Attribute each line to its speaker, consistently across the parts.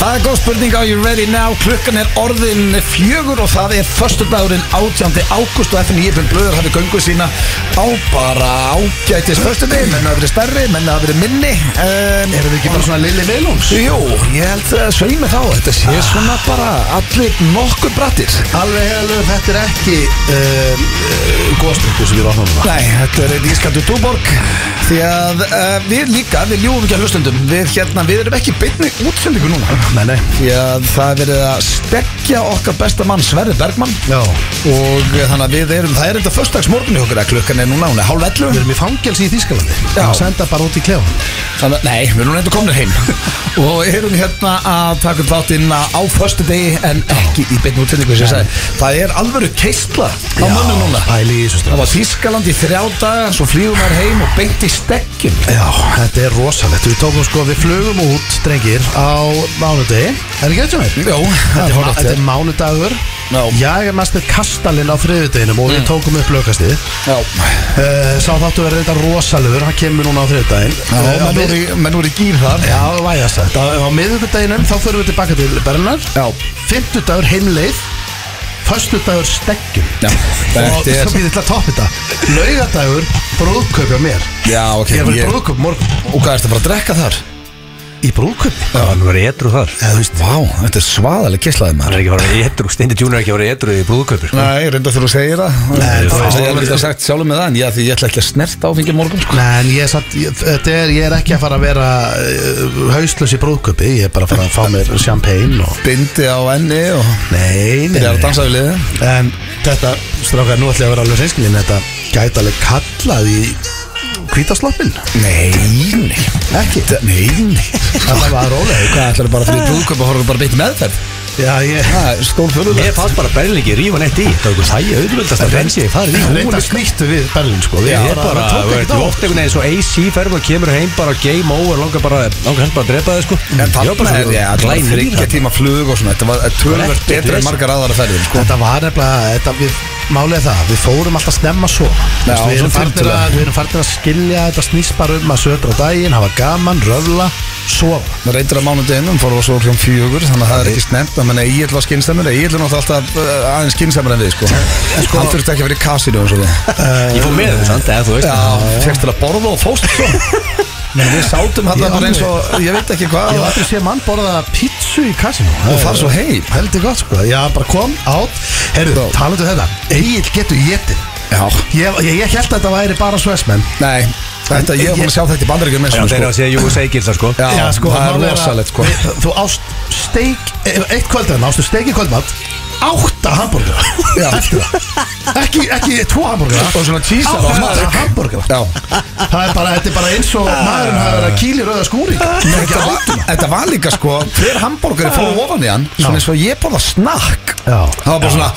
Speaker 1: Það er góð spurning á You Ready Now Klukkan er orðin fjögur og það er Föstudagurinn 18. ágúst og FNÍ fyrir blöður hafi gönguð sína á bara ágætis föstudegi menn að verið stærri, menn að verið minni um,
Speaker 2: Erum við ekki bara svona lilli velums?
Speaker 1: Jú, ég held að sveimi þá Þetta sé svona bara allir nokkuð brattir
Speaker 2: Alveg hefðalöf, þetta er ekki
Speaker 1: ehm,
Speaker 2: um,
Speaker 1: eh,
Speaker 2: uh, góðstökku sem við vatnum það
Speaker 1: Nei, þetta er einn ískaldur túborg Því að uh, við líka, við ljúum ekki að hlustundum Við hérna, við erum ekki beinni útsendingu núna
Speaker 2: Nei, nei
Speaker 1: Því að það er verið að stekja okkar besta mann Sverri Bergmann
Speaker 2: Já
Speaker 1: Og eh, þannig að við erum, það er þetta förstagsmorgun í okkur að klukkan er núna, hún er hálf ellu
Speaker 2: Við erum í fangelsi í Þískalandi
Speaker 1: Já.
Speaker 2: Og senda bara út í klefa
Speaker 1: Þannig að, nei, við erum reynda komnir heim Og erum hérna að taka upp þáttinn á föstu degi En ekki í beinni útsendingu, sem ég sagði Það er alvöru keistla á mönnu núna
Speaker 2: Pæli í þessu
Speaker 1: Það
Speaker 2: straf
Speaker 1: var Þískaland í þrjá daga, svo flýðum maður heim og beint í stekkjum
Speaker 2: Já, þetta er rosalegt Við tókum sko, við flugum út, drengir Á mánudegi Er ekki þetta mér?
Speaker 1: Jó,
Speaker 2: Þetta er, ma- þetta
Speaker 1: þetta
Speaker 2: er mánudagur
Speaker 1: Já.
Speaker 2: Ég er mest með kastalinn á þriðudeginum Og við tókum upp lögkastið
Speaker 1: Já,
Speaker 2: uh, Sá þáttu verið þetta rosalegur Hann kemur núna á þriðudaginn Eh, á
Speaker 1: menn
Speaker 2: mið-
Speaker 1: voru í- menn voru í gýr þar
Speaker 2: Já, vægast þetta Á miðvikudeginum þá förum við tilbaka til Berlinar
Speaker 1: Já.
Speaker 2: Fymtudagur heimleið Föstudagur steggjum
Speaker 1: Já,
Speaker 2: Og
Speaker 1: þetta er-
Speaker 2: svo býðið til að toppa þetta Laugadagur brúðkaup hjá mér
Speaker 1: Já, ok
Speaker 2: Ég er fyrir
Speaker 1: ég-
Speaker 2: brúðkaup morgun
Speaker 1: Og hvað ertu bara að drekka þar?
Speaker 2: Í brúðkaup
Speaker 3: Já, hann var etru þar
Speaker 2: Eða þú veist
Speaker 1: Vá, þetta er svaðalega kisslaði
Speaker 3: Hann er ekki að fara etru, Steindi Junior er ekki að fara etru í brúðkaupir sko.
Speaker 1: Nei, reynda þú að segja það
Speaker 2: Nei,
Speaker 1: Það
Speaker 2: það-
Speaker 1: er alveg þetta sagt sjálfum með það en Já, því ég ætla ekki að snerta áfengi morgun sko.
Speaker 2: Nei, en ég er, satt, ég, þetta er, ég er ekki að fara að vera uh, hauslaus í brúðkaupi Ég er bara að fara að fá mér champagne og...
Speaker 1: Bindi á enni og
Speaker 2: Nei, nei,
Speaker 1: byrja að
Speaker 2: nei
Speaker 1: dansa við liðin
Speaker 2: En þetta, strákar, nú ætla ég að vera alveg reynskilin Þetta gæti alveg kallað í hvítasloppin
Speaker 1: Nei, nei
Speaker 2: Ekki?
Speaker 1: Nei, nei
Speaker 2: Það var rólega
Speaker 1: Hvað ætlar bara að fyrir brúðköp og horfum bara beitt meðferð?
Speaker 2: Já, ég
Speaker 1: Það er stór
Speaker 3: Ég
Speaker 1: fölulegt
Speaker 3: fannst bara berlingi rífa neitt í Það var eitthvað þægja auðvöldast að rensi ég farið í Hún
Speaker 2: Reynda
Speaker 3: er-
Speaker 2: snýttu við Berlin, sko Við
Speaker 3: Ég er bara,
Speaker 2: það
Speaker 3: þú
Speaker 2: tók
Speaker 3: veit,
Speaker 2: ekkert á
Speaker 3: þú oft einhvern veginn svo AC ferð og kemur heim bara game over langar bara, langar helst bara að drepa þið sko
Speaker 1: En þarna er ég að
Speaker 3: glæn
Speaker 1: þryggja tíma flug og svona Þetta var tölvöld
Speaker 3: Ekkert
Speaker 1: betra en
Speaker 3: vesen.
Speaker 1: margar aðara ferðir sko.
Speaker 2: Þetta var nefnilega, þetta við Málið er það, við fórum alltaf snemma svo Já, við, erum
Speaker 1: svona
Speaker 2: farnir
Speaker 1: tiltölulega.
Speaker 2: að, við erum farnir að skilja þetta snýst bara um að södra á daginn, hafa gaman, röfla, sofa
Speaker 1: Mér reyndir að mánudeginum fór og svo kljóðum fjögur þannig að það er ekki snemt að menna Egil var skynstamur Egil er náttúrulega alltaf uh, aðeins skynstamur en við sko. hann þurfti ekki að vera í kasinu og svo við
Speaker 3: Ég fór með þetta, eða þú veist
Speaker 1: já, fyrst til að borða og fóst
Speaker 3: sko.
Speaker 1: svo menn við sátum hann
Speaker 2: Ég
Speaker 1: bara eins
Speaker 2: alveg-
Speaker 1: og ég veit ekki
Speaker 2: Ég
Speaker 1: hvað
Speaker 2: var
Speaker 1: og
Speaker 2: aldrei sé mann borða pítsu í kassinu
Speaker 1: fara svo heim
Speaker 2: Heldur gott sko, já bara kom át Herru,
Speaker 1: Já.
Speaker 2: talandu um þetta, Egil getur getið
Speaker 1: já,
Speaker 2: Ég, ég, ég held að þetta væri bara svesmenn
Speaker 1: nei, þetta ég var búin að sjá þetta í bandaríkjum með
Speaker 3: Já, þeir eru
Speaker 1: svona
Speaker 3: að
Speaker 1: sko.
Speaker 3: segja Júi Seikilsa sko
Speaker 1: já, það
Speaker 2: málið
Speaker 1: er rosalegt sko
Speaker 2: við- Þú ást steik, eh, eitt kvöldræðan, ástu steik í kvöldmatt Átta hambúrgara
Speaker 1: Já.
Speaker 2: Eftir það Ekki, ekki tvo hambúrgara
Speaker 1: og svona tísar á
Speaker 2: Átta
Speaker 1: maður
Speaker 2: hambúrgara
Speaker 1: já
Speaker 2: Það er bara, þetta er bara eins og maðurinn hafa verið að kýli rauða skúri
Speaker 1: Þetta var, þetta var líka sko Hver hambúrgari fór ofan í hann Svona eins og ég borða snakk
Speaker 2: Já.
Speaker 1: Það var bara svona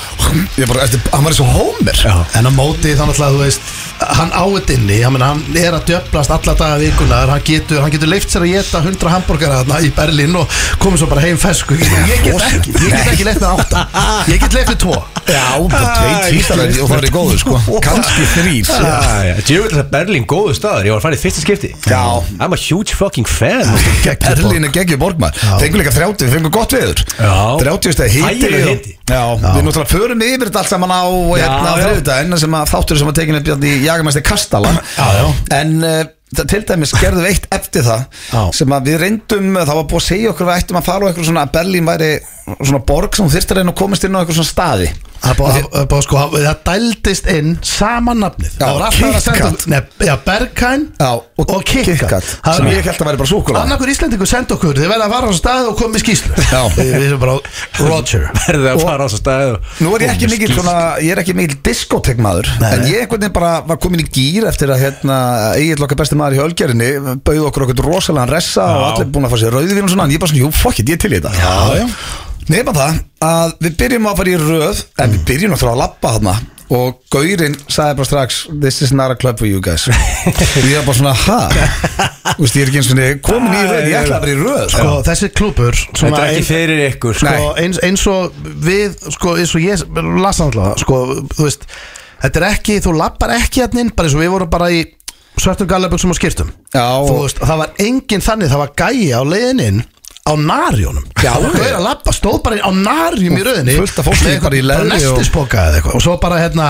Speaker 1: ég bara, þetta- Hann var eins og Homer
Speaker 2: En á móti þannig að þú veist Hann áið inni, hann, hann er að döblast alla daga vikunar, hann getur, hann getur leift sér að geta 100 hambúrgara þarna í Berlín og komið svo bara heim fesku Ég get ekki, ég get ekki leift með átta Ég get leift með tvo
Speaker 1: Já, um bara tvei tvístarandi og það er í góðu sko Kanski þrýr
Speaker 3: Djúvill að Berlín góðu staður, ég var að fara í fyrsta skipti
Speaker 1: Já.
Speaker 3: I'm a huge fucking fan
Speaker 1: Berlín er geggjur borgmar Fengum líka 30, við fengum gott veður
Speaker 3: Já.
Speaker 1: 30 steg hiti
Speaker 3: Þægilegur
Speaker 1: og-
Speaker 3: hiti.
Speaker 1: Já, við náttúrulega förum yfir þetta allt saman á hérna,
Speaker 3: já.
Speaker 1: þriðudaginn sem að þáttur sem að tekinu upp hérna í jagamæsti Kastala
Speaker 2: Já, já.
Speaker 1: En uh, til dæmis gerðum við eitt eftir það
Speaker 2: Já.
Speaker 1: sem að við reyndum, eh, það var búið að segja okkur að við ættum að fara á einhver svona að Berlín væri svona borg sem þú þyrftir að reyna að komast inn á einhver svona staði
Speaker 2: Það búið- það búið- sko, það dældist inn sama nafnið
Speaker 1: Já,
Speaker 2: Það var alltaf að senda
Speaker 1: Kit Kat.
Speaker 2: Nei, Já, Berghain
Speaker 1: Já,
Speaker 2: og, og KitKat Það
Speaker 1: sem
Speaker 2: er-
Speaker 1: ég held að væri bara súkulega
Speaker 2: Annakur Íslendingur senda okkur, þið verða að fara á stað og komið skýslu
Speaker 1: Já.
Speaker 2: Við við erum bara Roger
Speaker 3: Verðið að fara á þessa staði og-
Speaker 1: Nú er ég ekki
Speaker 3: Og-
Speaker 1: mikill svona, ég er ekki mikill diskotekmaður
Speaker 2: Nei,
Speaker 1: En
Speaker 2: nei.
Speaker 1: ég einhvern veginn bara var komin í gýr eftir að hérna Egil okkar besti maður í hölgerinni Bauð okkur okkur rosalega ressa og allir búin að fá sér rauðvín og svona En ég bara svona, jú, fuck it, ég er til í þetta
Speaker 2: Já, já.
Speaker 1: Nefna það að við byrjum að fara í röð En við byrjum náttúrulega að labba þarna Og Gaurinn sagði bara strax This is not a club for you guys Og ég var bara svona, ha? Þú veist, ég er ekki eins og niður komin í röð Ég ætla að fara í röð
Speaker 2: Sko, þessi klúpur
Speaker 3: Þetta er ekki fyrir ykkur sko.
Speaker 2: sko, eins, eins og við sko, eins og ég las alltaf sko, þú veist, þetta er ekki þú lappar ekki hérna inn, bara eins og við vorum bara í svörtum gallaböksum og skýrtum
Speaker 1: Já.
Speaker 2: þú veist, það var enginn þannig, það var gæi á leiðin inn á narjónum
Speaker 1: Já,
Speaker 2: og
Speaker 1: ok.
Speaker 2: gauðir að labba stóð bara á narjum í rauðinni
Speaker 1: fullt af fólki
Speaker 2: með eitthvað-
Speaker 1: bara í leðri og-
Speaker 2: nestispoka eða eitthvað og svo bara hérna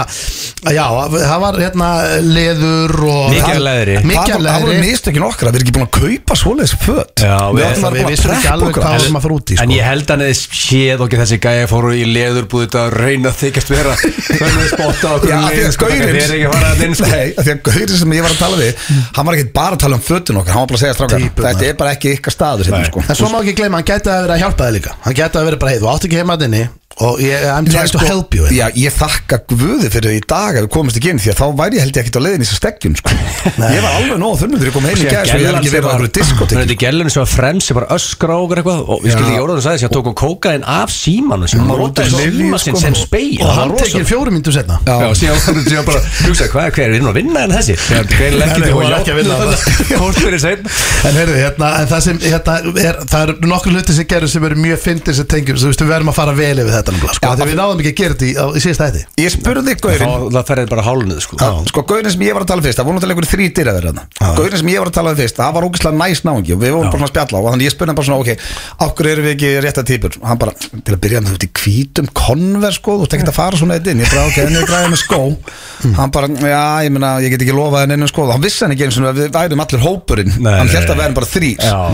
Speaker 2: já, það var hérna leður og
Speaker 3: Mikið af leðri.
Speaker 2: mikið af
Speaker 1: Það voru
Speaker 2: leðri
Speaker 1: mistökin okkar að við erum ekki búin að kaupa svoleiðis föt
Speaker 3: Já,
Speaker 1: Við
Speaker 3: við-
Speaker 1: áttum að vera búin
Speaker 2: við
Speaker 1: að
Speaker 2: vissum ekki
Speaker 1: preppa
Speaker 2: alveg
Speaker 1: okkur
Speaker 2: hvað
Speaker 1: að-
Speaker 2: við erum að fara út í
Speaker 3: En
Speaker 2: sko.
Speaker 3: ég held hann eða séð okkur þessi gæja fóru í leður búið þetta að reyna að þykjast vera Þannig að spotta okkur
Speaker 1: Já, af því að
Speaker 3: Þeir eru ekki að fara að
Speaker 1: gaurinn
Speaker 3: þinn sko
Speaker 1: Nei, af því að gaurinn sem ég var að tala við Hann var ekki bara að tala um fötun okkar Hann var bara að segja strákar
Speaker 2: Týpurnar.
Speaker 1: Þetta er bara ekki ykkar staður hérna
Speaker 3: Nei.
Speaker 1: sko
Speaker 2: En svo má ekki gleyma, hann gæti að vera að hjálpa þig líka Hann gæti að vera bara, hey, þú átt ekki heima að inni Og ég, I'm
Speaker 1: Ég
Speaker 2: trying to
Speaker 1: sko-
Speaker 2: help you
Speaker 1: Já, ég þakka Guði fyrir í dag að við komumst ekki inn því að þá væri ég held ég ekkert á leiðin í þessu steggjum sko. Ég var alveg nóg þunnum þegar ég kom heim í gæð svo ég hef ekki verið á einhverju
Speaker 3: Þannig að
Speaker 1: diskotek
Speaker 3: þetta gælan sem var frems sem bara öskra á okkur eitthvað og ég skildi ekki orðan að sagði þess að tók hún kókaðin af símanu sem
Speaker 1: Hún
Speaker 3: hún
Speaker 1: notaði
Speaker 3: notaði
Speaker 1: lyfið,
Speaker 3: síma sinn
Speaker 1: sko.
Speaker 3: sem speil
Speaker 2: Og hann tekir fjórum myndum setna
Speaker 1: Já.
Speaker 3: Já, síðan var hann síðan bara hugsa, hvað, hver er við nú að vinna en þessi? Þegar greinilega
Speaker 2: Nei, nei,
Speaker 3: ekki
Speaker 2: hún var ekki að vinna
Speaker 3: þetta Hvort fyrir sein
Speaker 2: En heyrðu, hérna, en það sem, hérna, er, það eru nokkur hluti sem gerur sem eru mjög fyndir sem tengjum, þú veist, við verðum að fara vel yfir þetta nefnilega, sko,
Speaker 1: Já,
Speaker 2: þegar við náðum ekki að gera þetta í, á, í síðasta hætti.
Speaker 1: Ég spurði gaurinn
Speaker 3: Þá það ferðið bara hálnið, sko
Speaker 1: Já. Sko gaurin sem ég var að tala fyrst, það voru náttúrulega einhverju þrý dyraður
Speaker 2: Já.
Speaker 1: hérna Gaurin sem ég var að tala fyrst, það var ógeðslega næs náungi og við vorum bara svona að spjalla og þannig ég spurði hann bara svona, ok, okkur erum við ekki rétta típur og hann bara, til að byrja með þú ert í hvítum konver sko, þú ert ekki að fara svona eitt inn ég bara, ok, en ég græði með skó
Speaker 3: Hmm.
Speaker 1: hann bara, já, ég meina, ég get ekki lofað henni sko, hann vissi hann ekki eins og við værum allir hópurinn
Speaker 3: Nei,
Speaker 1: hann
Speaker 3: nei,
Speaker 1: held að
Speaker 3: nei.
Speaker 1: værum bara þrýr
Speaker 3: Já.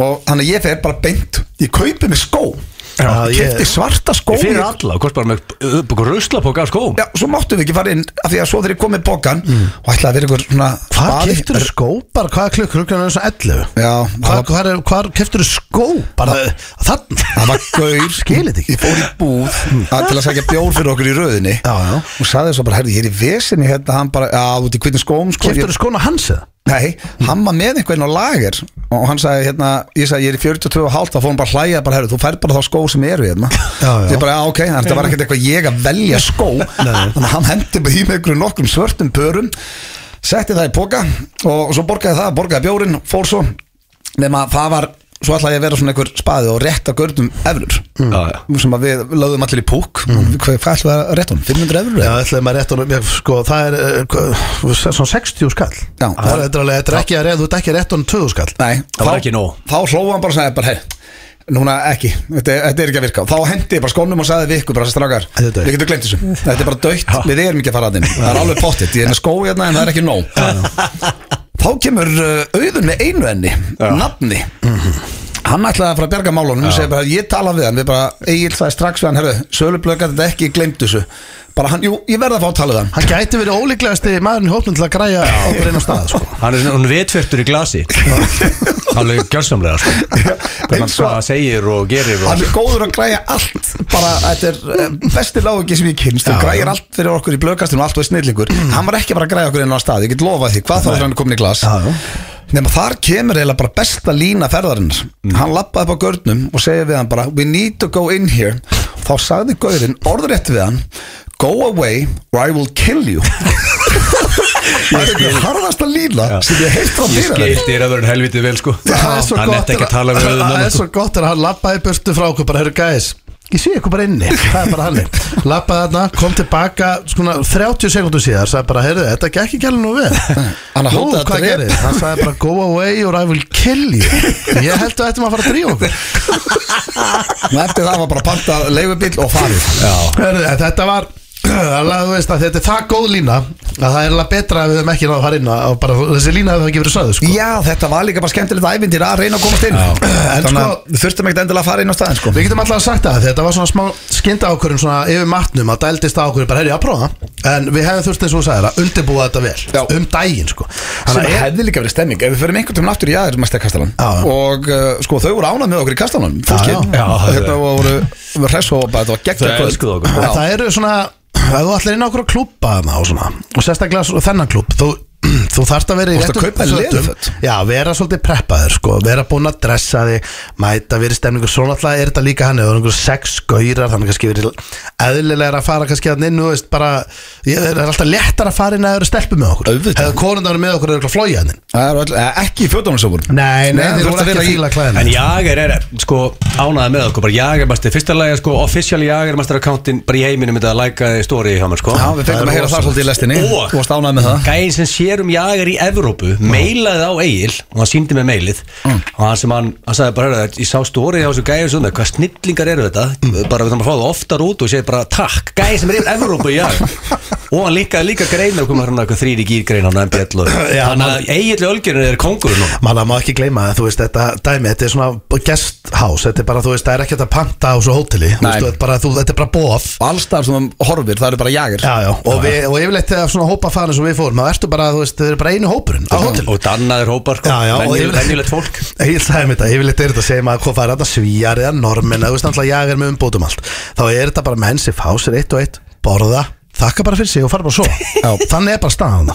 Speaker 1: og þannig að ég fer bara beint, ég kaupi með skó
Speaker 2: Já,
Speaker 1: ég
Speaker 2: ég-
Speaker 1: kefti svarta skó
Speaker 3: Ég fyrir alla, hvort bara með upp okkur ruslapóka af skóm
Speaker 1: Já, svo máttum við ekki fara inn af því að svo þegar ég kom með bókan
Speaker 2: Mm.
Speaker 1: og ætlaði að vera ykkur svona
Speaker 2: Hvað
Speaker 1: baði-
Speaker 2: keftur þú skó? Bara hvað klukk, klukkan er svo 11?
Speaker 1: Já,
Speaker 2: Hvað,
Speaker 1: það var-
Speaker 2: hvað, hvað keftur þú skó? Bara þannig?
Speaker 1: það var gaur
Speaker 2: Skilið þig ekki. Mm.
Speaker 1: Ég fór í búð að, til að sækja bjór fyrir okkur í röðinni
Speaker 2: Já, já.
Speaker 1: og sagði svo bara, herri, ég er í vesinni hérna, hann bara, já, út í hvernig skóm sko,
Speaker 2: Keftur þú skóna hans eða?
Speaker 1: ég, Nei, hann var með einhvern á lager og hann sagði, hérna, ég sagði, ég er í 42 og hálft þá fór hann bara að hlæja, bara, herri, þú fær bara þá skó sem eru hérna
Speaker 2: Já, já.
Speaker 1: Ég bara, já, ok, þannig að þetta var ekkert eitthvað ég að velja skó þannig að hann hendi bara í mig einhverjum nokkrum svörtum pörum setti það í póka og svo borgaði það, borgaði bjórin fór svo, nema það var svo ætlaði ég að vera svona einhver spaði og rétta görnum eflur
Speaker 3: Já, já.
Speaker 2: Mm.
Speaker 1: sem að við lögðum allir í púk hvað, hvað ætlaði að rétta hún, 500 eflur
Speaker 2: Já,
Speaker 1: eða?
Speaker 2: ætlaði maður rétt honum, ég, sko, það er eh, hvað, svona 60 skall
Speaker 1: Já.
Speaker 2: það er þetta er alveg, þetta er ekki að rétt, þú ert ekki að rétt honum 20 skall
Speaker 1: Nei,
Speaker 3: Það var ekki nóg.
Speaker 1: þá hlóði hann bara og sagði bara, hei núna ekki, þetta, er- þetta er ekki að virka og þá hendi ég bara skónum og sagði við ykkur bara þessi strákar,
Speaker 2: Þetta er dautt.
Speaker 1: við getum glemt þessu þetta er bara döitt, við erum ekki að fara að þinn það er alveg pottitt, ég er með skó hérna en það er ekki nóg þá kemur uh, auðun með einu enni, nafni hann ætlaði að fara að berga málunum og segja bara, ég tala við hann, við bara Egil það er strax við hann, herru, sölublöka þetta ekki, glemt þessu bara hann, jú, ég verð að fá að tala við hann
Speaker 2: Hann gæti verið ólíklegasti maðurinn í hópnum til að græja okkur einn á stað sko.
Speaker 3: Hann er svona vetvertur í glasi Alveg gjörsamlega, sko Hvernig
Speaker 1: Eins og-
Speaker 3: hvað hann segir og gerir
Speaker 1: Hann
Speaker 3: og...
Speaker 1: er góður að græja allt bara, þetta er eh, besti lági sem ég kynst og græjar allt fyrir okkur í blökastinu og allt og er snillingur hann var ekki bara að græja okkur inn á stað ég get lofað því, hvað þá er hann komin í glas
Speaker 2: já.
Speaker 1: nema þar kemur eiginlega bara besta lína ferðarinn hann lappaði upp á görnum og segja við hann bara we need to go in here þá sagði gaurinn orðrétt við hann go away or I will kill you það er ekki harðasta lína sem ég heilt á
Speaker 3: Ég
Speaker 1: fyrir
Speaker 3: skildi er að vera helviti vel, sko
Speaker 2: Það er svo
Speaker 3: Hann
Speaker 2: gott
Speaker 3: ætti ekki að tala við
Speaker 2: að-
Speaker 4: um
Speaker 3: auðvitað
Speaker 2: Það er
Speaker 3: annað, sko.
Speaker 2: svo gott er að hann labbaði burtu frá okkur bara, heyrðu gæðis Ég sé ykkur bara inni, það er bara hann Labbaði þarna, kom tilbaka skona, 30 sekundum síðar, sagði bara, heyrðu, þetta gekk ekki alveg nú vel
Speaker 1: Hann
Speaker 2: Nú,
Speaker 1: hótaði að
Speaker 2: hvað
Speaker 1: drepa.
Speaker 2: gerir? Hann sagði bara, go away or I will kill you Ég held að þetta maður að fara að drífa okkur
Speaker 1: og eftir það var bara pantað leifubill og farið
Speaker 3: Já,
Speaker 2: Hörðu, en þetta var alveg, þú veist, að þetta er það góð lína að það er alveg betra að við höfum ekki náðu að fara inn og bara, þessi lína hefur ekki verið söðu sko.
Speaker 1: Já, þetta var líka bara skemmtilegt ævindir að reyna að komast inn
Speaker 3: Já.
Speaker 1: Þannig að við þurftum ekkert endilega að fara inn á staðin sko.
Speaker 2: Við getum alltaf sagt það, þetta var svona smá skynda ákvörðum svona yfir matnum að dældist á okkur bara, herri, að prófa það." en við hefum þurft eins og þú sagðir að undirbúa þetta vel
Speaker 1: Já.
Speaker 2: um daginn, sko
Speaker 1: Sem
Speaker 2: Þannig að ég,
Speaker 1: hefði líka verið stemming Ef við förum einhvern tímann aftur í aðeins mesta kastalan
Speaker 2: Já, já.
Speaker 1: Og uh, sko, þau voru ánað með okkur í kastalanum Fólki,
Speaker 2: Já, já.
Speaker 3: Já,
Speaker 1: og
Speaker 3: það
Speaker 1: hérna
Speaker 3: er-
Speaker 1: voru við hress og bara þetta var geggja
Speaker 3: Þau elskuðu okkur.
Speaker 2: en það eru svona ef þú ætlir inn á okkur að klúpa þarna og svona og sérstaklega svo- þennan klúb þú, þú þarft að vera í
Speaker 1: Þú ert að
Speaker 2: réttum
Speaker 1: kaupa þér
Speaker 2: fötum.
Speaker 1: leðurföt.
Speaker 2: Já, vera svolítið preppaður, sko vera búin að dressa þig, mæta verið stemningu, svona alltaf er þetta líka hann eða einhver sex gaurar, þannig kannski verið eðlilega að fara kannski að nynnu veist, bara, ég er alltaf léttar að fara inn að það eru stelpur með okkur
Speaker 1: Auðvitað.
Speaker 2: hefur konundar með okkur eitthvað flóið hann
Speaker 1: Það eru öll, eh, Ekki í fjötunum sem voru
Speaker 2: Nei, nei, þeir
Speaker 1: þú
Speaker 2: voru
Speaker 1: ert að
Speaker 2: ekki að
Speaker 1: vera í-
Speaker 2: fíla klæðina
Speaker 3: En Jager er sko ánaði með okkur bara Jager mæsti fyrsta lagi sko official Jager mæstir akkántin bara í heiminum þetta að læka story hjá mér sko
Speaker 1: Já, við
Speaker 2: Það er
Speaker 1: fengum að heyra það
Speaker 2: rosalegt.
Speaker 1: svolítið í lestinni
Speaker 3: Og-
Speaker 4: Ah.
Speaker 1: Þú varst ánað með það
Speaker 3: Gæin sem sér
Speaker 4: erum jagar um í Evrópu
Speaker 2: Ah.
Speaker 4: meilaði á Egil og hann síndi mig meilið og hann sem hann, hann sagði bara "Heyrðu, ég sá stórið á þessu gæði svona hvað snillingar eru þetta
Speaker 2: Mm.
Speaker 4: bara við þurfum að fá það oftar út og segja bara takk gæði sem er yfir Evrópu í jagar og hann líka, líka greina og koma hann eitthvað þrýri gýrgreina hann MBL og
Speaker 2: Já,
Speaker 4: þannig að Egil Ölgerinn er kongur nú
Speaker 2: Manna má ekki gleyma það, þú veist, þetta dæmi, þetta er svona guest house, þetta er bara, þú veist, það er ekkert að panta á svo hóteli, þú veist,
Speaker 1: Nei.
Speaker 2: þú ert bara, þú, þetta er bara bof
Speaker 1: Allstar sem þú horfir, það eru bara jagir
Speaker 2: Já, já, og, við, og yfirleitt þegar svona hópa farin sem við fórum, þá ertu bara, þú veist, þau eru bara einu hópurinn á hóteli
Speaker 4: og dannaður hópar sko,
Speaker 2: Já, já, og
Speaker 4: venjulegt-
Speaker 2: yfirleitt-
Speaker 4: venjulegt fólk
Speaker 2: Ég sagði mér þetta, yfirleitt er þetta að segja maður hvað fara þetta svíjar eða normin eða þú veist alltaf jagar með umbótum allt þá er þetta bara menn sem fá sér eitt og eitt borða, þakka bara fyrir sig og fara bara svo Já. þannig er bara staðan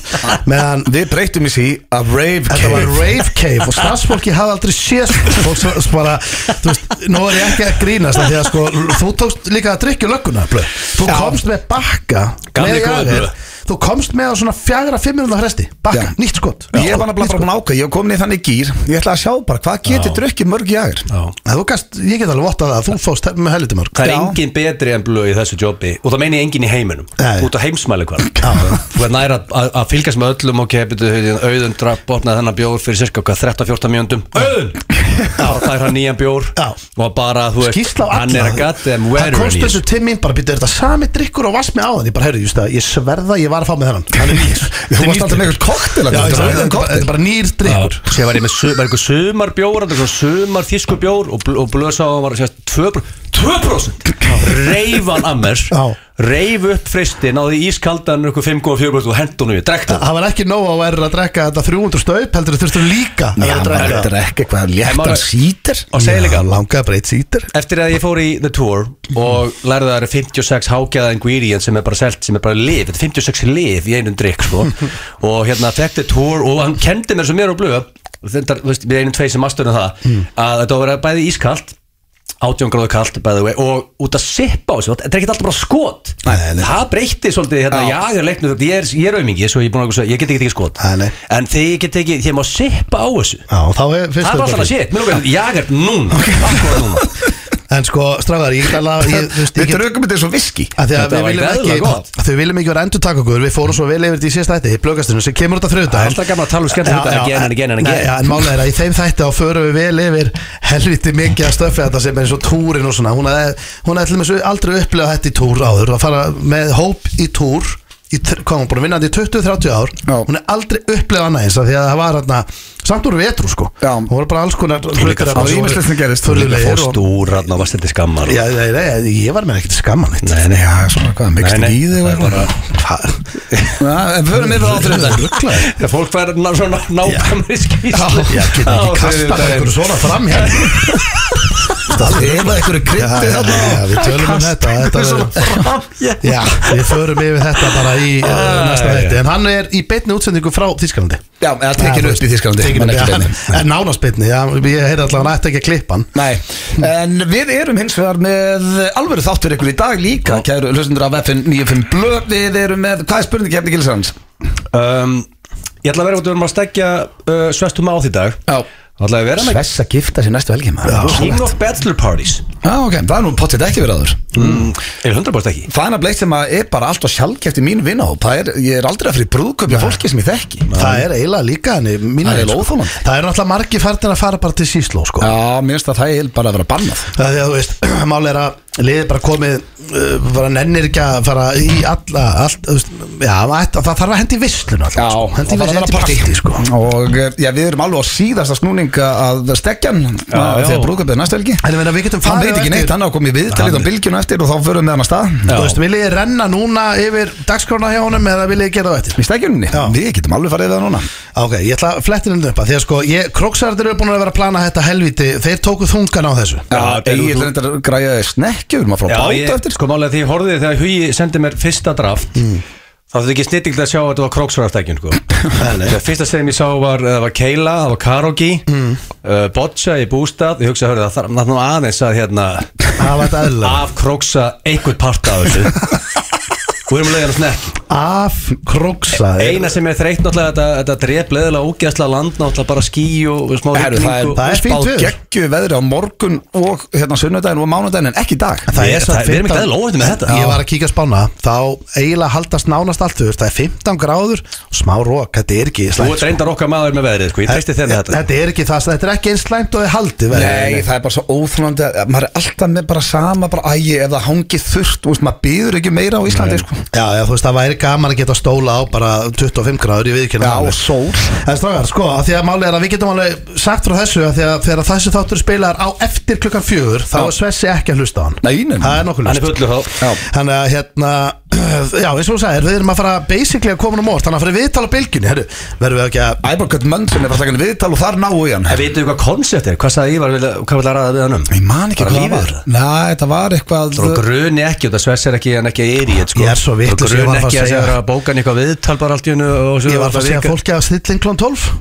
Speaker 2: meðan
Speaker 1: Við breytum í sí að rave
Speaker 2: Þetta var rave cave og starfsfólki hafði aldrei séð svona. fólk sem sem bara, þú veist, nú er ég ekki að grínast af því að sko, þú tókst líka að drikja lögguna, blöð, þú komst með bakka
Speaker 4: Gamli
Speaker 2: með
Speaker 4: góði,
Speaker 2: jager.
Speaker 4: blöð.
Speaker 2: þú komst með á svona fjagra fimmiruna hresti, bakka,
Speaker 1: Já.
Speaker 2: nýtt skot
Speaker 1: Ég var nefnilega bara búin að ákveða, ég var komin í þannig gýr Ég ætla að sjá bara, hvað getur drukkið mörg jagir?
Speaker 2: Að Þú gast, ég get alveg vottað að þú fóst með helviti mörg
Speaker 4: Það er
Speaker 1: Já.
Speaker 4: engin betri en blöð í þessu jobbi og það meini ég engin í heiminum
Speaker 2: Nei.
Speaker 4: út á heimsmæli hvar
Speaker 2: Já.
Speaker 4: þú er næra að að fylgjast með öllum og kepitu auðun drapp opnaði þennan bjór fyrir cirka hvað 13-14 mjöndum auðun og það er hann nýjan bjór
Speaker 2: Já.
Speaker 4: og bara þú veist
Speaker 2: Skýrsla á alla
Speaker 4: hann er að gata þeim
Speaker 2: Það komst
Speaker 4: verður
Speaker 2: þessu til mín bara Býttu, er þetta sami drikkur og vass með áðan Ég bara, heyrðu, just það, ég sverða ég var að fá með þennan Hann er nýr
Speaker 1: Þú varst alltaf með eitthvað koktel
Speaker 2: Já, ég sagði, þetta er bara- þetta
Speaker 1: Þetta
Speaker 2: er bara nýr drikkur
Speaker 4: Sér var ég með su, var eitthvað sumar bjór eitthvað sumar þísku bjór og, bl og blösa á hann var sérst 2%, 2% reyfan að mér
Speaker 2: Já.
Speaker 4: reyf upp fristin á því ískaldan eitthvað 5,4% og hendunum við, drekta
Speaker 2: Það var ekki nóg að vera að drekka þetta 300 staup heldur þurftur líka að vera að drekka
Speaker 1: er ekki eitthvað léttan
Speaker 4: maður-
Speaker 1: sítir
Speaker 4: og segja líka
Speaker 2: Já, langaði bara eitt sítir
Speaker 4: Eftir að ég fór í The Tour og lærði að það eru 56 hágæða ingredients sem er bara selt, sem er bara liv, þetta er 56 liv í einum drikk sko og hérna fekk The Tour og hann kendi mér svo mér og blöð, þetta, þú veist, við einum tvei sem masturum það,
Speaker 2: Hmm.
Speaker 4: að þetta á að vera bæði ískalt 18 gráðu kalt by the way og út að sippa á þessu, þetta er ekkert alltaf bara skot
Speaker 2: Nei, nei, nei.
Speaker 4: það breytti svolítið hérna
Speaker 1: Já.
Speaker 4: jagarleiknu, þetta ég er, ég er aumingi svo ég, er búinn að, segja, ég get ekki tekið skot
Speaker 2: Nei, nei.
Speaker 4: en þegar ég get ekki, þegar má sippa á þessu
Speaker 2: Já, þá er fyrst
Speaker 4: það er bara svona shit, mér lókar jagar núna, akkur núna
Speaker 2: En sko, strafðar, ég get alveg ég- þú veist, ég
Speaker 1: Við
Speaker 2: get-
Speaker 1: drukum þetta eins og viski
Speaker 2: Af því að
Speaker 4: Þetta
Speaker 2: við
Speaker 4: var
Speaker 2: viljum
Speaker 4: ekki
Speaker 2: ekki
Speaker 4: eðlilega gott.
Speaker 2: af því við viljum ekki vera endur taka okkur Við fórum svo vel yfir þetta í síðasta þætti Í blöggastinu sem kemur út af þrjóðdag
Speaker 4: Það er alltaf gaman að tala um skemmtilegt þetta, again and again and again.
Speaker 2: Já, en málega er að í þeim þætti þá förum við vel yfir helviti mikið að stöffi þetta sem er eins og túrin og svona Hún hafði- hún hafði til dæmis aldrei upplegað þetta í túr áður að fara með hóp í túr í, þr- hvað hún búin að vinna þetta í 20-30 ár
Speaker 1: Já.
Speaker 2: hún er aldrei upplegað annað eins af því að það var hérna samt voru við etru sko
Speaker 1: Já.
Speaker 2: hún var bara alls konar
Speaker 1: líka- það var ýmislegt sem gerist. Þú
Speaker 4: Líka
Speaker 2: furðulegir
Speaker 4: fórst
Speaker 2: og-
Speaker 4: úr hann og varst þetta skammar
Speaker 2: Já, nei, nei, ég var með ekkert skamman eitt
Speaker 4: Nei, nei,
Speaker 1: Já, svona hvað, mikst
Speaker 4: Nei, nei,
Speaker 1: ekki í þig
Speaker 4: það er
Speaker 1: og
Speaker 4: bara-
Speaker 1: eitthvað. Já, En förum yfir á þrjóðdæn
Speaker 4: Þegar fólk fær ná- svona nákvæmri skýrslu
Speaker 2: Já, getur
Speaker 4: á
Speaker 2: ekki kastað
Speaker 4: þriðjudaginn.
Speaker 2: einhverju svona fram hér
Speaker 1: Ef að einhverju krytti
Speaker 2: Já,
Speaker 1: þarna
Speaker 2: já, já, við tölum um þetta, þetta
Speaker 1: Kasta einhverju
Speaker 2: verður-
Speaker 1: svona fram, já.
Speaker 2: Já, við förum yfir þetta bara í uh,
Speaker 1: Ah,
Speaker 2: næsta
Speaker 4: já,
Speaker 2: hætti En hann er í beinni útsendingu frá Þískalandi
Speaker 1: Já, eða tekinu upp í Þískalandi
Speaker 2: Tekinu
Speaker 1: en
Speaker 2: upp,
Speaker 1: ekki
Speaker 2: já,
Speaker 1: beinni.
Speaker 2: hann- en nánast beinni já, Ég heyrði alltaf hann ætti ekki að klippa hann
Speaker 1: Nei, en við erum hins vegar með alvöru þátt fyrir ykkur í dag líka Kæru hlustundur af FN 95 Blöð Við erum með, hvað er spurningi efni gilsarans?
Speaker 4: Um, Ég ætla að vera út að við erum að stekja uh, svestum á því dag
Speaker 1: Já.
Speaker 4: Það ætla að vera með
Speaker 1: Svess að gifta sér næstu helgi maður
Speaker 4: King of Bachelor Parties
Speaker 1: Já, ok, það er nú pottet ekki verið áður
Speaker 4: mm. Er 100% ekki?
Speaker 1: Það er nafnilega eitt sem að er bara allt og sjálfgeft í mín vinnahóp Það er, ég er aldrei að fyrir brúðköpja fólki sem ég þekki
Speaker 2: Það er eiginlega líka hann í mínu
Speaker 1: Það er
Speaker 2: augum, sko.
Speaker 1: óþolandi.
Speaker 2: Það er náttúrulega margi færdir að fara bara til Sísló sko.
Speaker 1: Já, mér finnst að það er bara að vera bannað
Speaker 2: Það er því að þú veist, máli er að liðið bara komið uh, bara nennir ekki að fara í alla allt, þú veist, já, það ætti- það þarf að hendi visslun alltaf, sko. hendi
Speaker 1: það var að
Speaker 2: visslun,
Speaker 1: vera
Speaker 2: hendi
Speaker 1: partí
Speaker 2: partí sko.
Speaker 1: Og eh, já, við erum alveg á síðasta snúninga að stekjan
Speaker 4: já.
Speaker 1: Þegar brúðköpja er næstu helgi
Speaker 2: En ég meina, við getum
Speaker 1: Hann veit
Speaker 2: farið á
Speaker 1: ekki
Speaker 2: eftir-
Speaker 1: neitt, hann á komið viðtalið á bylgjuna eftir og þá förum við hann að stað
Speaker 4: Já.
Speaker 2: Þú veist, vil ég renna núna yfir dagskrána hjá honum eða vil ég gera það eftir?
Speaker 1: Í stekjuninni,
Speaker 2: Já.
Speaker 1: við getum alveg farið við það núna
Speaker 2: Ok, ég ætla að flettir henni upp að því að sko, ég, króksarður eru búin að vera að plana þetta helviti, þeir tóku þungan á þessu.
Speaker 1: Já,
Speaker 4: þetta er-
Speaker 1: Egil Eh, reyndar að græja snekkjur, maður frá
Speaker 4: ég,
Speaker 1: báta eftir
Speaker 4: Sko Mm. málega því ég horfið þegar Hugi sendi mér fyrsta draft Þá þetta ekki snittingt að sjá að þetta var króksvarafstækjun sko. Það fyrsta sem ég sá var eh, Það var Keila, það var Karogi mm. uh, Boccia í bústað Ég hugsaði að höra það þarf náttúrulega aðeins að hérna
Speaker 2: Það var þetta eðla.
Speaker 4: Afkróksa einhvern part af þessu og við erum að leiða hann snett
Speaker 2: Af króksa
Speaker 4: eina sem er þreytt náttúrulega þetta, þetta drep leðilega ógeðslega land náttúrulega bara skí og og smá
Speaker 1: Herru, það er,
Speaker 4: rigning og-
Speaker 2: það er fínt
Speaker 1: spáð
Speaker 2: veður.
Speaker 1: geggju veðri á morgun og hérna sunnudaginn og mánudaginn en ekki í dag
Speaker 4: Ég- það- við erum ekki eðlilega óheppnir með þetta.
Speaker 2: Ég var að kíka að spána Þá eiginlega haldast nánast allt þú veist, Það er 15 gráður og smá rók Þetta er ekki
Speaker 4: Þú
Speaker 2: slæmt
Speaker 4: ert reyndar okkar maður með veðrið sko, ég treysti þenni þetta
Speaker 2: Þetta er ekki það Þetta er ekki eins slæmt og þið haldið verður.
Speaker 1: Nei, það er bara svo óþrólandi að maður er alltaf með bara sama bara ægi ef það hangi þurft, þú veist, maður býður ekki meira á Íslandi, sko
Speaker 2: Já, já, þú veist, það væri gaman að geta stóla á bara 25 gráður, ég viðkynna
Speaker 1: Já, og sól.
Speaker 2: En strákar, sko, að því að máli er að við getum alveg sagt frá þessu að því að þegar þessi þáttur spilar á eftir klukkan fjögur þá er Svessi ekki að hlusta á hann
Speaker 1: Nei, nei, nei.
Speaker 2: Það er nokkuð
Speaker 4: Hann er
Speaker 2: lust
Speaker 4: fullur þá
Speaker 1: Já,
Speaker 2: Þannig að hérna, já, eins og þú sagðir, við erum að fara basically að koma um óvart Þannig að fyrir viðtal á bylgjunni, herru, verðum við ekki að
Speaker 1: Æbarkött Mönsson er bara stakkan viðtal og þar náu í hann
Speaker 4: En veitum við hvað koncept er? Hvað sagði Ívar, vilja- hvað vil að ræða við hann um?
Speaker 1: Ég man ekki
Speaker 4: Bara
Speaker 1: hvað það
Speaker 4: lífið
Speaker 1: var
Speaker 4: þeirra.
Speaker 1: Nei, þetta var eitthvað
Speaker 4: Og gruni ekki, og það svers er ekki en ekki er í sko.
Speaker 2: Ég er svo vitlaus, ég var
Speaker 4: Gruni
Speaker 2: að fara að
Speaker 4: ekki að
Speaker 2: segja.
Speaker 4: segja að bóka hann eitthvað viðtal bara allt í hennu
Speaker 2: Ég var að fara að segja fólki að stilla inn klón 12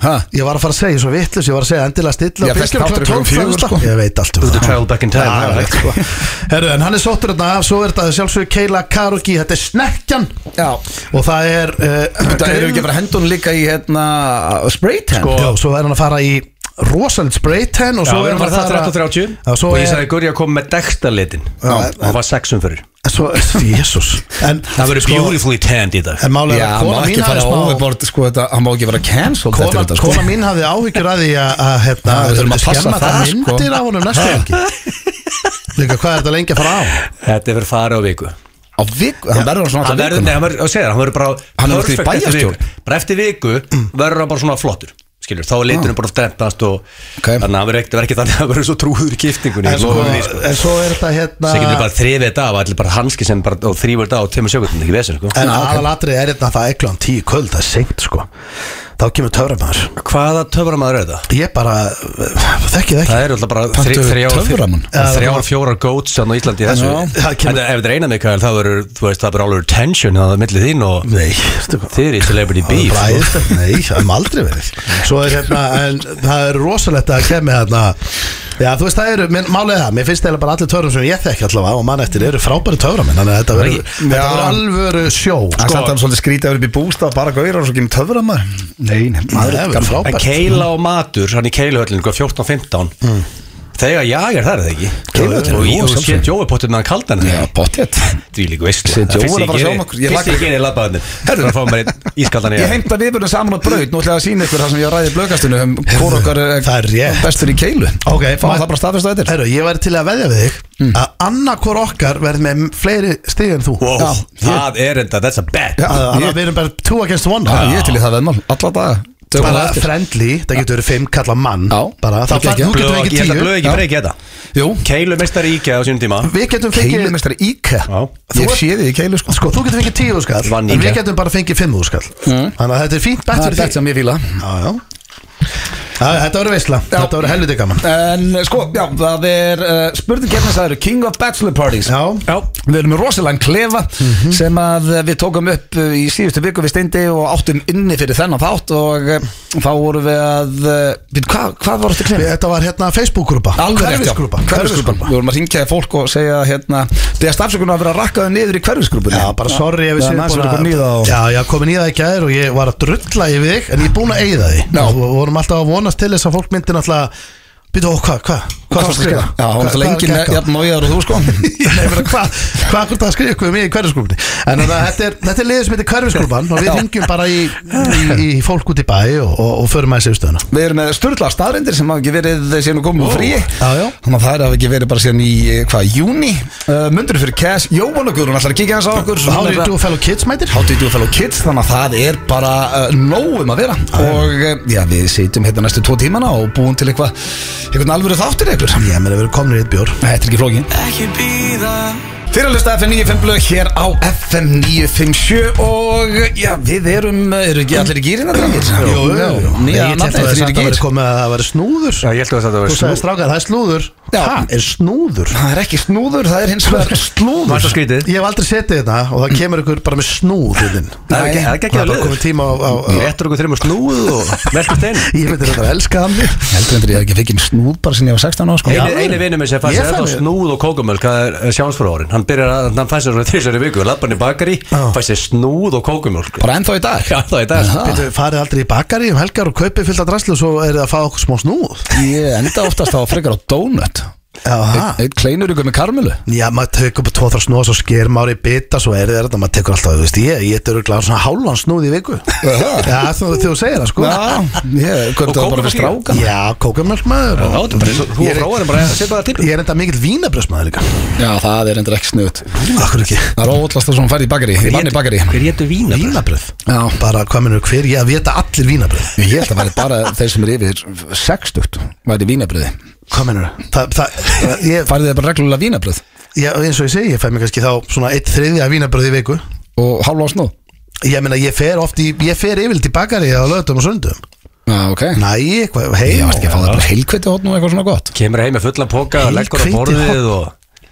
Speaker 1: Hæ?
Speaker 2: Ég var að fara að segja, ég er svo vittlust, ég var að segja endilega stilla
Speaker 1: Já, þessi
Speaker 2: Bylgjuna
Speaker 1: þáttur er
Speaker 2: klukkan
Speaker 1: klukkan
Speaker 2: 12,
Speaker 1: fjögur,
Speaker 2: það er
Speaker 1: sko.
Speaker 2: Ég veit allt um
Speaker 4: Þú
Speaker 2: það.
Speaker 4: ert að travel back in time
Speaker 2: Já,
Speaker 4: það er
Speaker 2: rétt,
Speaker 4: rétt.
Speaker 2: sko. Herru, en hann er sóttur þarna af, svo er þetta sjálfsögur Keila Karugi, þetta er snekkjan
Speaker 1: Já
Speaker 2: og það er uh,
Speaker 1: Þetta eru ekki að fara hendun líka í hérna spray tan
Speaker 2: Já, svo er hann að fara í rosalit spray tan og
Speaker 4: Já,
Speaker 2: svo er
Speaker 4: við erum
Speaker 2: hann að
Speaker 4: bara það
Speaker 2: fara
Speaker 4: 13.30
Speaker 2: Já, svo
Speaker 4: Og ég
Speaker 2: er-
Speaker 4: sagði Guri að koma með dekstalitin
Speaker 2: Já.
Speaker 4: Og hann var sexum fyrir
Speaker 2: svo, Jesus en,
Speaker 4: Það verður
Speaker 2: sko,
Speaker 4: beautifully tanned í dag
Speaker 2: en málega
Speaker 1: Já,
Speaker 2: er að
Speaker 1: hann má
Speaker 2: kona
Speaker 1: ekki
Speaker 2: mín
Speaker 1: fara
Speaker 2: hafði smá
Speaker 1: overboard, sko, þetta, hann má ekki vera cancelled eftir
Speaker 2: kona,
Speaker 1: þetta, sko
Speaker 2: kona mín hafði áhyggjur að því að að, hérna,
Speaker 1: Já, við þurfum að passa
Speaker 2: skemma
Speaker 1: það, sko.
Speaker 2: myndir af honum næstu helgi líka hvað er þetta lengi að fara á
Speaker 4: Þetta verður farið á viku
Speaker 1: Á viku, hann verður svona
Speaker 4: Hann
Speaker 1: alltaf
Speaker 4: verður,
Speaker 1: vikuna.
Speaker 4: nei, hann verður, og segir það, hann verður bara
Speaker 1: Hann er náttúrulega í
Speaker 4: perfect eftir viku.
Speaker 1: bæjarstjórn.
Speaker 4: Bara eftir viku verður hann bara svona flottur Skilur, þá er litunum bara strempast og
Speaker 1: Ok.
Speaker 4: Þannig að hann verður ekkert- verður ekki þannig að hann verður svo trúður í giftingunni
Speaker 2: en
Speaker 4: ég
Speaker 2: svo,
Speaker 4: lofa því, sko.
Speaker 2: en svo er þetta hérna
Speaker 4: Sér getur bara þrifið þetta af allir bara hanski sem bara og þrýfur þetta á tveimur sjökundum, ekki vesir sko.
Speaker 2: en aðalatrið er hérna að það er klán tíu kvöld það er seint sko þá kemur töframæður
Speaker 4: Hvaða töframæður er þetta?
Speaker 2: ég bara uh, þekki það ekki
Speaker 4: Það eru alltaf bara
Speaker 1: Kanntu
Speaker 4: þri- þrjár-
Speaker 1: töframann?
Speaker 4: þrjár- þrjár, fjórar góts á Íslandi í þessu
Speaker 1: Já.
Speaker 2: Það
Speaker 4: En
Speaker 2: kemur-
Speaker 4: ef þetta er eina Mikael, það verður þú veist, það verður alveg tension það er millið þín og
Speaker 2: Nei, veistu hvað?
Speaker 4: þið er í celebrity
Speaker 2: Það er
Speaker 4: beef
Speaker 2: bara æðislegt, Nei, það hefum aldrei verið Svo er hérna, en það er rosalegt að kemja hérna Já, þú veist, það eru, minn, málið er það Mér finnst eiginlega bara allir töfrum sem ég þekki allavega og mann eftir eru frábæri töframenn Þannig að þetta
Speaker 4: Nei,
Speaker 2: verður þetta
Speaker 1: já.
Speaker 2: verður alvöru sjó
Speaker 1: Hann sko, samt hann svolítið skrítið að vera upp í bústaf bara gaurar og svo kemur töframar Nei, nei, maður
Speaker 2: Nei,
Speaker 1: er
Speaker 2: verður
Speaker 1: gaman
Speaker 2: frábært.
Speaker 4: En Keila og Matur, hann í sko, Keiluhöllin 14-15
Speaker 2: Mm.
Speaker 4: Þegar jag er það, er það ekki?
Speaker 1: Keiluhöllin,
Speaker 4: Og
Speaker 1: jú,
Speaker 4: ég- og
Speaker 1: sjálfsögðu.
Speaker 4: sé Jói potið með hann kaldan
Speaker 1: Já, pottet
Speaker 4: Dvílík veist
Speaker 1: Sé Jói að fara að sjá um okkur. Ég
Speaker 4: Fyrst
Speaker 1: laka-
Speaker 4: ég gerir labbaðinu
Speaker 1: Herðu.
Speaker 4: Herðu, það fá mér einn ískaldan
Speaker 1: Ég heimta við verðum saman á braut, nú ætla ég að sína ykkur það sem ég ræði í blökastunum um hvort okkar er
Speaker 2: það er rétt.
Speaker 1: bestur í keilu
Speaker 2: Ok,
Speaker 1: Fá
Speaker 2: ma-
Speaker 1: það bara staðfest á þetta
Speaker 2: Herru, ég væri til að veðja við þig
Speaker 1: Mm.
Speaker 2: að annarkor okkar verð með fleiri stig en þú
Speaker 4: Wow,
Speaker 1: Já,
Speaker 4: það er enda, that's a bet
Speaker 1: Já,
Speaker 2: Að, að
Speaker 1: ég-
Speaker 2: við erum bara two against one
Speaker 1: Já, Ah, ég er til í það veðmál, alla daga Tökum það
Speaker 2: Bara
Speaker 1: eftir.
Speaker 2: friendly, það getur verið fimm kalla mann
Speaker 1: Já. Það
Speaker 2: bara, það
Speaker 1: gekk,
Speaker 2: fær,
Speaker 1: já.
Speaker 2: nú getum
Speaker 4: Blöð-
Speaker 2: við
Speaker 4: Ég
Speaker 2: ekki
Speaker 4: held að blöð
Speaker 2: tíu
Speaker 4: ekki breyki þetta
Speaker 1: Jú,
Speaker 4: Keilumeistari íkja á sínum tíma
Speaker 2: Við getum fengið
Speaker 1: keilumestari íka
Speaker 4: Já.
Speaker 2: Þú
Speaker 1: Ég
Speaker 2: ert-
Speaker 1: sé þið í keilu sko
Speaker 2: Sko, þú getur fengið tíu skall
Speaker 4: Vann
Speaker 2: En við
Speaker 4: Inga.
Speaker 2: getum bara fengið fimm skall Þannig að þetta er fínt bett
Speaker 1: Mm. Það er
Speaker 2: fyrir
Speaker 1: þetta
Speaker 2: því
Speaker 1: sem ég fíla
Speaker 2: Já, já Já, Þetta verður veisla Þetta verður helviti gaman
Speaker 1: En sko, já, það er uh, spurning hérna það eru King of Bachelor Parties
Speaker 2: Já, Mhm.
Speaker 1: Við erum með rosalega klefa sem að við tókum upp uh, í síðustu viku við steindi og áttum inni fyrir þennan þátt og uh, þá vorum við að uh, við, hva, hvað var þetta
Speaker 2: Við-
Speaker 1: klefa?
Speaker 2: þetta var hérna Facebook-grúpa
Speaker 1: Hverfisgrúpa
Speaker 2: Hverfisgrúpa
Speaker 1: Hverfisgrúpa Við vorum að ringja í fólk og segja hérna Begast afsökunar að vera rakkaðu niður í hverfisgrúpunni
Speaker 2: Já, bara sorry ef við
Speaker 1: séum
Speaker 2: búin
Speaker 1: búin í það og-
Speaker 2: Já, ég kom inn í það í gæðir og ég var að drulla yfir þig En ég er búin að eigða því
Speaker 1: Já.
Speaker 2: Og Við vorum alltaf að vonast til þess að fólk myndi náttúrulega Býtu, ó, hvað, hvað,
Speaker 1: Hvað
Speaker 2: hvað
Speaker 1: varstu að skrifa? Já,
Speaker 2: Hvað-
Speaker 1: hún var
Speaker 2: hvað er að
Speaker 1: lengi
Speaker 2: gekk á?
Speaker 1: jafn nájaður og þú sko
Speaker 2: Nei, ég meina, hvað hva hvort það skrifa ykkur við mig í hverfisgrúpni En þannig að þetta er, þetta er liður sem heitir hverfisgrúpan Og við ringjum bara í, í, í fólk út í bæ Og, og, og förum aðeins yfir stöðuna
Speaker 1: Við erum með sturla staðrindir sem hafa ekki verið eh, síðan og komið úr frí
Speaker 2: Já, já.
Speaker 1: Þannig að það hafa ekki verið bara síðan í, eh, hvað, júni uh, Mundur fyrir Cash, Jóhann og Guðrún ætlar að kíkja hans á okkur
Speaker 2: How do you do fellow kids, mætir?
Speaker 1: How do you do fellow kids Þannig að það er bara uh, nóg um að vera Og uh, já, við sitjum hérna næstu tvo tímana og búum til eitthvað Eitthvað alvöru þáttir ykkur
Speaker 2: Já, mér hefur komin í eitt bjór
Speaker 1: Þetta er ekki flókin
Speaker 5: Ekki býða
Speaker 1: Fyrir að hlusta FM 95 blöð hér á FM 957 og já, við erum, eru ekki allir í gýrina drangir?
Speaker 2: Jú, jú, jú.
Speaker 1: Nýja
Speaker 2: Ég
Speaker 1: nafnið
Speaker 2: held að það
Speaker 1: þrýri
Speaker 2: samt að
Speaker 1: gýr
Speaker 2: vera komið að það væri snúður
Speaker 4: Já, ég held að þetta
Speaker 2: Þú
Speaker 4: var
Speaker 2: sagði strákar, það er slúður
Speaker 1: Já.
Speaker 2: Það er snúður
Speaker 1: Það er ekki snúður, það er hins vegar
Speaker 4: Marta
Speaker 1: slúður
Speaker 4: skrítið
Speaker 2: Ég hef aldrei setið þetta og það kemur ykkur bara með snúðin
Speaker 4: Það er ekki- það er
Speaker 2: Það er
Speaker 4: ekki að
Speaker 2: bara
Speaker 4: liður
Speaker 2: komið tíma á, á, á
Speaker 4: Réttur okkur þreim og snúð og velkast einn
Speaker 2: Ég myndi þetta að elska hann við.
Speaker 1: Ég heldur endur ég hef ekki fekk inn snúð bara sinni ég var 16 ára sko
Speaker 4: Einu, einu vinnu minn sem fannst
Speaker 2: Ég
Speaker 4: sér þetta
Speaker 2: fann-
Speaker 4: snúð og kókumölk það er sjánsfórárin, hann byrjar að hann fannst sér svona þrísar í viku, lappan í bakari
Speaker 2: Já.
Speaker 4: fannst sér snúð og kókumölk
Speaker 1: Bara ennþá í dag
Speaker 4: Já, það er það
Speaker 2: Býttu, farið aldrei í bakari um helgar og kaupið fyllt að draslu og svo er það að fá okkur smá snúð
Speaker 1: Ég enda oftast þá frekar á donut
Speaker 2: Jaha.
Speaker 1: Eitt kleinur ykkur með karmelu
Speaker 2: Já, maður tekur bara tvo þar snúð svo sker maður í bita, svo er þetta, maður tekur alltaf þú veist, ég, ég þetta eru glæðan svona hálfan snúð í viku
Speaker 1: Jaha.
Speaker 2: Já, þú, þú segir það sko
Speaker 1: Já, ég köpti það bara fyrir
Speaker 4: kókómjólk líka?
Speaker 1: strákan
Speaker 2: Já, kókamjölk maður
Speaker 4: Já, þetta er bara, þú
Speaker 2: Ég er-
Speaker 4: og fráarinn bara að setja það til
Speaker 2: Ég er enda mikill vínabröðsmaður líka
Speaker 1: Já, það er endur ekki snuðt
Speaker 2: Akkur ekki
Speaker 1: Það er óvallast að svona færði í bakari, ég vann í bakari
Speaker 4: Hver héttu vína?
Speaker 2: Vínabröð
Speaker 1: Já,
Speaker 2: Bara hvað minnur hver, ég að vita allir vínabröð
Speaker 1: ég held að væri bara þeir sem er yfir 60 væri vínabröði
Speaker 2: Hvað minnur? Það, það, ég,
Speaker 1: Færði þeir bara reglulega vínabröð
Speaker 2: ég, eins og ég segi, ég fæ mér kannski þá svona eitt þriðja vínabröð í viku
Speaker 1: og hálfa á snúð
Speaker 2: Ég meina, ég fer oft í, ég fer yfirleitt í bakari á lögatum og söndum
Speaker 1: Já, ok
Speaker 2: Næ, hvað, hei
Speaker 1: Ég varst ekki að fá það bara heilkviti hótt nú eitthvað svona gott
Speaker 4: Kemur heim með fullan póka,
Speaker 2: Heil
Speaker 4: leggur á
Speaker 2: hveiti
Speaker 4: borðið og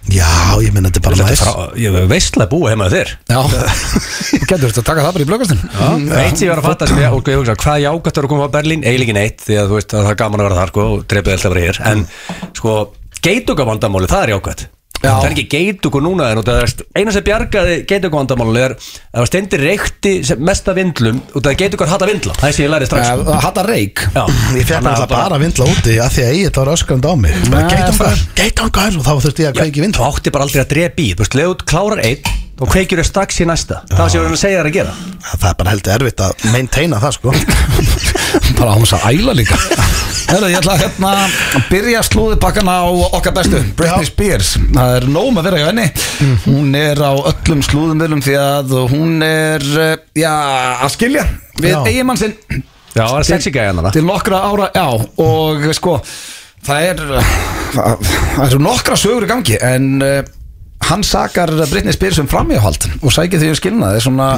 Speaker 2: Já, ég meina, þetta er bara
Speaker 4: Þetta er
Speaker 2: næst
Speaker 4: frá, ég veistla að búa heima hjá þér
Speaker 1: Já, þú getur þetta að taka það bara í blöggastinn
Speaker 4: Eitt sem ég var að fatta sem ég, og ég hugsa, hvað jágætt er að koma á Berlín? Eiginlega neitt, því að þú veist að það er gaman að vera þar sko, og drefið alltaf bara hér En sko, geitungavandamálið, það er jágætt
Speaker 1: Já.
Speaker 4: Það er ekki geitungu núna en það er eina sem bjargaði geitungavandamálið er að það var stendir reykti sem mesta vindlum út af að geitungar hata vindla Það er sem ég lærið strax sko.
Speaker 1: Eh, Hatta reik
Speaker 4: Já.
Speaker 2: Ég fekk
Speaker 4: Þannig að
Speaker 2: alltaf bara að vindla úti að því að Egil var öskrandi á mig bara,
Speaker 1: Nei,
Speaker 2: Geitangar,
Speaker 1: það-
Speaker 2: geitangar og þá þurfti ég að kveiki
Speaker 4: Þú
Speaker 2: vindla
Speaker 4: átti bara aldrei að drepa í, þú veist, leðu klárar einn og kveikjur þér strax í næsta Það var sem ég var að segja þér að gera
Speaker 2: Það er bara heldur erfitt að maintaina það sko
Speaker 1: Bara hún sá æla líka Herra, ég ætla að hérna að byrja slúðupakkan á okkar bestu Britney Spears Það er nóg með að vera hjá henni Hún er á öllum slúðumilum því að hún er, eh, já, að skilja við
Speaker 2: Já.
Speaker 1: eiginmann sinn
Speaker 4: Já, það var sexy gæjan hana
Speaker 1: til nokkra ára, já, og sko það er það það eru nokkra sögur í gangi en uh, hann sakar Britney Spears um framhjáhald og sækir því um skilnað það er svona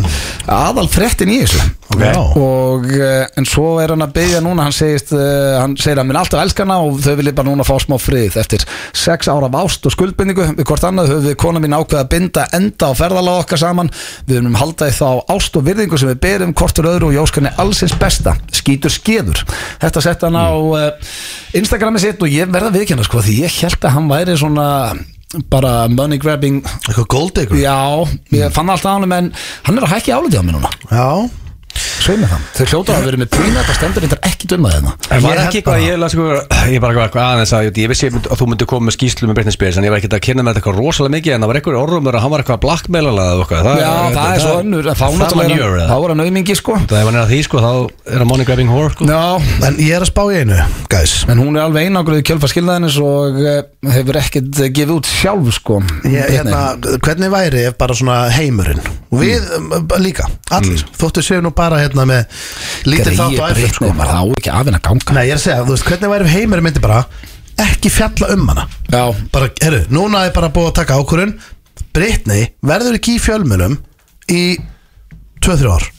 Speaker 1: aðal fréttin í þessu
Speaker 2: Ok. Já.
Speaker 1: og uh, en svo er hann að byggja núna hann, segist, uh, hann segir að minn alltaf elska hana og þau vilja bara núna fá smá frið eftir sex ára af ást og skuldbindingu við hvort annað höfum við kona mín ákveð að binda enda á ferðalega okkar saman við höfum haldaði þá ást og virðingu sem við berum hvort úr öðru og jóskarni allsins besta skýtur skeður þetta sett hann á uh, Instagrami sitt og ég verða viðkynna sko því ég held að hann væri svona bara money grabbing
Speaker 2: Eitthvað gold ykkur
Speaker 1: já, ég fann alltaf á hann en hann er að hækki áliti á mér núna
Speaker 2: Já,
Speaker 1: Sveið með það Þau hljóta að vera með pína Það stendur reyndar ekki dömað hérna
Speaker 4: En var
Speaker 2: Ég
Speaker 4: ekki
Speaker 2: held
Speaker 4: eitthvað, ég las eitthvað, ég bara eitthvað aðeins að, ég vissi að þú myndi koma með skýslu með Britney Spears, en ég var ekkert að kynna með þetta eitthvað rosalega mikið, en það var eitthvað orðumur að hann var eitthvað að blackmailalaða og eitthvað.
Speaker 1: Já, það er svo önnur en Þá náttúrulega
Speaker 4: njör,
Speaker 1: er hann- þá er hann aumingi sko
Speaker 4: Það er mann er að því, sko, þá er að money grabbing whore, sko.
Speaker 1: Já
Speaker 2: en ég er að spá í einu, guys
Speaker 1: En hún er alveg einangruð í kjölfa skilnaðinnes og eh, hefur ekkert eh, gefið út sjálf sko
Speaker 2: ég,
Speaker 1: Britney.
Speaker 2: hérna, Hvernig væri ef bara svona heimurinn og við
Speaker 1: Mm.
Speaker 2: um, bara líka, allir Þóttu séu nú bara hérna með lítið
Speaker 1: Greið
Speaker 2: þátt á FM
Speaker 1: Mm. Britney
Speaker 2: sko
Speaker 1: var það á ekki af henn að ganga
Speaker 2: Nei, ég er að segja, þú veist, hvernig væri ef heimurinn myndi bara ekki fjalla um hana
Speaker 1: Já
Speaker 2: bara, herru, núna er bara búið að taka ákvörun Britney verður ekki í fjölmunum í 2-3 ár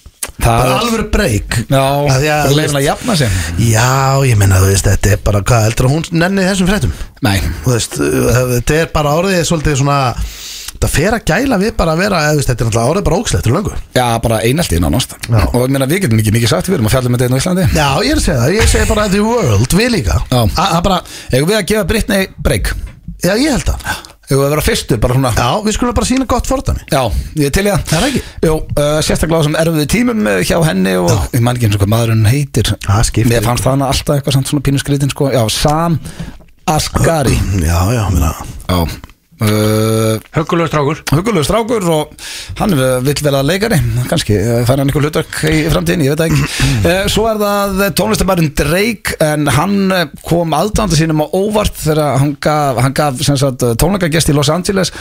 Speaker 1: Það
Speaker 2: bara
Speaker 1: er-
Speaker 2: alveg breyk
Speaker 1: Já
Speaker 2: Af því að,
Speaker 1: Og
Speaker 2: þú
Speaker 1: leifin að
Speaker 2: veist-
Speaker 1: jafna sig
Speaker 2: já, ég menna, þú veist, þetta er bara hvað heldur að hún nenni þessum fréttum
Speaker 1: Nei
Speaker 2: þú veist, uh, þetta er bara orðið svolítið svona, það fer að gæla við bara að vera, eða, þú veist, þetta er náttúrulega orðið bara ógslegt fyrir löngu
Speaker 1: Já, bara eineltið nánast
Speaker 2: Já.
Speaker 1: Og ég meina, við getum ekki mikið sagt Við erum að fjalla með þetta í Íslandi
Speaker 2: já, ég er að segja það, ég segi bara the world, við líka
Speaker 1: Já.
Speaker 2: Að- að bara,
Speaker 1: Eigum við að gefa Britney break
Speaker 2: já, ég held að
Speaker 1: Eigum við að vera fyrstu bara svona
Speaker 2: já, við skulum bara sína gott fordæmi
Speaker 1: Já, ég er til ég
Speaker 2: Það er ekki.
Speaker 1: Jú, uh, sérstaklega á þessum erfiðu tímum eh, hjá henni og
Speaker 2: Já.
Speaker 1: ég man ekki eins og hvað maðurinn heitir
Speaker 2: Það skiptir
Speaker 1: Mér fannst það hana alltaf eitthvað samt svona pínu skrítin sko Já, Sam Asghari
Speaker 2: já, já, minna
Speaker 1: Já uh,
Speaker 4: Höggulegur strákur.
Speaker 1: Hugulegu strákur og hann eh, vill vera leikari kannski eh, fær hann einhver hlutverk í framtíðin, ég veit það ekki uh, Svo er það tónlistamærin Drake en hann eh, kom aðdánda sínum á óvart þegar hann gaf, hann gaf sem sagt, tónleikagest í Los Angeles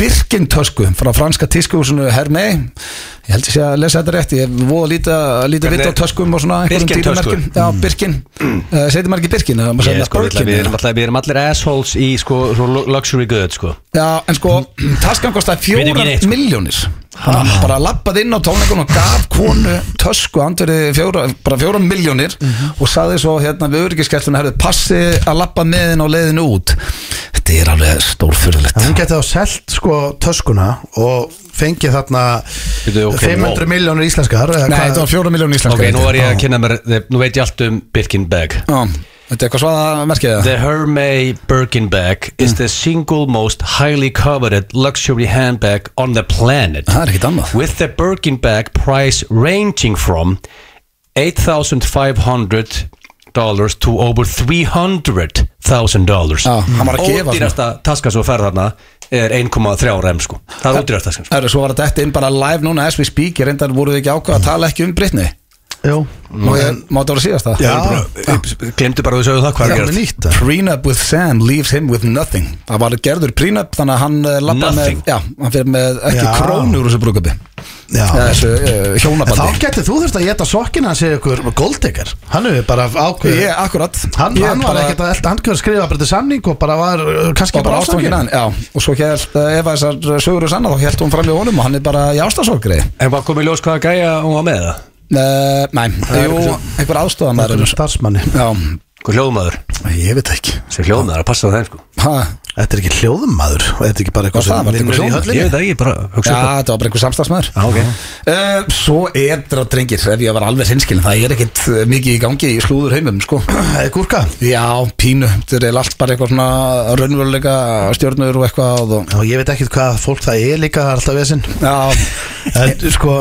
Speaker 1: Birkin tösku frá franska tískuhúsinu Hermé ég held ég sé að lesa þetta rétt ég hef voða lítið líti vitt á
Speaker 4: Hvernig-
Speaker 1: töskum og svona einhverjum
Speaker 4: Birkin tösku?
Speaker 1: dýramerkjum. Já, Birkin, uh, segir maður ekki Birkin eða maður
Speaker 4: Ég,
Speaker 1: segir
Speaker 4: sko,
Speaker 1: það
Speaker 4: við
Speaker 1: Birkin
Speaker 4: við
Speaker 1: eða?
Speaker 4: erum alltaf, við erum allir assholes í, sko, svo luxury good, sko.
Speaker 1: Já, en sko, taskan kostaði
Speaker 4: Veit ekki
Speaker 1: fjórar
Speaker 4: neitt, sko.
Speaker 1: milljónir Hann bara lappað inn á tónleikun og gaf konu tösku andverið fjóra, bara fjórar
Speaker 4: Mhm.
Speaker 1: milljónir og saði svo hérna við öryggiskesslun herðu passi að lappa meðin og leiðin út Þetta er alveg stórfyrðilegt
Speaker 2: En hún geti þá selt sko töskuna og fengið þarna
Speaker 4: Bíddu, ok,
Speaker 2: 500 miljónur íslenskar eða
Speaker 1: Nei,
Speaker 2: hvað-
Speaker 1: þetta var fjóra miljón
Speaker 4: Ok,
Speaker 1: íslenska
Speaker 4: nú var ég að kynna mér, nú veit ég allt um Birkin bag
Speaker 1: Já, þetta er eitthvað svaða merkið það
Speaker 4: The Hermes Birkin bag is the single most highly coveted luxury handbag on the planet
Speaker 1: Það er ekkit annað
Speaker 4: With the Birkin bag price ranging from $8,500 dollars to over $300,000
Speaker 1: Já, hann var að gefa
Speaker 4: Ódýrasta taskan sem þú ferð þarna er 1,3 rem sko Það er ódýrasta taskan sko
Speaker 1: Herru, svo var þetta inn bara live núna as we speak Ég reyndar voruð þið ekki ákvað að tala ekki um Britni
Speaker 2: Jú.
Speaker 1: Má þetta voru síðast það?
Speaker 2: Já.
Speaker 4: Glemdu bara að við sögum það
Speaker 2: Já,
Speaker 4: hvað er
Speaker 2: með
Speaker 4: gerð
Speaker 2: nýtt það.
Speaker 1: Prenup with Sam leaves him with nothing Það var gerður prenup þannig að hann eh, labbar með,
Speaker 4: Nothing.
Speaker 1: já, hann fyrir með ekki
Speaker 2: Já.
Speaker 1: krónu úr þessu brúkabi
Speaker 2: Já.
Speaker 1: þessu uh,
Speaker 2: En þá
Speaker 1: hjónabandi
Speaker 2: getur þú þurft að geta sokkina hans í ykkur goldeggar Hann hefur bara ákveð
Speaker 1: Ég, akkurat
Speaker 2: Hann,
Speaker 1: ég
Speaker 2: hann var
Speaker 1: bara-
Speaker 2: ekkert að elta- hann kjör skrifa bara til samning og bara var uh, kannski
Speaker 1: var bara
Speaker 2: bara
Speaker 1: ástofangin
Speaker 2: ástofningin
Speaker 1: hann Já, og svo held, eh, ef að þessar sögur er sanna þá held hún fram í honum og hann er bara í ástasorgri
Speaker 4: En hvað komið ljós hvaða gæja hún var með það?
Speaker 1: Uh, nei, jú, einhver aðstofamæður
Speaker 2: starfsmanni
Speaker 1: Já,
Speaker 4: Hvað hljóðmaður?
Speaker 2: Ég veit það ekki
Speaker 4: Sem hljóðmaður að passa á þeim sko
Speaker 1: ha,
Speaker 2: Þetta er ekki hljóðumadur Þetta er ekki bara
Speaker 1: Já,
Speaker 2: eitthvað
Speaker 1: það var
Speaker 2: vinnur
Speaker 1: eitthvað
Speaker 2: í
Speaker 1: hljóðmaður.
Speaker 2: höllinni?
Speaker 4: Ég veit það ekki, bara
Speaker 1: já,
Speaker 4: hugsa upp
Speaker 1: þetta var bara einhver samstagsmaður
Speaker 4: Já, ok.
Speaker 1: uh, Svo er þetta drengir, ef ég var alveg hinskilin það er ekkit eh, mikið í gangi í slúður heimum sko.
Speaker 2: Eða gúrka
Speaker 1: Já, pínu, þetta er allt bara eitthvað svona raunveruleika stjörnur og eitthvað og,
Speaker 2: Já, ég veit ekkert hvað fólk það er líka það er alltaf vesinn
Speaker 1: Já,
Speaker 2: En sko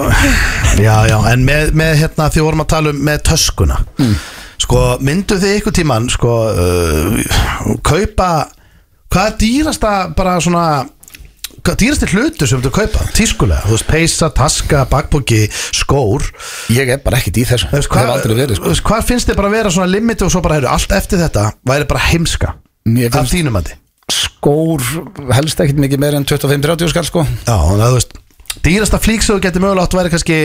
Speaker 2: Já, já, en með, með hérna því vorum að tala um með töskuna
Speaker 1: Mm.
Speaker 2: Sko, myndu þið ykkur tíman sko, uh, kaupa hvað er dýrasta bara svona hvað er dýrasti hlutur sem þú kaupa tískulega, þú veist, peysa, taska, bakbóki skór
Speaker 1: ég er bara ekkit í þessu
Speaker 2: Þú veist,
Speaker 1: Hef aldrei verið sko.
Speaker 2: þú veist, hvað finnst þið bara að vera svona limiti og svo bara, heyrðu, allt eftir þetta væri bara heimska
Speaker 1: Mér
Speaker 2: af
Speaker 1: finnst
Speaker 2: þínum að þið
Speaker 1: skór helst ekkit mikið meir en 25-30 skall sko
Speaker 2: Já, þannig að þú veist Dýrasta flík sem þú getur mögulega átt væri kannski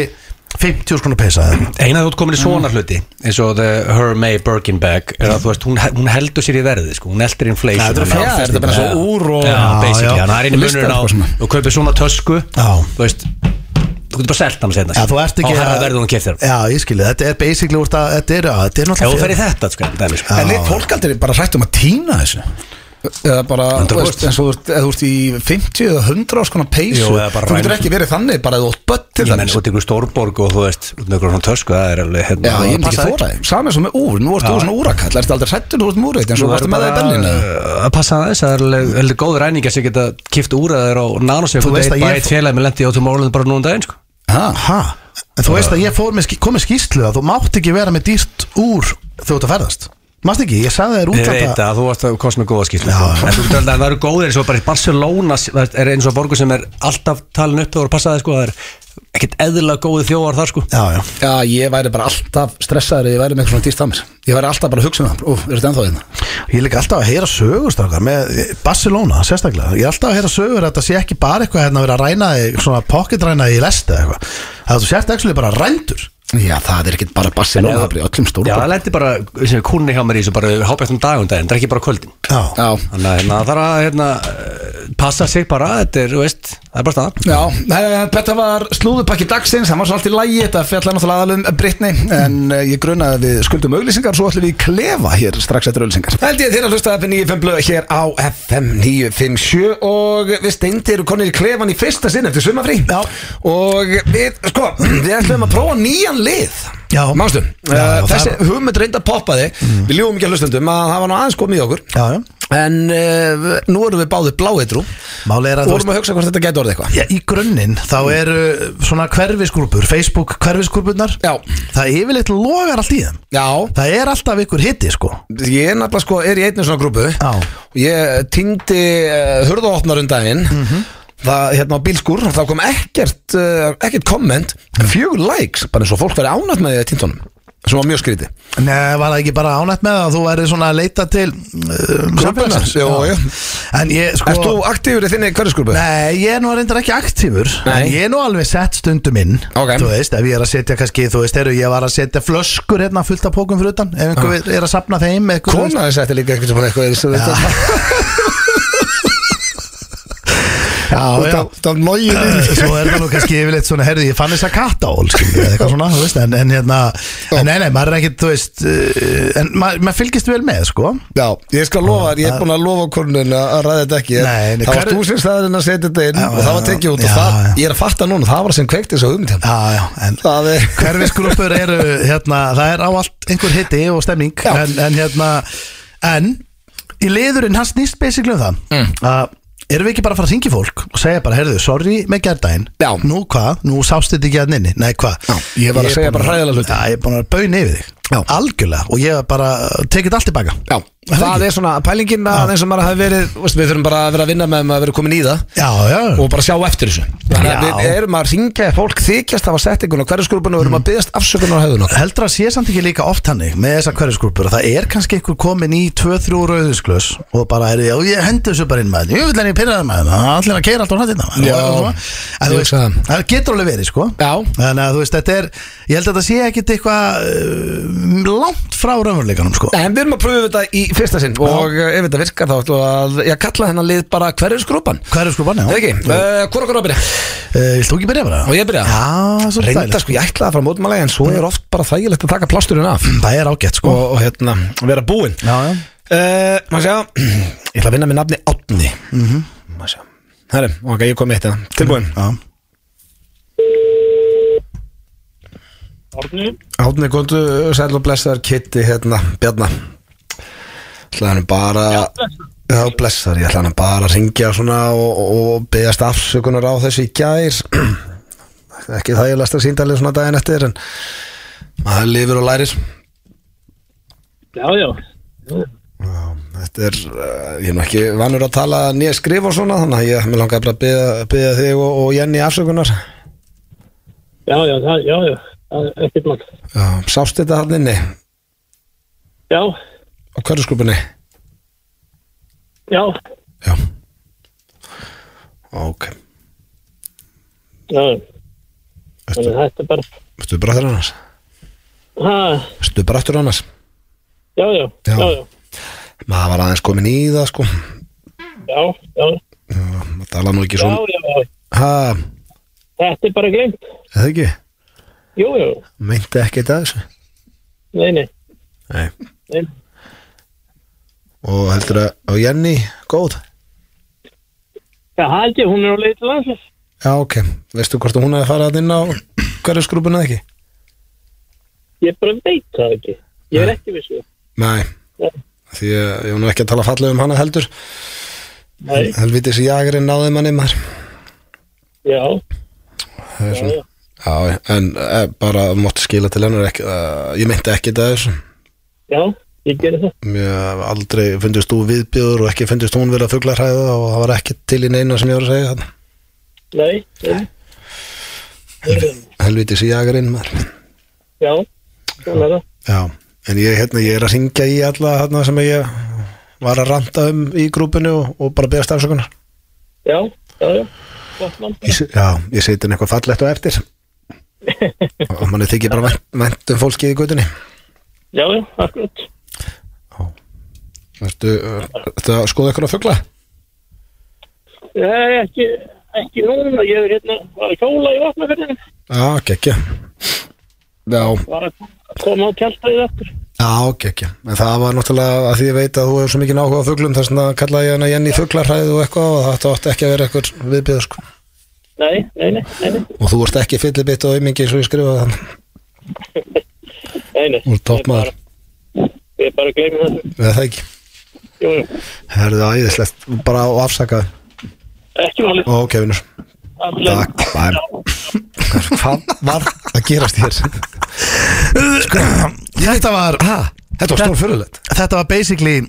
Speaker 2: 50 skona peysa eða eitthvað.
Speaker 4: Einar þú ert komin í svona hluti eins og the Her May Birkin bag er að þú veist, hún, hún heldur sér í verði sko, hún eldur inflation
Speaker 2: Já, þetta er
Speaker 4: hún
Speaker 1: fjárfesting.
Speaker 4: þetta Mhm. er bara
Speaker 1: Já.
Speaker 4: svo úr og
Speaker 2: Já,
Speaker 4: basically,
Speaker 2: já.
Speaker 4: hann er einu
Speaker 1: Listar
Speaker 4: munurinn á
Speaker 1: eitthvað svona.
Speaker 4: og kaupir svona tösku
Speaker 2: Já.
Speaker 4: þú veist, þú getur bara selt hann sérna
Speaker 2: Já, þú ert ekki
Speaker 4: á herra verður hún keft þér
Speaker 2: Já, ég skilji, þetta er basically úr það Þetta er, já, þetta er
Speaker 4: ef þú fer í
Speaker 2: náttúrulega
Speaker 4: þetta sko, dæmi, sko.
Speaker 1: En er fólk aldrei bara hrætt um að týna þessu? Eða bara, þú
Speaker 4: 100%.
Speaker 1: veist, eins og þú ert- eða þú ert í 50 eða 100 ás konar peysu
Speaker 4: Jú, eða bara
Speaker 1: Þú getur
Speaker 4: ræn-
Speaker 1: ekki verið þannig, bara eða þú átt börn til
Speaker 4: ég menn
Speaker 1: þannig
Speaker 4: út ykkur stórborg og þú veist út ykkur svona tösku, það er alveg
Speaker 1: Já,
Speaker 4: hérna,
Speaker 1: ég myndi ekki
Speaker 4: passaði.
Speaker 1: þóra þig Samið sem með úr, nú varst þú svona úrakall Erstu aldrei hrættur, þú varst múrið En svo
Speaker 4: Þú
Speaker 1: varstu
Speaker 4: verður
Speaker 1: með það í
Speaker 4: bara
Speaker 1: Berlín eða?
Speaker 4: að passa aðeins, það er alveg, alveg góð ræninga sem geta kipt úr að þeir á
Speaker 2: Þú
Speaker 4: nanosekund
Speaker 2: veist
Speaker 4: eitt
Speaker 2: að
Speaker 4: bæ
Speaker 2: ég-
Speaker 4: eitt félagi með lendi á Tomorrowland bara núna um daginn sko.
Speaker 1: Ha,
Speaker 2: Ha, en þú veist að ég fór með, ský- kom með skýslu að þú mátt ekki vera með dýrt úr þegar þú ert að ferðast Mást ekki, ég sagði þér
Speaker 4: Ég veit
Speaker 2: útlanda
Speaker 4: að þú varst að kost með góða skýrslu
Speaker 2: Já.
Speaker 4: En þú getur alveg að það eru góðir eins og bara Barcelona það er eins og borgur sem er alltaf talin upp og passaði sko, það er ekkert eðlilega góði þjóðar þar sko
Speaker 2: Já, já,
Speaker 1: Já, ég væri bara alltaf stressaður ef Ég væri með eitthvað svona dýrt að mér Ég væri alltaf bara að hugsa um það Ú, er þetta ennþá hérna?
Speaker 2: ég er líka alltaf að heyra sögur strákar með Barcelona sérstaklega ég er alltaf að heyra sögur að þetta sé ekki bara eitthvað hérna að vera að ræna þig, svona pocketræna þig í lest eða eitthvað, að þú sért ekki bara rændur
Speaker 1: Já, það er ekkit bara Barcelona, það er bara í öllum
Speaker 4: Já, það
Speaker 1: stórum
Speaker 4: lendi bara, sem er kunni hjá mér í þessu bara hábættum dagum daginn, það er ekki bara á kvöldin
Speaker 2: Já,
Speaker 1: Já,
Speaker 4: Þannig að hérna, það þarf að hérna, eh, passa sig bara, þetta er, þú veist, það er bara staðan
Speaker 1: Já, eh, þetta var slúðupakki dagsins, það var svo allt í lægi, þetta fjallar náttúrulega aðalum Brittany, en eh, ég gruna að við skuldum auglýsingar, svo ætlum við í klefa hér strax eftir auglýsingar. Það held ég að þér að hlusta FM 95 blöð hér á FM 957 og við steindir eru konir í klefan í fyrsta sinn eftir sumafrí.
Speaker 2: Já.
Speaker 1: Og við, sko, við ætlum að prófa nýjan lið.
Speaker 2: Já.
Speaker 1: Manstu,
Speaker 2: Já, já,
Speaker 1: Eh, þessi
Speaker 2: það-
Speaker 1: hugmynd reynda poppaði, við ljúum ekki að hlustendum að það var nú aðeins komið í okkur.
Speaker 2: já, já
Speaker 1: En uh, nú erum við báðið bláeitrú
Speaker 2: Máli er að
Speaker 1: og
Speaker 2: þú
Speaker 1: vorum að hugsa hvort þetta gæti orðið eitthvað
Speaker 2: Já, í grunninn þá eru svona hverfisgrúpur, Facebook hverfisgrúpurnar
Speaker 1: Já.
Speaker 2: Það yfirleitt logar allt í þeim
Speaker 1: Já,
Speaker 2: Það er alltaf ykkur hitti sko
Speaker 1: ég er nefnilega sko, er í einnig svona grúpu
Speaker 2: Já.
Speaker 1: og ég týndi uh, hurðaopnar um daginn
Speaker 2: Mhm.
Speaker 1: það, hérna á bílskur, þá kom ekkert uh, ekkert komment, fjögur likes bara eins og fólk verið ánætt með því að týndunum sem var mjög skrítið
Speaker 2: Nei, var það ekki bara ánætt með það að þú væri svona að leita til um, samfélagsins?
Speaker 1: Jú, jú.
Speaker 2: En ég sko
Speaker 1: Erst þú aktífur í þinni hverjusgrúpu?
Speaker 2: Nei, ég er nú reyndar ekki aktífur
Speaker 1: Nei.
Speaker 2: En ég er nú alveg sett stundum inn
Speaker 1: Ok.
Speaker 2: Þú veist, ef ég er að setja kannski Þú veist, heru, ég var að setja flöskur hérna fullt af pókum fyrir utan Ef einhver
Speaker 1: Ah.
Speaker 2: er að sapna þeim eitthvað, þú veist.
Speaker 1: Kona þess að þetta líka eitthvað sem eitthvað er svo þetta
Speaker 2: En Já, já.
Speaker 1: Það var logið
Speaker 2: Eh, Svo er það nú kannski yfirleitt svona, herði, ég fann þess að katta ól, eða eitthvað svona, þú veist, en, en hérna, en nei, nei, maður er ekkert, þú veist, uh, en maður, maður fylgist vel með, sko.
Speaker 1: Já, ég skal lofa þér, ég er búin að lofa konunni að ræða þetta ekki en
Speaker 2: Nei, nei,
Speaker 1: Það var
Speaker 2: hver-
Speaker 1: þú sem staðurinn að setja þetta inn
Speaker 2: Já,
Speaker 1: og það var
Speaker 2: já,
Speaker 1: tekið út
Speaker 2: já,
Speaker 1: og það,
Speaker 2: já.
Speaker 1: ég er að fatta núna, það var sem kveikti þessu umtjum
Speaker 2: Já, já, en
Speaker 1: Það er,
Speaker 2: hverfisgrúpur eru, hérna, það er á allt einhver hitti og stemning,
Speaker 1: Já.
Speaker 2: en, en hérna, en í liðurinn hans nýst basically um það,
Speaker 1: Mm.
Speaker 2: að erum við ekki bara að fara að syngja fólk og segja bara, herðu, sorry með gerdaginn,
Speaker 1: Já.
Speaker 2: nú hvað, nú sást þetta ekki að nynni, nei hvað,
Speaker 1: Já, ég var að segja bara hræðilega hluti.
Speaker 2: Já, ég er búin að vera baun yfir þig,
Speaker 1: Já.
Speaker 2: algjörlega, og ég hef bara uh, tekið allt tilbaka.
Speaker 1: já, það er svona pælingin að eins og maður hafi verið, veist, við þurfum bara að vera að vinna með um að vera komin í það
Speaker 2: Já, já,
Speaker 1: og bara sjá eftir þessu Þannig að
Speaker 2: Já.
Speaker 1: við erum að ringja fólk þykjast af að setja einhvern og hverju skrúpun og við erum að byggast afsökunar á hefðun okkar
Speaker 2: heldur að sé samt ekki líka oft hannig með þessar hverjusgrúpur að það er kannski einhver komin í 2-3 rauðisklaus og bara er ég, ég hendur þessu bara inn maður ég vil henni pirraði maður, það er allir að keira alltaf hættina maður
Speaker 1: Já,
Speaker 2: Og- og- en þú
Speaker 1: ég
Speaker 2: veist,
Speaker 1: hugsa það.
Speaker 2: það getur alveg verið sko
Speaker 1: Já.
Speaker 2: en að, þú veist, þetta er, ég held að þetta sé ekkit eitthvað uh, langt frá raunveruleikanum sko
Speaker 1: Nei, En við erum að pröfu þetta í fyrsta sinn og eh, ef þetta virkar þá ætlum við að, ég kalla hennar lið bara hverju skrúpan
Speaker 2: hverjusgrúpan, já,
Speaker 1: Eða ekki, uh, hvor okkur á að byrja?
Speaker 2: uh, vilt þú ekki byrja bara?
Speaker 1: Og ég byrja?
Speaker 2: já, svo
Speaker 1: Reynda sko, ég ætlaði að fara mótmálega en svo er oft bara þægilegt að taka plásturinn af
Speaker 2: það er ágætt sko
Speaker 1: og, og hérna, vera búinn
Speaker 2: já, já,
Speaker 1: uh, Má sjá, ég ætla að vinna með nafni Átni mm -hmm. Má sjá Herri, ok, ég kom með þetta, tilbúin
Speaker 2: já
Speaker 1: Átni, góndu, eh, sæl og blessar, Kitty, hérna, Bjarna ætlaði hann bara Já, blessar, ég ætlaði hann bara að ringja svona og, og- og beðast afsökunar á þessu í gær ekki það ég lasta síndalið svona daginn eftir en maður lifir og lærir
Speaker 5: Já, já.
Speaker 1: Já, þetta er, uh, ég er nú ekki vanur að tala nýja skrif og svona þannig að ég mér langaði bara að byggja, byggja þig og, og Jenny afsökunar já,
Speaker 5: Já, já, það, já, já. Það er ekkert mál.
Speaker 1: sást þetta hann inni á
Speaker 5: Já,
Speaker 1: hverjusklupunni
Speaker 5: já,
Speaker 1: já ok,
Speaker 5: já. Þannig
Speaker 1: ertu
Speaker 5: að þetta er bara,
Speaker 1: ertu bara aftur annars
Speaker 5: ha,
Speaker 1: ertu bara aftur annars
Speaker 5: já, já,
Speaker 1: Já.
Speaker 5: já, já,
Speaker 1: maður var aðeins komin í það sko
Speaker 5: já, já,
Speaker 1: Já, maður tala nú ekki
Speaker 5: já,
Speaker 1: svona
Speaker 5: já, já.
Speaker 1: ha,
Speaker 5: Þetta er bara glemt.
Speaker 1: eða ekki,
Speaker 5: Jú, jú,
Speaker 1: meinti ekki þetta þessu
Speaker 5: nei, nei,
Speaker 1: nei
Speaker 5: nei.
Speaker 1: og heldur að, og Jenny, góð
Speaker 5: Já, held ég, hún er á leið til landsins.
Speaker 1: já ok, veistu hvort hún hefði farið að inn á hverjusgrúpuna eða ekki
Speaker 5: Ég bara veit það ekki. Ég er ekki um vissu.
Speaker 1: Nei,
Speaker 5: Nei.
Speaker 1: því að ég var nú ekki að tala fallega um hana heldur
Speaker 5: Nei,
Speaker 1: Helvítið sem jágurinn náði manni maður
Speaker 5: já,
Speaker 1: Það er
Speaker 5: já,
Speaker 1: svona-
Speaker 5: já.
Speaker 1: Já, en e, bara mátt skila til hennar ekki, uh, Ég myndi ekki þetta þessu
Speaker 5: Já, ég gerir það.
Speaker 1: Mér hef aldrei fundist þú viðbjöður og ekki fundist hún verið að fugla hræða og það var ekki til í neina sem ég var að segja þarna
Speaker 5: Nei, nei.
Speaker 1: Helvítið sem jágurinn maður
Speaker 5: Já, svona er það.
Speaker 1: Já, en ég, hérna, ég er að syngja í alla þarna sem ég var að ranta um í grúpinu og, og bara beðast afsökunar
Speaker 5: Já, já, já. Gott mann.
Speaker 1: Ég se- Já, ég seti henni eitthvað fallegt á eftir og manni þykir bara vænt- vænt um fólkið í götunni
Speaker 5: Já, já, akkurat.
Speaker 1: Ertu, ertu að skoða eitthvað að fugla?
Speaker 5: Nei, ekki, ekki núna. Ég er hérna, var að kjóla í vatnafyrðinu.
Speaker 1: Já, gekkja Já,
Speaker 5: var að koma á tjaldæðið aftur
Speaker 1: já, gekkja En það var náttúrulega að því ég veit að þú hefur svo mikið náhuga á fuglum þess að kallaði ég hana Jenny fuglarhræð og eitthvað og þetta átti ekki að vera eitthvað viðbjöður sko.
Speaker 5: Nei, nei, nei, nei, nei,
Speaker 1: og þú ert ekki fyllibitt og aumingi eins og ég skrifaði þann
Speaker 5: nei, nei.
Speaker 1: Þú ert toppmaður.
Speaker 5: Ég bara, ég bara gleymi þessu
Speaker 1: eða það ekki
Speaker 5: Jú, jú,
Speaker 1: Herðu æðislegt, bara og afsakaði
Speaker 5: ekki máli
Speaker 1: og ok, vinnur
Speaker 5: Takk,
Speaker 1: bæm. Hvað var að gerast hér?
Speaker 2: þetta var,
Speaker 1: Ha, þetta var stór fyrirlegt
Speaker 2: þetta var basically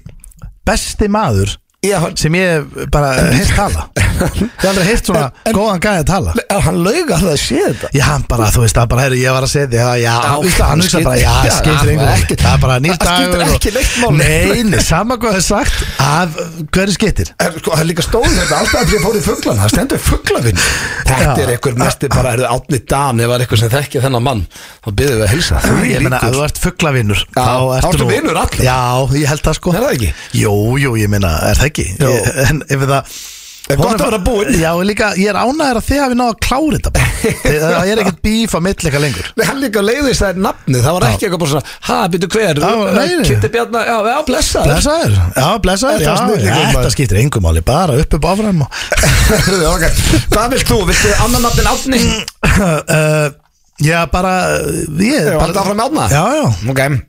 Speaker 2: besti maður
Speaker 1: Já,
Speaker 2: sem ég hef bara heilt tala ég hef aldrei heilt svona góðan gæði að tala
Speaker 1: hann lauga að það sé þetta
Speaker 2: já, hann bara, þú veist, það bara, herri, ég var að segja þig já, já,
Speaker 1: Já,
Speaker 2: þú veist, hann hugsa bara, já,
Speaker 1: skiptir-
Speaker 2: skiptir
Speaker 1: já,
Speaker 2: einhver
Speaker 1: ekki-
Speaker 2: máli. það er bara nýr
Speaker 1: það skiptir
Speaker 2: dagur og-
Speaker 1: ekki neitt máli.
Speaker 2: nei, nei, sama hvað þau sagt af hverju skiptir
Speaker 1: Er, sko, það er líka stóð þetta alltaf að ég fór í fugglan það stendur fugglafinn þetta
Speaker 2: Já.
Speaker 1: er einhver mesti bara er það átni dan ef það er einhver sem þekkir þennan mann þá byrðum við að hilsa þú
Speaker 2: ég meina, ef þú ert fugglavinnur
Speaker 1: Já, þá ertu
Speaker 2: nú-
Speaker 1: vinur allra.
Speaker 2: já, ég held það sko
Speaker 1: Er það ekki?
Speaker 2: jú, jú, ég meina, er það ekki
Speaker 1: Jú.
Speaker 2: ég, en ef það
Speaker 1: er gott að vera búinn
Speaker 2: Já, og líka, ég er ánægður að þið hafi náðu að klára þetta bara. Þið- Það er ekkert bíf að mittleika lengur
Speaker 1: Nei, hann líka leiðist það er nafnið, það var ekki eitthvað bara svona Ha, byrju hver,
Speaker 2: Já, nei, nei.
Speaker 1: Kitti Bjarnar, já, já, blessa
Speaker 2: Blessaður, já, blessaður,
Speaker 1: Þetta
Speaker 2: já,
Speaker 1: var snillingur,
Speaker 2: já,
Speaker 1: maður.
Speaker 2: þetta skiptir engum máli, bara upp upp áfram og
Speaker 1: Heyrðu, ok. Hvað vilt þú, viltu annan nafnin Átni?
Speaker 2: uh, Já, bara, uh, ég
Speaker 1: Já,
Speaker 2: bara-
Speaker 1: halda áfram með Árna?
Speaker 2: Já, já,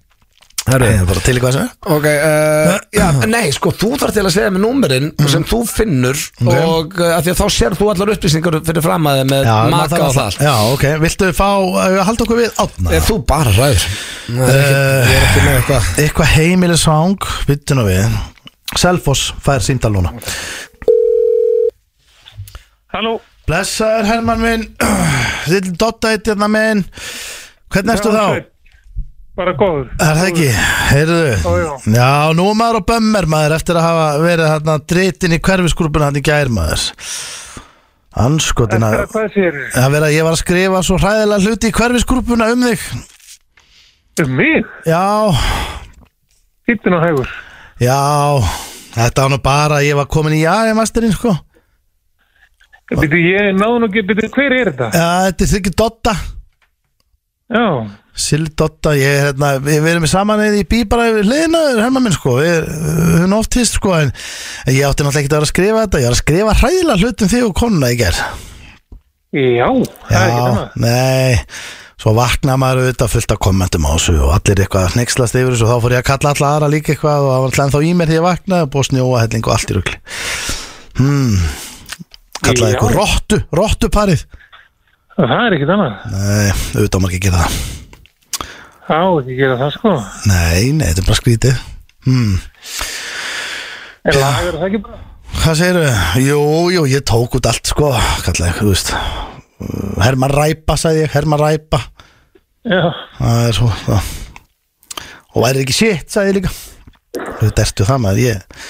Speaker 1: Ok,
Speaker 2: ég er bara til í hvað sem er
Speaker 1: ok uh, Já, nei, sko, þú þarf til að segja með númerinn sem þú finnur og uh, af því að þá sér þú allar upplýsingar fyrir fram að þig með
Speaker 2: Já, maður
Speaker 1: maka
Speaker 2: þarf
Speaker 1: og
Speaker 2: að-
Speaker 1: það allt.
Speaker 2: Já, ok, viltu fá, uh, halda okkur við átna
Speaker 1: Ef þú bara ræður Ég er ekki með eitthvað
Speaker 2: Eitthvað heimilisvang, vittu nú við Selfoss fær síndal núna
Speaker 5: Halló,
Speaker 2: Blessaður Herman minn Lill Dotta eitt hérna minn Hvernig ertu
Speaker 5: Já,
Speaker 2: þá?
Speaker 5: Sveinn. bara góður
Speaker 2: Er það ekki? Heyrðu
Speaker 5: Já,
Speaker 2: Já, nú er maður á bömmir maður eftir að hafa verið hérna dritin í hverfisgrúpuna hann í gær maður Anskotin að
Speaker 5: Eftir að hvað sér
Speaker 2: Það verið að ég var að skrifa svo hræðilega hluti í hverfisgrúpuna um þig
Speaker 5: um mig?
Speaker 2: Já,
Speaker 5: Hittin og hægur
Speaker 2: já Þetta var nú bara að ég var komin í jægamasterinn sko
Speaker 5: Býtu, ég náðu nú ekki, býtu, hver er þetta?
Speaker 2: Já, þetta er þig ekki Dotta
Speaker 5: Já,
Speaker 2: Sildotta, ég er hérna, við við erum saman eða í bí bara við hliðina, herma minn sko, við við höfum oft hýst sko, en ég átti náttúrulega ekki að vera að skrifa þetta, ég var að skrifa hræðilega hlutum þig og konuna í gerð.
Speaker 5: já, það er ekki
Speaker 2: Já,
Speaker 5: þannig
Speaker 2: nei, svo vakna maður auðvitað fullt af kommentum á þessu og allir eitthvað að hneykslast yfir þessu og þá fór ég að kalla alla aðra líka eitthvað og það var alltaf ennþá í mér þegar ég vaknaði og búið að snjóa helling og allt í rugli. Hmm, kallaði
Speaker 5: Já.
Speaker 2: eitthvað rottu, rottuparið.
Speaker 5: Það er ekki þannig
Speaker 2: Nei, auðvitað á maður ekki að gera það.
Speaker 5: Á, ekki gera það sko
Speaker 2: Nei, nei, þetta er bara skrítið. Hmm.
Speaker 5: Er lagar það ekki bara?
Speaker 2: Hvað segir þau? Jú, jú, ég tók út allt sko Kallaði, þú veist Uh, Herman Ræpa, sagði ég, Herman Ræpa
Speaker 5: Já,
Speaker 2: Það er svo það. Og væri ekki shit, sagði ég líka Þú dertu það maður, ég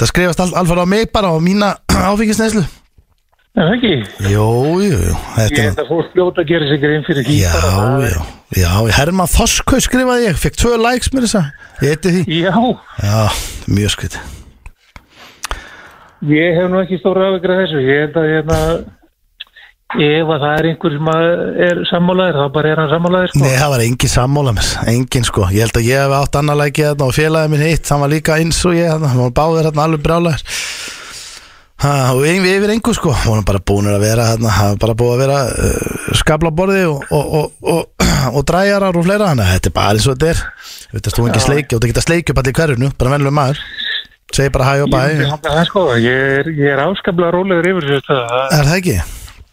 Speaker 2: Það skrifast all, alfara á mig bara á mína áfengisneislu
Speaker 5: en ekki
Speaker 2: Jú, jú, jú
Speaker 5: Ég
Speaker 2: Þetta er
Speaker 5: held að fólk fljóta að gera sér grein fyrir því
Speaker 2: Já,
Speaker 5: bara.
Speaker 2: já, já, Herman Þoskau skrifaði ég Fekk tvö likes mér þess að Ég heiti því
Speaker 5: Já,
Speaker 2: Já, mjög skriti
Speaker 5: ég hef nú ekki stóra afegra þessu Ég held að hérna Ef að það er einhver sem að er sammálaðir, þá bara er hann sammálaðir sko
Speaker 2: Nei, það var engin sammála með engin sko, ég held að ég hef átt annað lækið þarna og félagið minn hitt, hann var líka eins og ég þarna, hann var báðir þarna alveg brálaðir ha, og ein, við yfir engu sko, hann var bara búinur að vera þarna, hann var bara búið að vera uh, skabla borði og, og, og, og, og dræjarar og fleira, þannig að þetta er bara eins og þetta er, við veist að þú engin sleiki og þú geta sleiki upp allir í hverjunu, bara venlega maður segi bara hæ og bæ,
Speaker 5: Ég myndi hafna það sko, ég er, ég er áskaplega rólegur yfir þessu stöða.
Speaker 2: er það ekki?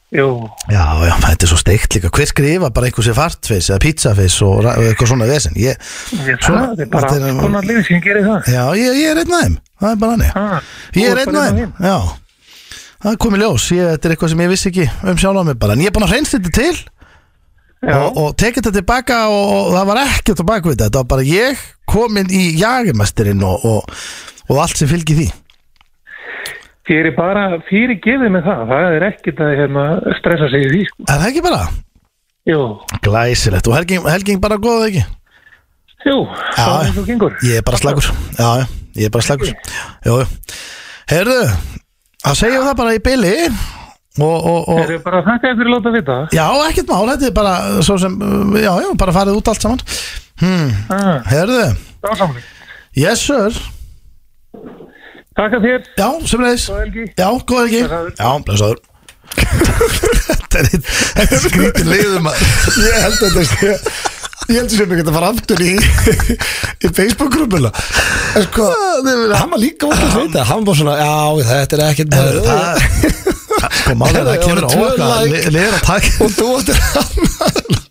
Speaker 5: Jú,
Speaker 2: Já, já, þetta er svo steikt líka, hver skrifa bara einhversi fartfis eða pizzafiss og, ra- og eitthvað svona vesen, ég
Speaker 5: ég
Speaker 2: Svona,
Speaker 5: það, það er bara
Speaker 2: þetta er-
Speaker 5: alls konar lið sem gerir það.
Speaker 2: Já, ég, ég er einn af þeim Það er bara hannig
Speaker 5: Ha,
Speaker 2: Ég
Speaker 5: Ah, þú
Speaker 2: er
Speaker 5: ert
Speaker 2: einn
Speaker 5: bara hérna
Speaker 2: af
Speaker 5: einn
Speaker 2: þeim Já Það er komið ljós ég, Þetta er eitthvað sem ég vissi ekki um sjálf á mig bara En ég er búin að hreinst þetta til
Speaker 5: Já.
Speaker 2: Og, og tekið þetta tilbaka og, og það var ekkert á bakvið þetta Þetta var bara ég komin í jagamestirinn og, og, og allt sem fylgir því
Speaker 5: Þér er bara fyrir gefið með það, það er ekkert að hérna, stressa sig í því sko.
Speaker 2: Er það ekki bara?
Speaker 5: Jú,
Speaker 2: Glæsilegt Og helging, helging bara góð eða ekki?
Speaker 5: jú, það er eins og gengur.
Speaker 2: Ég er bara slagur Já, já, ég er bara slagur Jú, jú Herðu Það segjum það bara í byli Og, og, og
Speaker 5: Það er bara að þakka þér fyrir að láta vita.
Speaker 2: Já, ekkert mál, þetta er bara svo sem, uh, já, já, bara farið út allt saman hmm,
Speaker 5: Ah,
Speaker 2: Herðu,
Speaker 5: það var samlega.
Speaker 2: yes sir
Speaker 5: Takka þér,
Speaker 2: Já, sem leiðis
Speaker 5: og Helgi.
Speaker 2: Já, góð ekki
Speaker 5: Blessaður.
Speaker 2: Já, blessaður Þetta er- þetta er skrítin leiðum að
Speaker 1: Ég held að þetta sé Ég held að þetta sé mig að fara aftur í í Facebook-grúpuna En sko, hann var líka okkur sveita Hann var svona, já, þetta er ekkert
Speaker 2: Herðu, það Sko, málið er
Speaker 1: Herðu,
Speaker 2: að það kemur á
Speaker 1: það voru tvö
Speaker 2: okkar
Speaker 1: like.
Speaker 2: le- Leiðir að taka
Speaker 1: Og þú áttir hann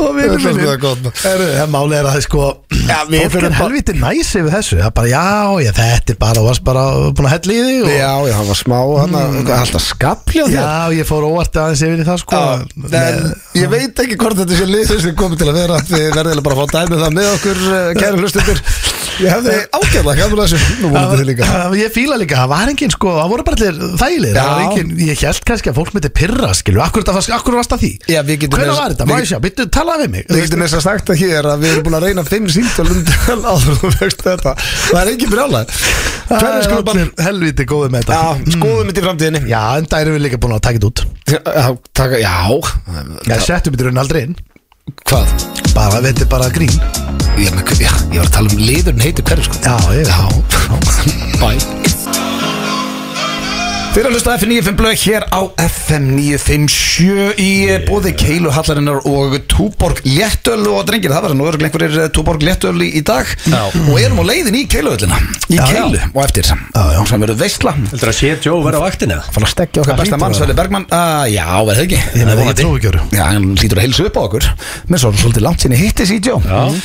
Speaker 2: Og
Speaker 1: vinur
Speaker 2: vinur
Speaker 1: mínir.
Speaker 2: minni Herðu, það málið er að það sko
Speaker 1: Já, við
Speaker 2: Fólk
Speaker 1: þurfum
Speaker 2: er
Speaker 1: bara-
Speaker 2: helviti næs yfir þessu Það er bara, já, já, þetta er bara, þú varst bara búin að hella í þig og-
Speaker 1: Já, já, hann var smá, hann var alltaf skapli á þér
Speaker 2: Já, ég fór óvart aðeins yfir í það sko
Speaker 1: Já, en ég veit ekki hvort þetta sé liður sem komið til að vera Þið verðið bara að fá dæmið það með okkur, eh, kæru hlustundur Ég hefði ágæðlega gaman að þessu Nú vonandi þið líka
Speaker 2: Það- Ég fíla líka, það var engin sko, það voru bara allir þægilegir
Speaker 1: Já.
Speaker 2: Það var engin, Ég held kannski að fólk myndi pyrra, skilu Akkur, það, akkur varst að því?
Speaker 1: Já, við getum
Speaker 2: Hvenær
Speaker 1: við-
Speaker 2: var þetta?
Speaker 1: við-
Speaker 2: Má ég sjá, byrju, talaði við mig
Speaker 1: Við getum þess að sagt að hér að við erum búin að reyna fimm um síndal undan áður og vext þetta Það er ekki brjálað
Speaker 2: Það
Speaker 1: Hvernig
Speaker 2: er
Speaker 1: skulum bara
Speaker 2: allir helviti góði með þetta
Speaker 1: Já, skoðum þetta í framtíðinni
Speaker 2: Já, en það erum við líka búin að taka þetta út
Speaker 1: Já, taka,
Speaker 2: Já,
Speaker 1: já
Speaker 2: settum þetta í raun aldrei inn
Speaker 1: Hvað?
Speaker 2: Bara, þetta er bara grín
Speaker 1: Ég, men, já, ég var að tala um liðurinn heitir hverju sko
Speaker 2: Já, ég
Speaker 1: Já, bæ Þeir að hlusta á FM 95 blöð hér á FM 957 í yeah. bóði Keilu Hallarinnar og Túborg Léttöl og drengir, það var nú örgulega einhverjir eh, Túborg Léttöl í, í dag og erum á leiðin í Keiluhöllina í
Speaker 2: Já,
Speaker 1: Keilu
Speaker 2: já.
Speaker 1: og eftir sem verður veistla
Speaker 4: Heldur að sé Joe vera á vaktina?
Speaker 1: fann að stekja okkar besta
Speaker 2: hlýtur
Speaker 1: mann
Speaker 2: að
Speaker 1: Sverri Bergmann uh, Já, verður það ekki
Speaker 2: Ég
Speaker 1: Það er
Speaker 2: með
Speaker 1: vonandi.
Speaker 2: ég trúi ekki öru
Speaker 1: Já, hann lítur að heilsa upp á okkur Mér svo svolítið langt sinni hittis í Jó Mhm.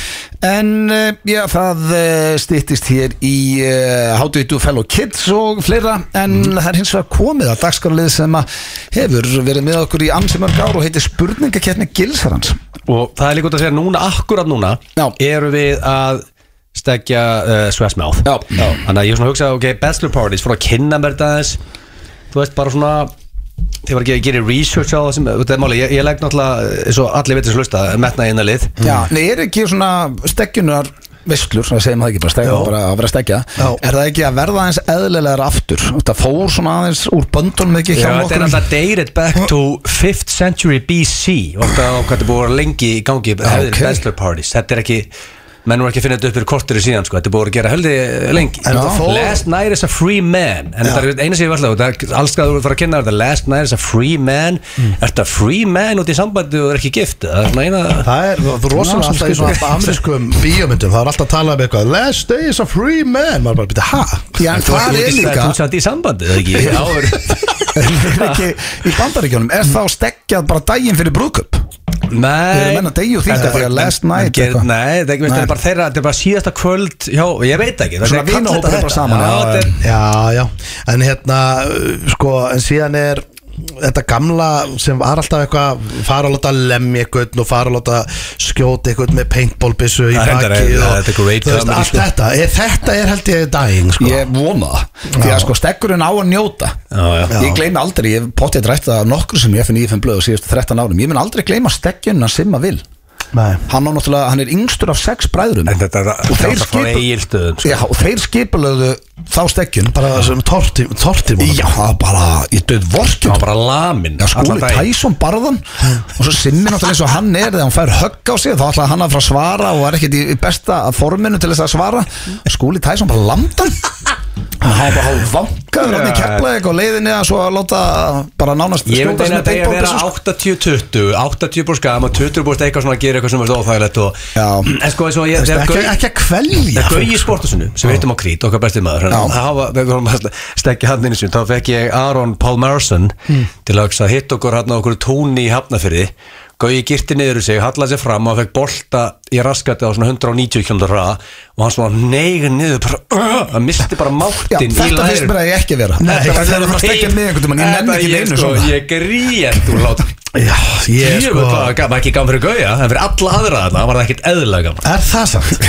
Speaker 1: En eh, já, það eh, styttist hér í eh, How do you do fellow kids og fleira En það er hins vegar komið að dagskarlið sem að hefur verið með okkur í ansi mörg ár og heitir spurningakettni Gilsarans
Speaker 4: Og það er líka út að segja núna, akkurat núna
Speaker 1: Já.
Speaker 4: Eru við að stekja uh, Swessmouth
Speaker 1: Já.
Speaker 4: Þannig að ég svona hugsa, ok, bachelor parties Fór að kynna mér þetta aðeins Þú veist, bara svona Þið var ekki að gera research á það sem Þetta er máli, ég, ég legg náttúrulega eins og allir vitið sem hlusta Metna í eina lið
Speaker 1: Já,
Speaker 2: Mm.
Speaker 1: nei, er ekki svona stekkjunar veslur, svona segjum það ekki bara stekja, bara að vera að stekja
Speaker 2: Já.
Speaker 1: Er það ekki að verða aðeins eðlilegar aftur? Það fór svona aðeins úr böndunum ekki hjá
Speaker 4: Já, þetta er
Speaker 1: okkur
Speaker 4: alltaf dated back to 5th century BC og þetta á hvað þetta er búið að vera lengi í gangi hefðir
Speaker 1: ok.
Speaker 4: bachelor parties, þetta er ekki menn voru ekki að finna þetta upp fyrir kortir í síðan sko. þetta er búið að gera höldi lengi
Speaker 2: En þetta fór-
Speaker 4: last night is a free man en þetta er eina sem ég var alltaf alls að þú voru að fara að kynna þetta last night is a free man mm. er þetta free man út í sambandi og er ekki gift það er svona eina
Speaker 2: Það er það er rosalega
Speaker 1: Ná,
Speaker 2: alltaf í
Speaker 1: skrítið.
Speaker 2: svona amerískum bíómyndum Það er alltaf að tala um eitthvað Last day is a free man Maður bara byrja, ha?
Speaker 1: Já, en
Speaker 4: Þú ert
Speaker 1: það er
Speaker 4: út í-
Speaker 1: líka
Speaker 4: Þú satt í sambandi, eða ekki? Já,
Speaker 1: Er ekki, í bandaríkjónum er þá stekkjað bara daginn fyrir brúðköp
Speaker 4: Nei
Speaker 1: Eru menn að deyja úr því
Speaker 4: En-
Speaker 1: þetta? Því að
Speaker 4: en-
Speaker 1: last
Speaker 4: en-
Speaker 1: night
Speaker 4: en ger-
Speaker 1: eitthvað?
Speaker 4: Nei, það er ekki veist,
Speaker 1: Nei.
Speaker 4: það er bara þeirra Þetta er bara síðasta kvöld hjá, Ég veit ekki það
Speaker 1: Svona
Speaker 4: er-
Speaker 1: vinahópur
Speaker 4: kallar þetta
Speaker 1: bara saman,
Speaker 4: þetta.
Speaker 1: já,
Speaker 4: Já, þetta er-
Speaker 2: Já, já, en hérna uh, sko, en síðan er þetta gamla sem var alltaf eitthvað fara að láta lemja eitthvað og fara að láta skjóta eitthvað með paintballbissu í
Speaker 4: Það er reyndar-
Speaker 2: baki
Speaker 4: það
Speaker 2: og
Speaker 4: er
Speaker 2: þú
Speaker 4: great
Speaker 2: veist,
Speaker 4: comedy,
Speaker 2: allt
Speaker 4: sko.
Speaker 2: þetta, er, þetta er held ég dæing, sko
Speaker 1: Ég vona það Því að sko stekkurinn á að njóta
Speaker 4: Já, já.
Speaker 1: Ég gleymi aldrei, ég hef pottið rætt það nokkur sem ég finn í FM blöðu síðustu 13 árum Ég mun aldrei gleyma stekkjunna sem að vil
Speaker 2: Nei.
Speaker 1: Hann á náttúrulega, hann er yngstur af sex bræðrum
Speaker 4: En þetta er
Speaker 1: Og þeir
Speaker 4: þetta er frá
Speaker 1: skipa-
Speaker 4: eigilstöðum sko.
Speaker 1: Já, og þeir skipulöðu þá stekkjun
Speaker 2: bara sem tortim, tortim
Speaker 1: Já, það var bara, ég döð
Speaker 4: Það
Speaker 1: vorkjum
Speaker 4: var bara lamin
Speaker 1: Já, skúli Tæsson barðan og svo Simmi náttúrulega eins og hann er þegar hann fær högg á sig þá ætlaði hann að fara að svara og var ekkert í í besta forminu til þess að svara skúli Tæsson bara landan hann var bara hálf vankaður hann í keflaðið og leiðinni að svo að láta bara nánast
Speaker 4: Ég veit
Speaker 1: skjóta sig
Speaker 4: eina
Speaker 1: með
Speaker 4: að það er að vera
Speaker 1: paintballbyssu, sko.
Speaker 4: 80-20 80% skam og 20% eitthvað svona að gera eitthvað sem er óþægilegt og
Speaker 1: Já.
Speaker 4: En sko, eins og ég
Speaker 2: Veist,
Speaker 4: þegar
Speaker 2: ekki,
Speaker 4: Gaui-
Speaker 2: ekki að kvelja
Speaker 4: Það er
Speaker 2: fólk,
Speaker 4: Gauji Sportasunum sem við hittum á Krít, okkar bestið maður hann-
Speaker 1: sko. Já.
Speaker 4: það hafa, við vorum að stekja hann inn í sinni þá fekk ég Aron Palmarsson
Speaker 1: Hmm.
Speaker 4: til að hugsa, hitt okkur hann á okkur tóni í Hafnafyrði Gauji girti niður í sig, hallaði sér fram og fekk bolta í raskati á svona 190 km hraða og hann svona neigir niður bara, uh, hann misti bara
Speaker 1: Já,
Speaker 4: máttin í
Speaker 1: þetta finnst
Speaker 4: lærin
Speaker 1: mér að ég ekki að vera
Speaker 4: Þetta
Speaker 1: Þetta
Speaker 4: var-
Speaker 1: er að fara að stekja með einhvern veginn, ég nenni
Speaker 4: Þetta
Speaker 1: ekki
Speaker 4: ég,
Speaker 1: neinu
Speaker 4: sko,
Speaker 1: svona
Speaker 4: Ég gríjent úr lát
Speaker 2: Já, ég
Speaker 4: Jú,
Speaker 2: sko
Speaker 4: hvað var gaman, ekki gaman fyrir Gauja en fyrir alla aðra þarna var það ekkit eðlilega gaman
Speaker 2: Er það samt?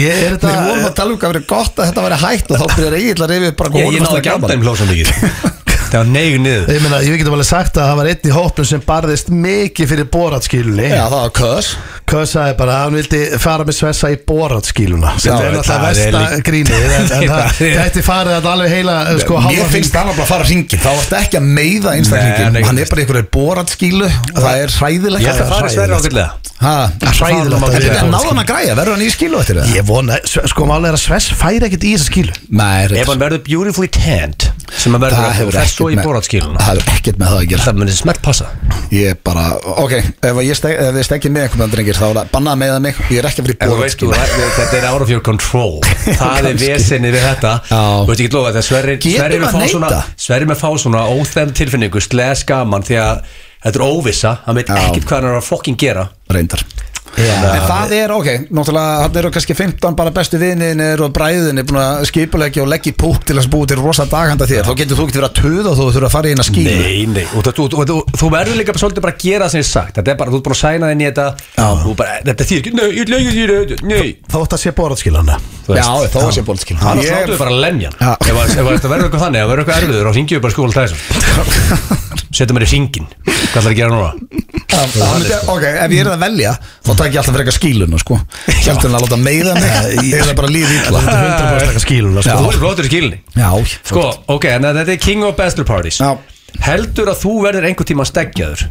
Speaker 2: Ég er
Speaker 1: Við vorum
Speaker 2: þetta
Speaker 1: að tala um hvað verið gott að þetta væri hægt og þá byrjar eiginlega reyfið bara hvað
Speaker 4: Ég,
Speaker 1: honum
Speaker 4: ég náði
Speaker 1: fannst
Speaker 4: ekki
Speaker 1: það
Speaker 4: andan
Speaker 1: gaman.
Speaker 4: um hlósa mikið Það var neig niður
Speaker 2: Ég meina, ég getum alveg sagt að það var einn í hópnum sem barðist mikið fyrir boratskilunni
Speaker 1: Já, það var köðs
Speaker 2: Kösaði bara að hann vildi fara með svessa í boratskíluna sem
Speaker 1: Já,
Speaker 2: er
Speaker 4: það
Speaker 2: náttúrulega
Speaker 4: er
Speaker 2: versta
Speaker 4: líkt.
Speaker 2: grínið en, en það
Speaker 4: Það er-
Speaker 2: gæti farið að alveg heila eh, sko,
Speaker 1: Mér
Speaker 2: hálfan
Speaker 1: finnst
Speaker 2: hring.
Speaker 1: hann bara að fara hringin Þá ertu ekki að meiða
Speaker 4: Nei,
Speaker 1: einstaklingin
Speaker 4: nei,
Speaker 1: Hann er bara í einhverju boratskílu og Það er hræðilegt
Speaker 4: Ég held að fara sverja ákveðlega
Speaker 1: Ha,
Speaker 2: Hræðilegt að
Speaker 1: En
Speaker 2: vera
Speaker 1: en náði hann að græja, verður hann í skílu eftir það?
Speaker 2: Ég vona, Sve- sko málega er að Svess færi ekkert í þessa skílu
Speaker 1: Nei,
Speaker 4: Ef
Speaker 1: reyndar.
Speaker 4: hann verður beautifully tanned sem hann
Speaker 1: það
Speaker 4: verður
Speaker 1: hefur
Speaker 4: þess svo í
Speaker 1: ekkert með
Speaker 4: boratskíluna
Speaker 1: Það hefur ekkert með það að gera
Speaker 4: Það munir smert passa
Speaker 1: Ég bara, ok, ef ég stek- ef þið stekkið með einhverjum drengir þá er það bannað með mig Ég er ekki að
Speaker 4: En
Speaker 1: fyrir
Speaker 4: þú veist, þú
Speaker 1: boratskílu
Speaker 4: rætt- þetta er out of your control Það er
Speaker 1: Kannski.
Speaker 4: vesinni við þetta
Speaker 1: Já.
Speaker 4: Þú veist ekki lofa þetta Sverri,
Speaker 1: Getur
Speaker 4: sverri með
Speaker 1: maður
Speaker 4: fá
Speaker 1: neitað?
Speaker 4: svona Sverri með fá svona óþem tilfinningu Sles gaman því að þetta er óvissa Hann veit
Speaker 1: Já.
Speaker 4: ekkert hvað hann er að fokkin gera
Speaker 1: Reyndar
Speaker 2: Já.
Speaker 1: en það er ok, náttúrulega hann eru kannski 15 bara bestu vinninir og bræðinir búin að skipulegja og leggja í púk til að búi til rosa daghanda þér, þá getur þú ekki verið að töða og þú þurfa að fara í hérna skínu
Speaker 4: Nei, nei, og það, þú, þú, þú, þú verður líka svolítið bara að gera það sem ég sagt Þetta er bara, þú ert búin að sæna þinn í þetta Þú bara, þetta þýr ekki, nei, ég ætla ekki þýr Nei,
Speaker 2: Þá ætti að sé borðskilana
Speaker 4: þú
Speaker 1: Já, þá er sér bólskil
Speaker 4: Það er slátuð bara að lemja
Speaker 1: Já.
Speaker 4: Ef að- ef að þetta verður eitthvað þannig, ef verður eitthvað erfiður Þá ringjum við bara skóla þessum Setjum mér í ringin, hvað ætlar að gera núna?
Speaker 1: Ok, ef ég er að velja þá takk ég alltaf frekar skíluna sko heldur en að láta meiða mig þegar það bara líði illa
Speaker 2: Þetta er 100% eitthvað skiluna
Speaker 4: Þú
Speaker 2: sko.
Speaker 4: er flottur í skilinni
Speaker 1: Já,
Speaker 4: Sko, ok, en þetta er King of Bachelor Parties
Speaker 1: Já.
Speaker 4: Heldur að þú verður einhvern tíma steggjaður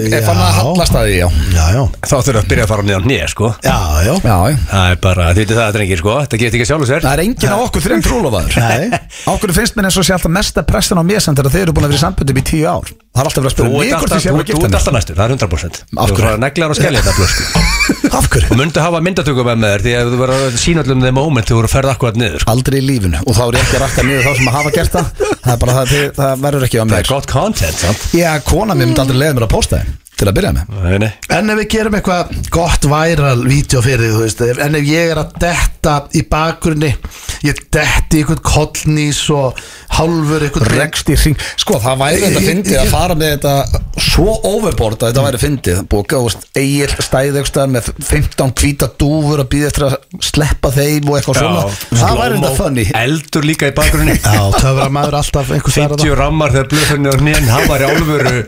Speaker 1: ég er fann
Speaker 2: Já.
Speaker 1: að hallast að því, já
Speaker 2: Já, já
Speaker 4: Þá þurfum að byrja að fara niðan nýja, sko
Speaker 2: Já, já
Speaker 1: Já, já
Speaker 4: Það er bara, þið veitir það, drengir, sko Þetta getur ekki sjálf sér
Speaker 1: Það er enginn á okkur þreim trúlofaður
Speaker 2: Nei.
Speaker 1: Okkur finnst mér eins og sé alltaf mesta pressin á mér sem þegar þeir eru búin að vera í sambundum í tíu ár Það er alltaf verið að
Speaker 4: Þú
Speaker 1: spyrja um mig
Speaker 4: ert
Speaker 1: hvort
Speaker 4: alltaf,
Speaker 1: þið séu
Speaker 4: þú
Speaker 1: að
Speaker 4: ert- þú
Speaker 1: gifta
Speaker 4: ert
Speaker 1: mig
Speaker 4: alltaf næstur, það er 100%
Speaker 1: Af
Speaker 4: Þú
Speaker 1: hverju?
Speaker 4: ert neglar og skelja þetta blöð, sko
Speaker 1: Af hverju?
Speaker 4: Og myndu hafa myndatöku með þér Því að þú verður að sína öllum þeim moment Þú verður að ferða akkurat niður, sko
Speaker 1: Aldrei í lífinu Og þá er ég ekki að rakka niður þá sem að hafa gert það Það er bara það, þið- það verður ekki á
Speaker 4: Það er
Speaker 1: mér
Speaker 4: gott content, sant?
Speaker 1: Já, kona mér myndi aldrei leiða mér að posta þeim Til að byrja með
Speaker 4: Nei, nei
Speaker 2: En ef við gerum eitthvað gott væral vídeo fyrir því, þú veist, ef- en ef ég er að detta í bakgrunni, ég detti í einhvern kollnís og hálfur einhvern
Speaker 1: Rekst í hring Sko, það væri þetta fyndið að fara með þetta Svo overboard að þetta væri fyndið Búka, veist, eigir stæðugstað með 15 hvíta dúfur að býða eftir að sleppa þeim og eitthvað svona Það væri
Speaker 4: slow-mo,
Speaker 1: þetta funny
Speaker 4: Eldur líka í bakgrunni
Speaker 2: Já, það verður maður alltaf einhvers staðar að
Speaker 4: 50 rammar þegar blöðfjörnir og hnén Hann var í álfuru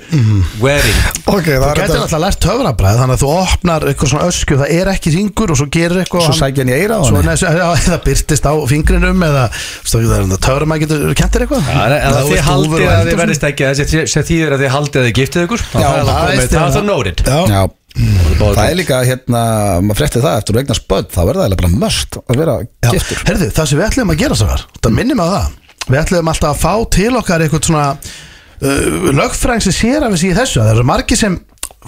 Speaker 4: wearing
Speaker 1: Ok, það
Speaker 2: Þú getur alltaf lært töfrabræð þannig að þú opnar eitthvað svona ösku það er ekki ringur og svo gerir eitthvað
Speaker 1: Svo
Speaker 2: og
Speaker 1: sækja hann í eyrað á
Speaker 2: Svo
Speaker 1: henni.
Speaker 2: neð, já, eða byrtist á fingrinum eða töframæð hérna, getur kentir eitthvað
Speaker 4: Já, En en
Speaker 2: Eða
Speaker 4: að
Speaker 2: þú
Speaker 4: þið
Speaker 2: veist, úlfur og
Speaker 4: haldið að
Speaker 2: eldur
Speaker 4: þið
Speaker 2: og
Speaker 4: verðist ekki sem þýðir að þið haldið að þið giftið ykkur þá
Speaker 1: Já,
Speaker 4: þarf að
Speaker 2: það
Speaker 4: koma
Speaker 2: veist
Speaker 4: með-
Speaker 2: ég
Speaker 4: Það
Speaker 2: það.
Speaker 4: er það noted
Speaker 2: Já.
Speaker 1: Já. Það er líka hérna, maður frétti það eftir að eignast börn, þá verður það eiginlega bara möst að vera
Speaker 2: Já,
Speaker 1: giftur
Speaker 2: Herðu, það sem við ætlum að gera sáfar
Speaker 1: Mm.
Speaker 2: Það minnir mig á það Við ætlum alltaf að fá til okkar eitthvað svona uh, Lögfræng sem sér af þessi í þessu Það eru margir sem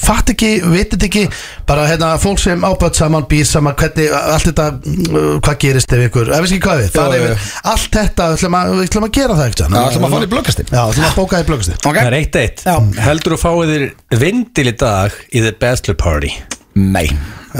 Speaker 2: fatt ekki, vitið ekki Bara hérna, fólk sem ábætt saman, býr saman Hvernig, allt þetta, uh, hvað gerist ef ykkur Ef við ekki hvað við,
Speaker 1: Já,
Speaker 2: það er
Speaker 1: já, já.
Speaker 2: yfir Allt þetta, við ætlum að, við ætlum að gera það eitthvað
Speaker 1: Já, ætlum að fara í blöggastinn.
Speaker 2: Já, ætlum að bóka í blöggastinn
Speaker 1: Ok,
Speaker 4: Það er eitt eitt
Speaker 1: Já.
Speaker 4: Heldur þú fáið þér vindil í dag í The Bachelor Party
Speaker 1: nei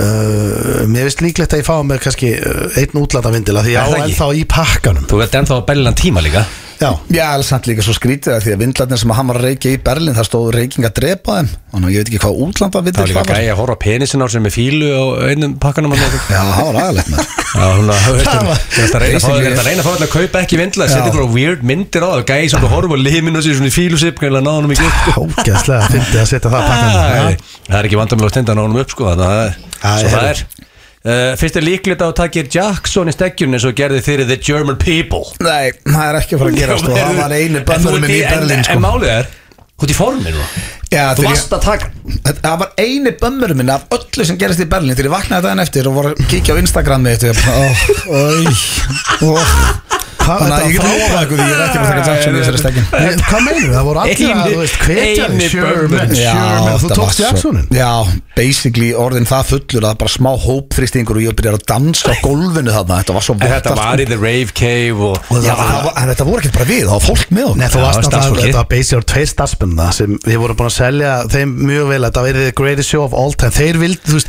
Speaker 2: uh, Mér veist líklegt að ég fá mér kannski uh, einn útlata vindila Því
Speaker 4: Er
Speaker 2: ég á
Speaker 4: það ekki?
Speaker 2: ennþá í pakkanum
Speaker 4: Þú veit ennþá að bellan tíma líka
Speaker 2: Já,
Speaker 1: Já, alveg samt líka svo skrítið að því að vindlarnir sem hann var að reykja í Berlín, það stóð reyking að drepa þeim Þannig að ég veit ekki hvað útlanda
Speaker 4: Það var
Speaker 1: vindill
Speaker 4: líka gæi að horfa á penisin á sem er fílu á einum pakkanum hann
Speaker 1: Já, það var aðalegt með
Speaker 4: Já, hún að þú veist,
Speaker 2: Það
Speaker 4: hún-
Speaker 2: var-
Speaker 4: þú veist að reyna að fá
Speaker 1: Basically-
Speaker 4: þér að reyna að fá þér að kaupa ekki vindla setja ykkur á weird myndir á það gæi sem þú horfa á limin og sér svona í fílusip gæla náða honum ekki upp sko.
Speaker 2: ógeðslega fyndið að setja það á
Speaker 1: Ah.
Speaker 2: pakkanum Já.
Speaker 4: Æ, Það er ekki vandamil að stenda honum upp sko þannig að það er
Speaker 2: Æ,
Speaker 4: svo það
Speaker 2: heyrðu.
Speaker 4: er uh, Fyrst er líklegt að þú takir Jackson í stekkjun eins og gerði fyrir the German people
Speaker 1: Nei, það er ekki að fara að gerast og það var einu bönnurum í Berlín
Speaker 4: En,
Speaker 1: sko.
Speaker 4: en málið er, þú ert í forminu Þú
Speaker 1: Já, þegar ég-
Speaker 4: varst að taka
Speaker 1: Þetta- Það var eini bömmurinn minn af öllu sem gerist í Berlín Þegar ég vaknaði daginn eftir og var að kíkja á Instagram mitt og ég bara, ó, ó, ó
Speaker 2: Hvað,
Speaker 1: Þannig að
Speaker 2: þetta
Speaker 1: ég get
Speaker 2: var
Speaker 1: lofað ykkur því ég er ekki búin að taka Jackson í þessari stekkin
Speaker 2: Nei, Hvað meinum við? Það voru allir að,
Speaker 4: Eini-
Speaker 2: þú veist, hvetja
Speaker 4: eini
Speaker 2: þig Sherman,
Speaker 4: börnin.
Speaker 2: Sherman, þú
Speaker 1: þetta var
Speaker 2: tókst
Speaker 1: svo-
Speaker 2: Jacksonin
Speaker 1: Já, basically orðin það fullur að bara smá hópþristingur og ég byrjar að dansa á gólfinu þarna Þetta var svo
Speaker 4: En þetta
Speaker 1: allt.
Speaker 4: var í the rave cave og
Speaker 1: Já, það var- en þetta voru ekki bara við, það var fólk með
Speaker 2: Nei,
Speaker 1: okkur
Speaker 2: þú
Speaker 4: Já,
Speaker 2: varst náttúrulega,
Speaker 4: starfsfólki.
Speaker 2: þetta var basið á tveir starfsmennina sem við vorum búin að selja þeim mjög vel að þetta verið the greatest show of all time Þeir vildi, þú veist,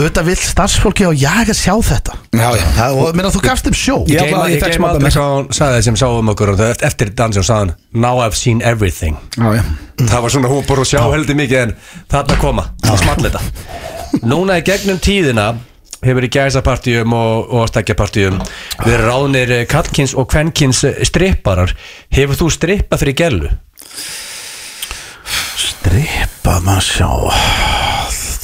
Speaker 2: auðvitað vill starfsfólki á jaga sjá þetta
Speaker 1: Já, já.
Speaker 2: Það- Og meina, þú gafst þeim sjó
Speaker 1: Ég
Speaker 4: Ég
Speaker 1: ætla að- ég tek
Speaker 4: glem
Speaker 1: smá
Speaker 4: aldrei
Speaker 1: dæmis.
Speaker 4: hvað hún sagði sem sáum okkur og það- eftir dansi hún sagði hann Now I've seen everything
Speaker 1: Já, já
Speaker 4: Það var svona hún búið að sjá heldur mikið en þarna koma, það small þetta Núna í gegnum tíðina hefur í gæsapartíum og, og stekjapartíum verið ráðnir eh, kallkyns og kvenkins eh, stripparar Hefur þú strippað fyrir gælu?
Speaker 2: Strippa maður sjá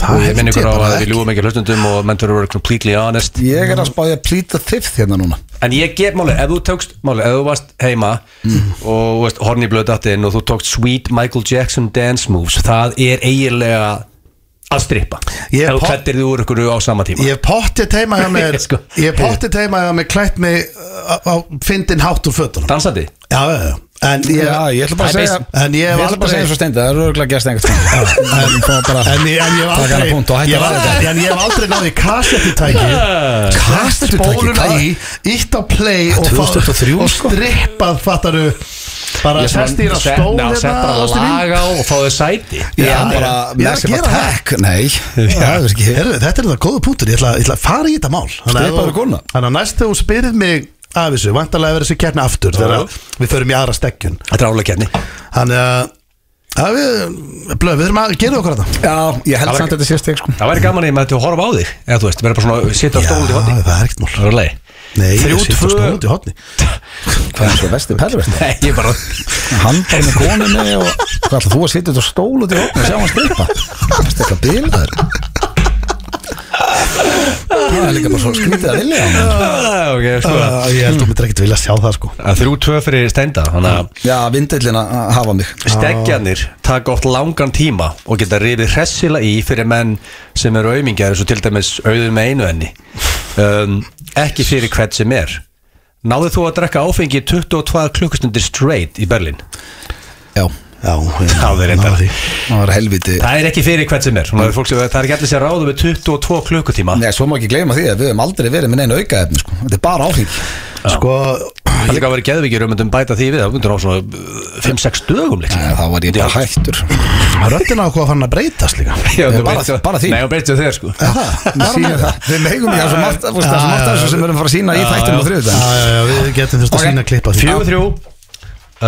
Speaker 2: Það
Speaker 4: Ég minn
Speaker 2: held
Speaker 4: ykkur á
Speaker 2: bara
Speaker 4: að við
Speaker 2: ekki.
Speaker 4: ljúum ekki hlustundum og menn þurfum að vera completely honest
Speaker 1: Ég er að spája að plýta þiff hérna núna
Speaker 4: En ég get máli, ef þú tókst máli, ef þú varst heima og þú veist, horni blöðdattinn og þú tókst sweet Michael Jackson dance moves það er eiginlega að strippa
Speaker 2: Ég
Speaker 4: ef þú
Speaker 2: pop-
Speaker 4: klættir þig úr ykkur á sama tíma
Speaker 2: Ég potti teima hjá mér
Speaker 4: Sko.
Speaker 2: Ég potti teima hjá mér klætt mig uh, á, á fyndin hátt úr fötunum
Speaker 4: Dansandi
Speaker 2: Já, já, já En ég,
Speaker 1: Já, ég ætla bara að
Speaker 4: Það er
Speaker 1: segja
Speaker 4: basic.
Speaker 2: En ég
Speaker 1: Ég
Speaker 2: hef
Speaker 1: ætla bara að segja
Speaker 2: aldrei
Speaker 1: svo steindi, það er örgulega gerst einhvern tímann. En það er bara-
Speaker 2: En ég, en ég hef
Speaker 1: Taka hana
Speaker 2: aldrei
Speaker 1: punkt og hætta
Speaker 2: ég hef
Speaker 1: að ræða
Speaker 2: aldrei- En ég hef aldrei náði kassettutæki Kassettutæki
Speaker 1: Kassettutæki,
Speaker 2: Spóluna
Speaker 1: hvað?
Speaker 2: í Ítt á play og, fá-
Speaker 1: 2023,
Speaker 2: og
Speaker 1: sko.
Speaker 2: strippað fattaru Bara
Speaker 4: Ég
Speaker 2: sest þér að
Speaker 4: set-
Speaker 2: stól
Speaker 4: ná,
Speaker 2: hérna,
Speaker 4: Sett bara
Speaker 2: ástin mín.
Speaker 4: lag á og fáðu sæti
Speaker 1: Já,
Speaker 2: Já,
Speaker 1: bara
Speaker 2: já, ég er að
Speaker 1: massive
Speaker 2: gera það.
Speaker 1: attack Nei,
Speaker 2: Já,
Speaker 1: það er ekki
Speaker 2: Herðu, þetta er það góða punktur, ég ætla, ég ætla að fara í þetta mál Þannig að
Speaker 1: Steypaður
Speaker 2: þú-
Speaker 1: kona.
Speaker 2: þannig að næst þegar hún spyrir mig af þessu Vantarlega verður þessi kjarni aftur Þegar að við förum í aðra stekkjun
Speaker 4: Þetta er álega kenni
Speaker 2: Þannig að að við, blöð, við erum að gera okkur þetta
Speaker 1: Já, ég held samt að þetta sé steg sko
Speaker 4: Það væri gaman að ég með þetta að horfa á þig Eða þú veist, verður bara svona sitja á stólu í hodni
Speaker 2: Ah, það er ekkert mál
Speaker 4: Það er leið
Speaker 2: Nei,
Speaker 4: Þrjú,
Speaker 2: ég sitt á
Speaker 4: tvö-
Speaker 2: stóðum til hotni
Speaker 1: Hvað er svo vesti perverst?
Speaker 4: Nei, ég bara
Speaker 1: Hann bara með konunni og Hvað ætla þú að sitja út á stólu til hókn og sjá hann steypa? Það er eitthvað bilaður Það er líka bara svo skrítið að vilja hann
Speaker 4: Ah, ok, sko.
Speaker 2: Ég held að þú myndir ekkert vilja sjá það sko
Speaker 4: Að Þrjú tvö fyrir steinda Þannig að
Speaker 1: Já, vindillin að að hafa mig
Speaker 4: Steggjanir taka oft langan tíma og geta rifið hressila í fyrir menn sem eru aumingar eins og til dæmis auður með einu enni um, ekki fyrir hvert sem er Náðu þú að drekka áfengi í 22 klukkustundir straight í Berlín?
Speaker 1: Já,
Speaker 2: Já, ég-
Speaker 4: Það er reyndar.
Speaker 2: náði því.
Speaker 1: það var helviti
Speaker 4: Það er ekki fyrir hvert sem er Svona, fólk, sem- Það er ekki allir sem ráðu með 22 klukkutíma
Speaker 1: Nei, svo má ekki gleyma því að við höfum aldrei verið með neina aukaefni sko. Þetta er bara áfeng
Speaker 2: Sko,
Speaker 4: Það er líka að vera geðvikið um myndum bæta því við Það myndum á svona uh, 5-6 dögum líka
Speaker 1: Þá var ég bara hættur
Speaker 2: röddina ákvað að sko? fara að breytast líka
Speaker 1: bara- bara því.
Speaker 4: Nei, hún breytist þér sko
Speaker 1: Við sýnum það. Við megum ég að svo margt Það er svo margt af þessu sem við erum að fara að sína í þættum og
Speaker 2: Já,
Speaker 1: þriðudag
Speaker 2: já, já, við getum þurft að
Speaker 1: Ok.
Speaker 2: sína klippa því
Speaker 4: Fjögur þrjú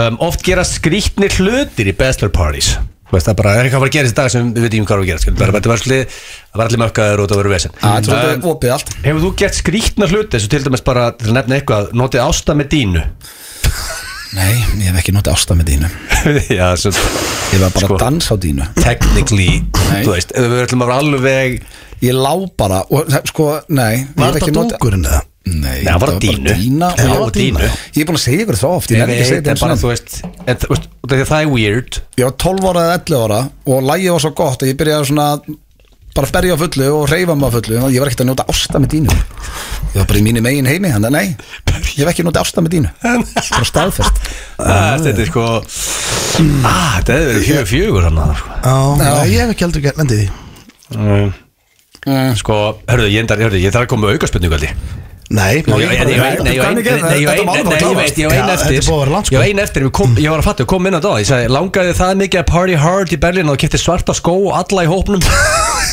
Speaker 4: um, Oft gera skrýtnir hlutir í bachelor parties Þú veist það bara, er eitthvað að fara að gera þessi dag sem við veitum hvað er að gera skilur. Bara, Þetta var svolítið, það var allir mökkaður og það verið vesinn
Speaker 1: Það er svolítið opið allt
Speaker 4: Um, Hefur þú gert skrýtna hluti, svo til dæmis bara til að nefna eitthvað, notið ásta með dínu
Speaker 1: Nei, ég hef ekki notið ásta með dínu
Speaker 4: Já, svo
Speaker 1: Ég var bara
Speaker 4: Sko.
Speaker 1: að dansa á dínu
Speaker 4: technically,
Speaker 1: Nei.
Speaker 4: þú veist, ef við ætlum að vera alveg
Speaker 1: Ég lá bara og það- sko, nei ég
Speaker 2: Var
Speaker 1: hef ekki
Speaker 2: þetta
Speaker 1: notið-
Speaker 2: dúkurinn eða?
Speaker 1: Nei,
Speaker 4: Nei, það var dínu.
Speaker 1: dína
Speaker 4: Já,
Speaker 1: og
Speaker 4: og dínu.
Speaker 1: Ég er búin að segja ykkur það oft Ég
Speaker 4: Ég
Speaker 1: er ekki að segja
Speaker 4: veit, en
Speaker 1: þetta
Speaker 4: bara
Speaker 1: einu
Speaker 4: þú
Speaker 1: sinni.
Speaker 4: veist, en, þú veist, út af því að það er weird
Speaker 1: Ég var 12 ára eða 11 ára og lægið var svo gott að ég byrjaði svona bara að berja á fullu og reyfa mig á fullu og ég var ekkert að njóta ásta með dínu Ég var bara í mínu megin heimi, þannig að nei Ég hef ekki notið ásta með dínu Bara staðfest
Speaker 4: Ah, Þetta er sko ah, Þetta er fjögur fjögur hann að sko.
Speaker 2: Já, ég hef ekki heldur gert lendið í því Eh.
Speaker 4: Sko, hörðu, ég, endar, hörðu, ég þarf að koma með aukaspurningu aldrei
Speaker 2: Nei, má
Speaker 4: Nei,
Speaker 2: ég
Speaker 4: ég
Speaker 2: ekki bara-
Speaker 4: veit, nei, ég veit, nei, ég veit, nei, ég veit, ég veit eftir Ég veit eftir, ég kom- ég var að fatta, ég kom inn á það Ég sagði, langaði það mikið að party hard í Berlín og kipti svarta skó og alla í hópnum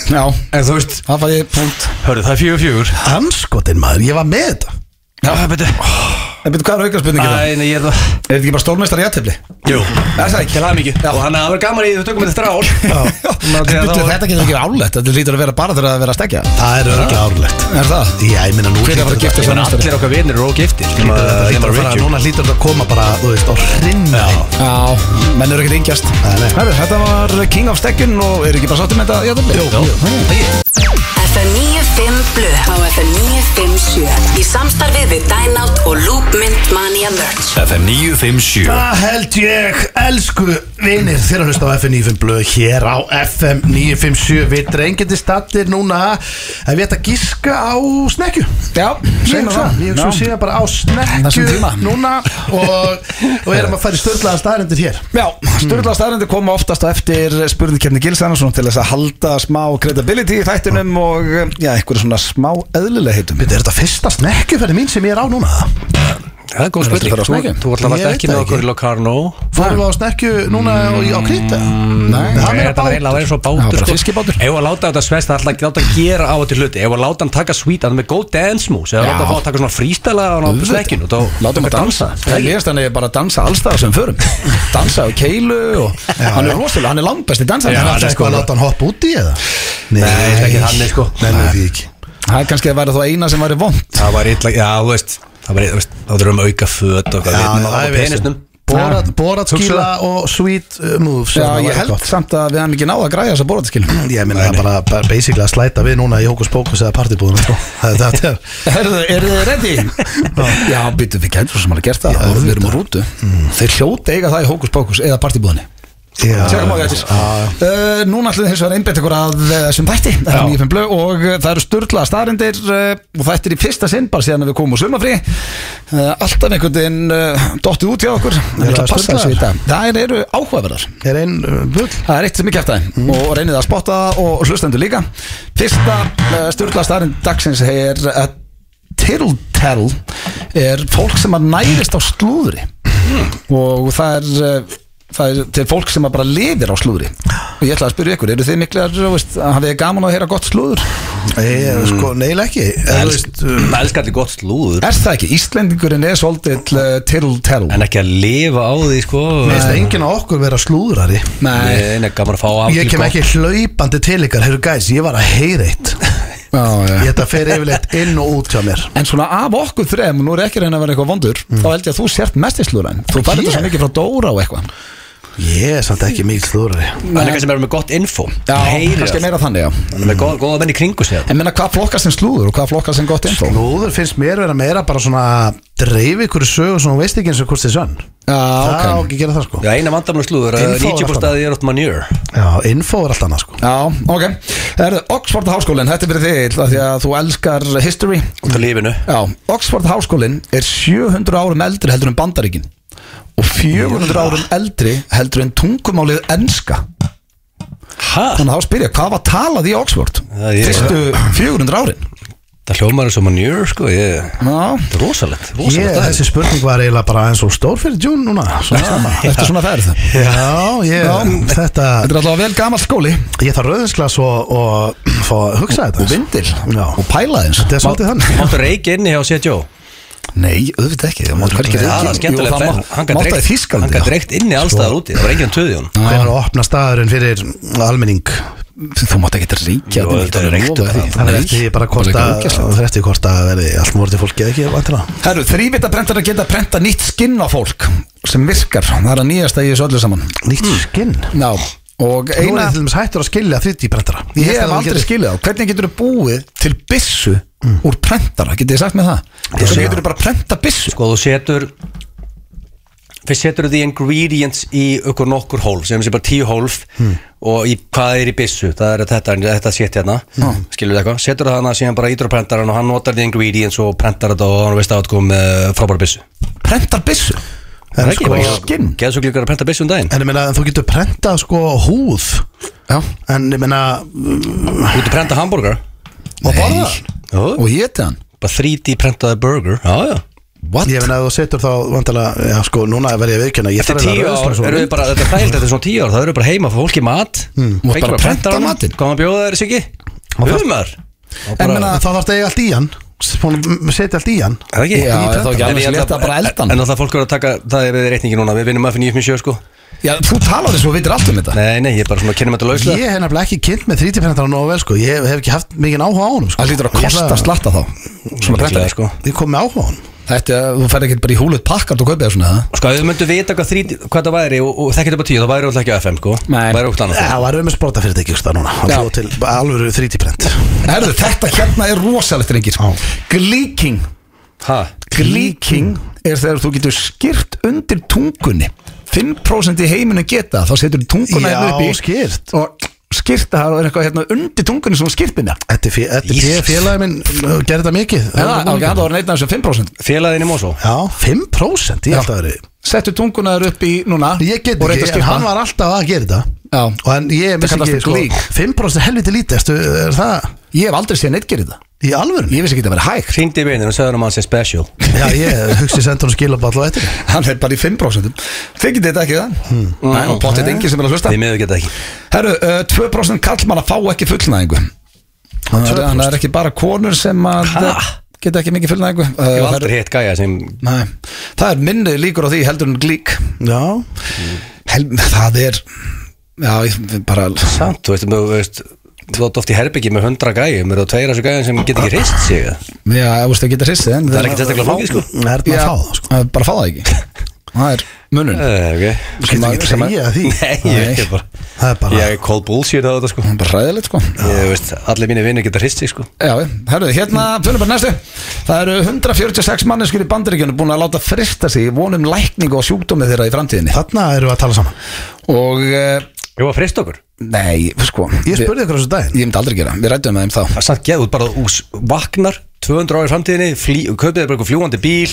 Speaker 1: Já,
Speaker 4: En þú veist,
Speaker 1: það fæði punkt
Speaker 4: hörðu, það er fjögur fjögur
Speaker 2: Anskotin maður, ég var með þetta
Speaker 4: Já, betur
Speaker 1: En betur hvað er aukarspurningin það?
Speaker 4: Æ, nei, ég er það
Speaker 1: Er þetta ekki bara stólmeistar í aðtefli?
Speaker 4: Jú, það er sæk, til það mikið Og hann hafði gaman í því, þú tökum þetta strál Ná, þegar þá-
Speaker 1: Þetta getur ekki verið álegt, þetta lítur að vera bara þegar það er verið að stekja Ah.
Speaker 2: Það er örglega árlegt
Speaker 1: Er það?
Speaker 2: Já, ég minna nú
Speaker 1: Hver er að fara að gifta
Speaker 4: Ég
Speaker 1: sig?
Speaker 4: meina, Allir okkar vinir eru ógiftir nema-
Speaker 2: Þetta hlýtur
Speaker 4: nema
Speaker 2: að fara,
Speaker 4: Richard.
Speaker 2: núna hlýtur þetta að koma bara, þú veist, á hrinna
Speaker 1: Já, menn eru ekkert yngjast
Speaker 2: Nei, nei.
Speaker 1: Herru, þetta var eh, King of Stekkun og eru ekki bara sáttum með þetta í aðtefli?
Speaker 2: Jú, jú.
Speaker 6: FM 95 Blu á FM 957 í samstarfið við Dynout og Loopmynd Mania Merch
Speaker 7: FM 957
Speaker 2: Það held ég, elsku vinir þeirra hlust á FM 95 blöð hér á FM 957 Við drengjandi stattir núna ef við ætta að gíska á snekju
Speaker 1: Já,
Speaker 2: Ég
Speaker 1: segjum
Speaker 2: hugsa,
Speaker 1: það
Speaker 2: ég hugsa
Speaker 1: Já.
Speaker 2: síðan bara á
Speaker 1: Þessum
Speaker 2: snekju
Speaker 1: tíma.
Speaker 2: núna og, og erum að fara í stöðlaða staðarendir hér
Speaker 1: Já, styrla staðarindu koma oftast á eftir spurningkefni Gils Andersson til þess að halda smá credibility í þættinum og já, einhverju svona smá eðlileg heitum
Speaker 2: Þetta er þetta fyrsta snekjuferði mín sem ég er á núna
Speaker 4: Það er góð
Speaker 1: Það er
Speaker 4: spurning
Speaker 1: aldrei
Speaker 4: Þú
Speaker 1: farið á snækju.
Speaker 4: þú
Speaker 2: Ég
Speaker 4: ætlaði að
Speaker 2: veit
Speaker 4: ekki
Speaker 2: það ekki.
Speaker 4: með okkur í Locarno
Speaker 2: Fórum við á snekju núna í- á Krita? Mm, Nei, það
Speaker 4: Nei,
Speaker 2: meira
Speaker 4: Þetta var
Speaker 2: bátur
Speaker 4: eiginlega að vera eins og
Speaker 1: Já,
Speaker 4: bátur
Speaker 1: bara
Speaker 4: sko.
Speaker 1: fiskibátur.
Speaker 4: Ef að láta þetta svest Það ætla ekki láta að gera á þetta hluti Ef að láta hann taka sweet Hann er með góð dance moves Ef að
Speaker 1: Já.
Speaker 4: láta hann fá að taka svona frístæla á hann á
Speaker 1: Auðvitað.
Speaker 4: snekkinu þá-
Speaker 1: Látum
Speaker 4: þá
Speaker 1: að dansa Það
Speaker 4: Já,
Speaker 1: lýðast hann er bara að dansa allstaðar sem við förum Dansa á keilu og hann er rosalega, hann er langbæsti dansar
Speaker 2: Er
Speaker 1: Það
Speaker 2: alltaf eitthvað að láta hann hoppa út í eða? Nei,
Speaker 4: þetta er ekki þannig, sko.
Speaker 2: Nei, nei, því ekki
Speaker 1: er kannski að vera þó eina sem væri vond
Speaker 4: Það var illa Já, þú veist Það var illa Þá þurfum við að auka föt og
Speaker 2: Já,
Speaker 4: hvað
Speaker 2: það
Speaker 4: Það
Speaker 2: er
Speaker 4: var penisnum
Speaker 2: Borat, borat
Speaker 4: Hugsa
Speaker 2: skíla
Speaker 4: það.
Speaker 2: og sweet uh, moves
Speaker 1: Já,
Speaker 2: það
Speaker 1: ég
Speaker 2: væri
Speaker 1: held
Speaker 2: gott.
Speaker 1: samt að við hann ekki náða að græja þessa borðaskil
Speaker 2: Ég meina það er bara, bara basically að slæta við núna í Hókus Pókus eða partybúðuna sko. Það er þetta
Speaker 1: Herðu, eru þið ready? Já, býtu, við gætum svo sem alveg gert það Já, Við erum á rútu
Speaker 2: Mm.
Speaker 1: Þeir hljóta eiga það í hókus pókus eða partibúðinni Tjekkum á því eftir uh, Núna ætlum við hins vegar einbett ykkur að eh, þessum þætti Það er 95 blöð og eh, það eru sturla staðrindir uh, og þetta er í fyrsta sinn bara síðan að við komum úr sumafrí uh, Alltaf einhvern veginn uh, dottið út hjá okkur En
Speaker 2: Eru
Speaker 1: við ætlum
Speaker 2: það
Speaker 1: að passa þessu í
Speaker 2: sturlaðar?
Speaker 1: dag Það eru áhugaverðar
Speaker 2: Er einn uh, bull
Speaker 1: Það er eitt sem ég kæft aðeins og reynið að spotta það og hlustendur líka Fyrsta
Speaker 8: eh,
Speaker 1: uh, styrla starinn dagsins er að Tittle Tell er fólk sem að nærist á slúðri
Speaker 8: og það er eh, það er til fólk sem að bara lifir á slúðri og ég ætla að spyrja ykkur, eru þið miklar þú veist, að hafið þið gaman á að heyra gott slúður
Speaker 2: Ég er sko neil ekki Eða, þú veist, um,
Speaker 4: elskar allir gott slúður
Speaker 8: er það ekki, Íslendingurinn er svolítið eh, tittle-tell
Speaker 4: En ekki að lifa á því sko
Speaker 2: Mér finnst enginn á okkur vera slúðrari
Speaker 8: Nei,
Speaker 4: Nei, en gaman að fá af sko.
Speaker 2: Ég kem ekki hlaupandi til ykkar Heyrðu gæs, ég var að heyra eitt
Speaker 8: já, já.
Speaker 2: Ég þetta fer yfirleitt inn og út hjá mér
Speaker 8: En svona af okkur þrem, og nú er ekki að reyna að vera eitthvað vondur þá held ég að þú sért mest í slúðræn Þú færði þetta
Speaker 2: Ég?
Speaker 8: svo mikið frá Dóra og eitthvað
Speaker 2: Ég er samt ekki mikið slúðrari
Speaker 4: Hann er kannski meira með gott info
Speaker 8: Já,
Speaker 4: Heyrir
Speaker 8: kannski
Speaker 4: allt.
Speaker 8: meira þannig, já
Speaker 4: Hann er með góð- góða menn í kringu sig
Speaker 8: En menna, hvað flokkar sem slúður og hvað flokkar sem gott info?
Speaker 2: Slúður finnst mér vera meira bara svona Dreif ykkur sögur sem hún veist ekki eins og hvort þið sönn
Speaker 8: Já,
Speaker 2: Það á
Speaker 8: ok
Speaker 2: ekki að gera það sko
Speaker 4: Já, eina vandamlega slúður eh, að
Speaker 2: Info er alltaf.
Speaker 4: 90% að því er oft manjör
Speaker 2: Já, info er allt annað sko
Speaker 8: Já, ok Herðu, Oxford háskólinn, þetta er fyrir þig Egill, af því að þú elskar history
Speaker 4: út af lífinu
Speaker 8: Já, Oxford háskólinn er 700 árum eldri heldur en bandaríkin og 400 árum eldri heldur en tungumálið enska
Speaker 4: Hæ?
Speaker 8: Þannig að þá spyrja, hvað var talað í Oxford?
Speaker 4: Það er-
Speaker 8: Fyrstu 400 árin
Speaker 4: Það hljómar er svo manjör sko ég...
Speaker 8: Já,
Speaker 4: Það er rosalegt,
Speaker 2: Ég,
Speaker 4: rosalegt
Speaker 2: þessi spurning var eiginlega bara eins og stór fyrir djún núna svona snemma.
Speaker 8: eftir svona ferð Þetta
Speaker 2: Já, ég, þetta
Speaker 8: er alltaf vel gamall skóli
Speaker 2: Ég þarf rauðinsglas og, og fá að hugsa þetta
Speaker 8: og vindil
Speaker 2: Já.
Speaker 8: og pæla eins
Speaker 2: Þetta er svolítið þannig
Speaker 4: Máttu reiki inni hjá CTO
Speaker 8: Nei, auðvitað ekki, það mátt hverki
Speaker 4: Já, það er skemmtilega
Speaker 8: það
Speaker 4: ferð. Hann
Speaker 8: mátt
Speaker 4: gat
Speaker 8: að
Speaker 4: reykt- Hann
Speaker 8: þískalandi
Speaker 4: gæti reykt inni allstaðar úti Það var enginn töði hún
Speaker 2: Hvernig er að opna staðurinn fyrir almenning
Speaker 8: Þú mátt ekki reykja
Speaker 4: Jú, þetta er reyktu það.
Speaker 2: Það er eftir því bara hvort að
Speaker 8: ógæslega
Speaker 2: Það er eftir því hvort að verði allt morðið fólki eða ekki vantilega
Speaker 8: Herru, þrývita brentar að geta prenta nýtt skinn á fólk sem virkar, það er að nýjasta í þessu öllu saman Hmm.
Speaker 2: Nýtt skinn
Speaker 8: Já, og
Speaker 2: Nú er
Speaker 8: eina
Speaker 2: ég til dæmis hættur að skilja 3D prentara
Speaker 8: Ég hef aldrei skilið á, hvernig getur þú búið til byssu
Speaker 2: Hmm.
Speaker 8: úr prentara, getið þið sagt með það? Hvernig getur þú bara prenta byssu?
Speaker 4: Sko, þú setur Fyrst setur þú því ingredients í okkur nokkur hólf sem sé bara tíu hólf
Speaker 8: Hmm.
Speaker 4: og í, hvað er í byssu, það er þetta, þetta set hérna, mm. skilur þetta eitthvað setur það hana síðan bara ítur á prentaran og hann notar því ingredients og prentar þetta og hann veist átkom uh, frábæra byssu
Speaker 8: Prentar byssu?
Speaker 2: En sko
Speaker 8: skinn.
Speaker 4: Geðu svo glíkar að prenta byssu um daginn
Speaker 2: En ég meina þú getur prentað sko húð
Speaker 8: Já,
Speaker 2: En ég meina
Speaker 4: Þú ert að prenta hambúrgar
Speaker 8: og borða hann
Speaker 4: Bara
Speaker 8: og héti hann
Speaker 4: 3D prentaði burger Já, já
Speaker 8: What?
Speaker 2: Ég meina þú setur þá vantilega Já sko núna verð ég að sko. viðkjöna Ég
Speaker 4: Eftir
Speaker 2: þarf
Speaker 4: tíu
Speaker 2: eiginlega
Speaker 4: ár
Speaker 2: rauðvínsglas og
Speaker 4: eru við bara, þetta er þægild, þetta er svona tíu ár, það eru bara heima fólk í mat mm.
Speaker 8: Hmm. Þú mátt bara prenta matinn.
Speaker 4: Hvað maður bjóða þér, Siggi? Humar
Speaker 8: En
Speaker 2: En
Speaker 8: meina,
Speaker 2: þá þarf þetta eiga allt í hann Hún setja allt í hann
Speaker 4: Það er ekki
Speaker 8: Já, er þá
Speaker 4: En
Speaker 8: ekki alveg
Speaker 4: ég
Speaker 8: slétt
Speaker 4: ætla-
Speaker 8: að bara elda hann?
Speaker 4: En alltaf fólk eru að taka, það er við reikningi núna, við vinnum að finna í mjög sko
Speaker 8: já, þú talar þessu og vitir allt um þetta
Speaker 4: Nei, nei, ég er bara svona að kynna með þetta lauslega
Speaker 2: Ég hef nefnilega ekki kynnt með 3D-prentaran nógu vel sko Ég hef ekki haft mikið áhuga á honum sko
Speaker 8: Það lítur að
Speaker 2: Ég
Speaker 8: kosta
Speaker 2: ætla-
Speaker 8: slatta þá Svona
Speaker 4: Líklega,
Speaker 8: prentari
Speaker 4: sko.
Speaker 2: Ég kom með áhuga á honum
Speaker 8: Þetta, þú fer ekki bara í húlut pakkart og kaupið það svona það
Speaker 4: Sko, ef við myndum vita hvað, 3D hvað það væri og, og þekkið upp á tíu, það væri alltaf ekki á FM, sko
Speaker 8: Nei.
Speaker 4: Væri út annað
Speaker 2: Já, Það var um að sprota fyrir þetta ekki sko núna Hann
Speaker 8: Já.
Speaker 2: bjóð til alvöru 3D-prent
Speaker 8: Herðu, þetta hérna er rosalegt reyngir Glíking
Speaker 4: Ha?
Speaker 8: Glíking er þegar þú getur skýrt undir tungunni 5% í heiminu geta það, þá setur þú tunguna
Speaker 2: Já,
Speaker 8: hérna upp í
Speaker 2: skýrt.
Speaker 8: og skýrt það er eitthvað hérna undir tungunni sem þú skýrt minna
Speaker 2: Þetta er fé- þetta er fé-
Speaker 4: Jesus.
Speaker 2: félagi minn uh, Gerði þetta mikið
Speaker 8: Já, ok, þannig að það var neitt af þessum 5%
Speaker 4: Félagin í Mosó
Speaker 2: Já, 5% Ég held að veri
Speaker 8: Settu tunguna þér upp í núna
Speaker 2: Ég get
Speaker 8: og reyndu
Speaker 2: ekki,
Speaker 8: að
Speaker 2: en
Speaker 8: skýrta
Speaker 2: hann var alltaf að gera þetta
Speaker 8: Já.
Speaker 2: Og en ég vissi
Speaker 8: kallast
Speaker 2: ekki sko
Speaker 8: glík.
Speaker 2: 5% er helviti lítið ertu- Er það
Speaker 8: Ég hef aldrei séð neitt gerði það
Speaker 2: í alvöru?
Speaker 8: Ég vissi ekki að vera hægt
Speaker 4: Hringdi í vinnin og sagði hann að hann sé special
Speaker 2: Já, ég hugsi senda hann skilaball og eftir
Speaker 8: Hann er bara í 5% Þið getið þetta ekki það Hmm. Nei, og potið engin sem er að hlusta
Speaker 4: Því miður geta ekki
Speaker 8: Herru, uh, 2% kallmann að fá ekki fullnæðingu Þannig að það er ekki bara konur sem að
Speaker 4: Ha?
Speaker 8: geta ekki mikið fullnæðingu uh,
Speaker 4: Ég hef
Speaker 8: það
Speaker 4: aldrei
Speaker 8: eru-
Speaker 4: hitt gæja sem
Speaker 8: Nei, það er minni líkur á því heldur en glík
Speaker 2: Já,
Speaker 8: Hel, Það er Já, ég bara
Speaker 4: Samt, þú veist, þú veist Þú átt oft í herbyggi með hundra gæjum Eru það tveir af þessu gæjum sem get ekki rist sig eða?
Speaker 8: Já, ég veist að geta hrissið en
Speaker 4: Það er ekki sérstaklega flókið sko
Speaker 2: það er þetta
Speaker 8: Já,
Speaker 2: að fá það sko
Speaker 8: það er Eh, bara að fá það ekki Það er munun
Speaker 4: Eh, ok.
Speaker 2: Þú getur ekki
Speaker 8: sem að-
Speaker 2: treyja því
Speaker 4: Nei, ég er ekki bara
Speaker 2: Það
Speaker 8: Ah.
Speaker 2: er bara
Speaker 4: Ég er cold bullshit á þetta sko
Speaker 8: Það er bara ræðilegt sko
Speaker 4: Ég veist, allir mínir vinnir geta hrist sig sko
Speaker 8: Já, herruðu, hérna fyrir bara næstu Það eru 146 manneskur í bandaríkjunum búin að láta frista sig í vonum lækningu og sjúkdómi þeirra í framtíðinni
Speaker 2: Þarna erum við að tala saman
Speaker 8: Og, eh,
Speaker 4: Ég var frist okkur
Speaker 8: nei, sko
Speaker 2: Ég spurði ykkur á þessu daginn
Speaker 8: Ég myndi aldrei gera, við rættum með þeim þá
Speaker 4: Það er samt geð út bara ús Vaknar 200 ári framtíðinni flý, Kaupið þér bara eitthvað fljúandi bíl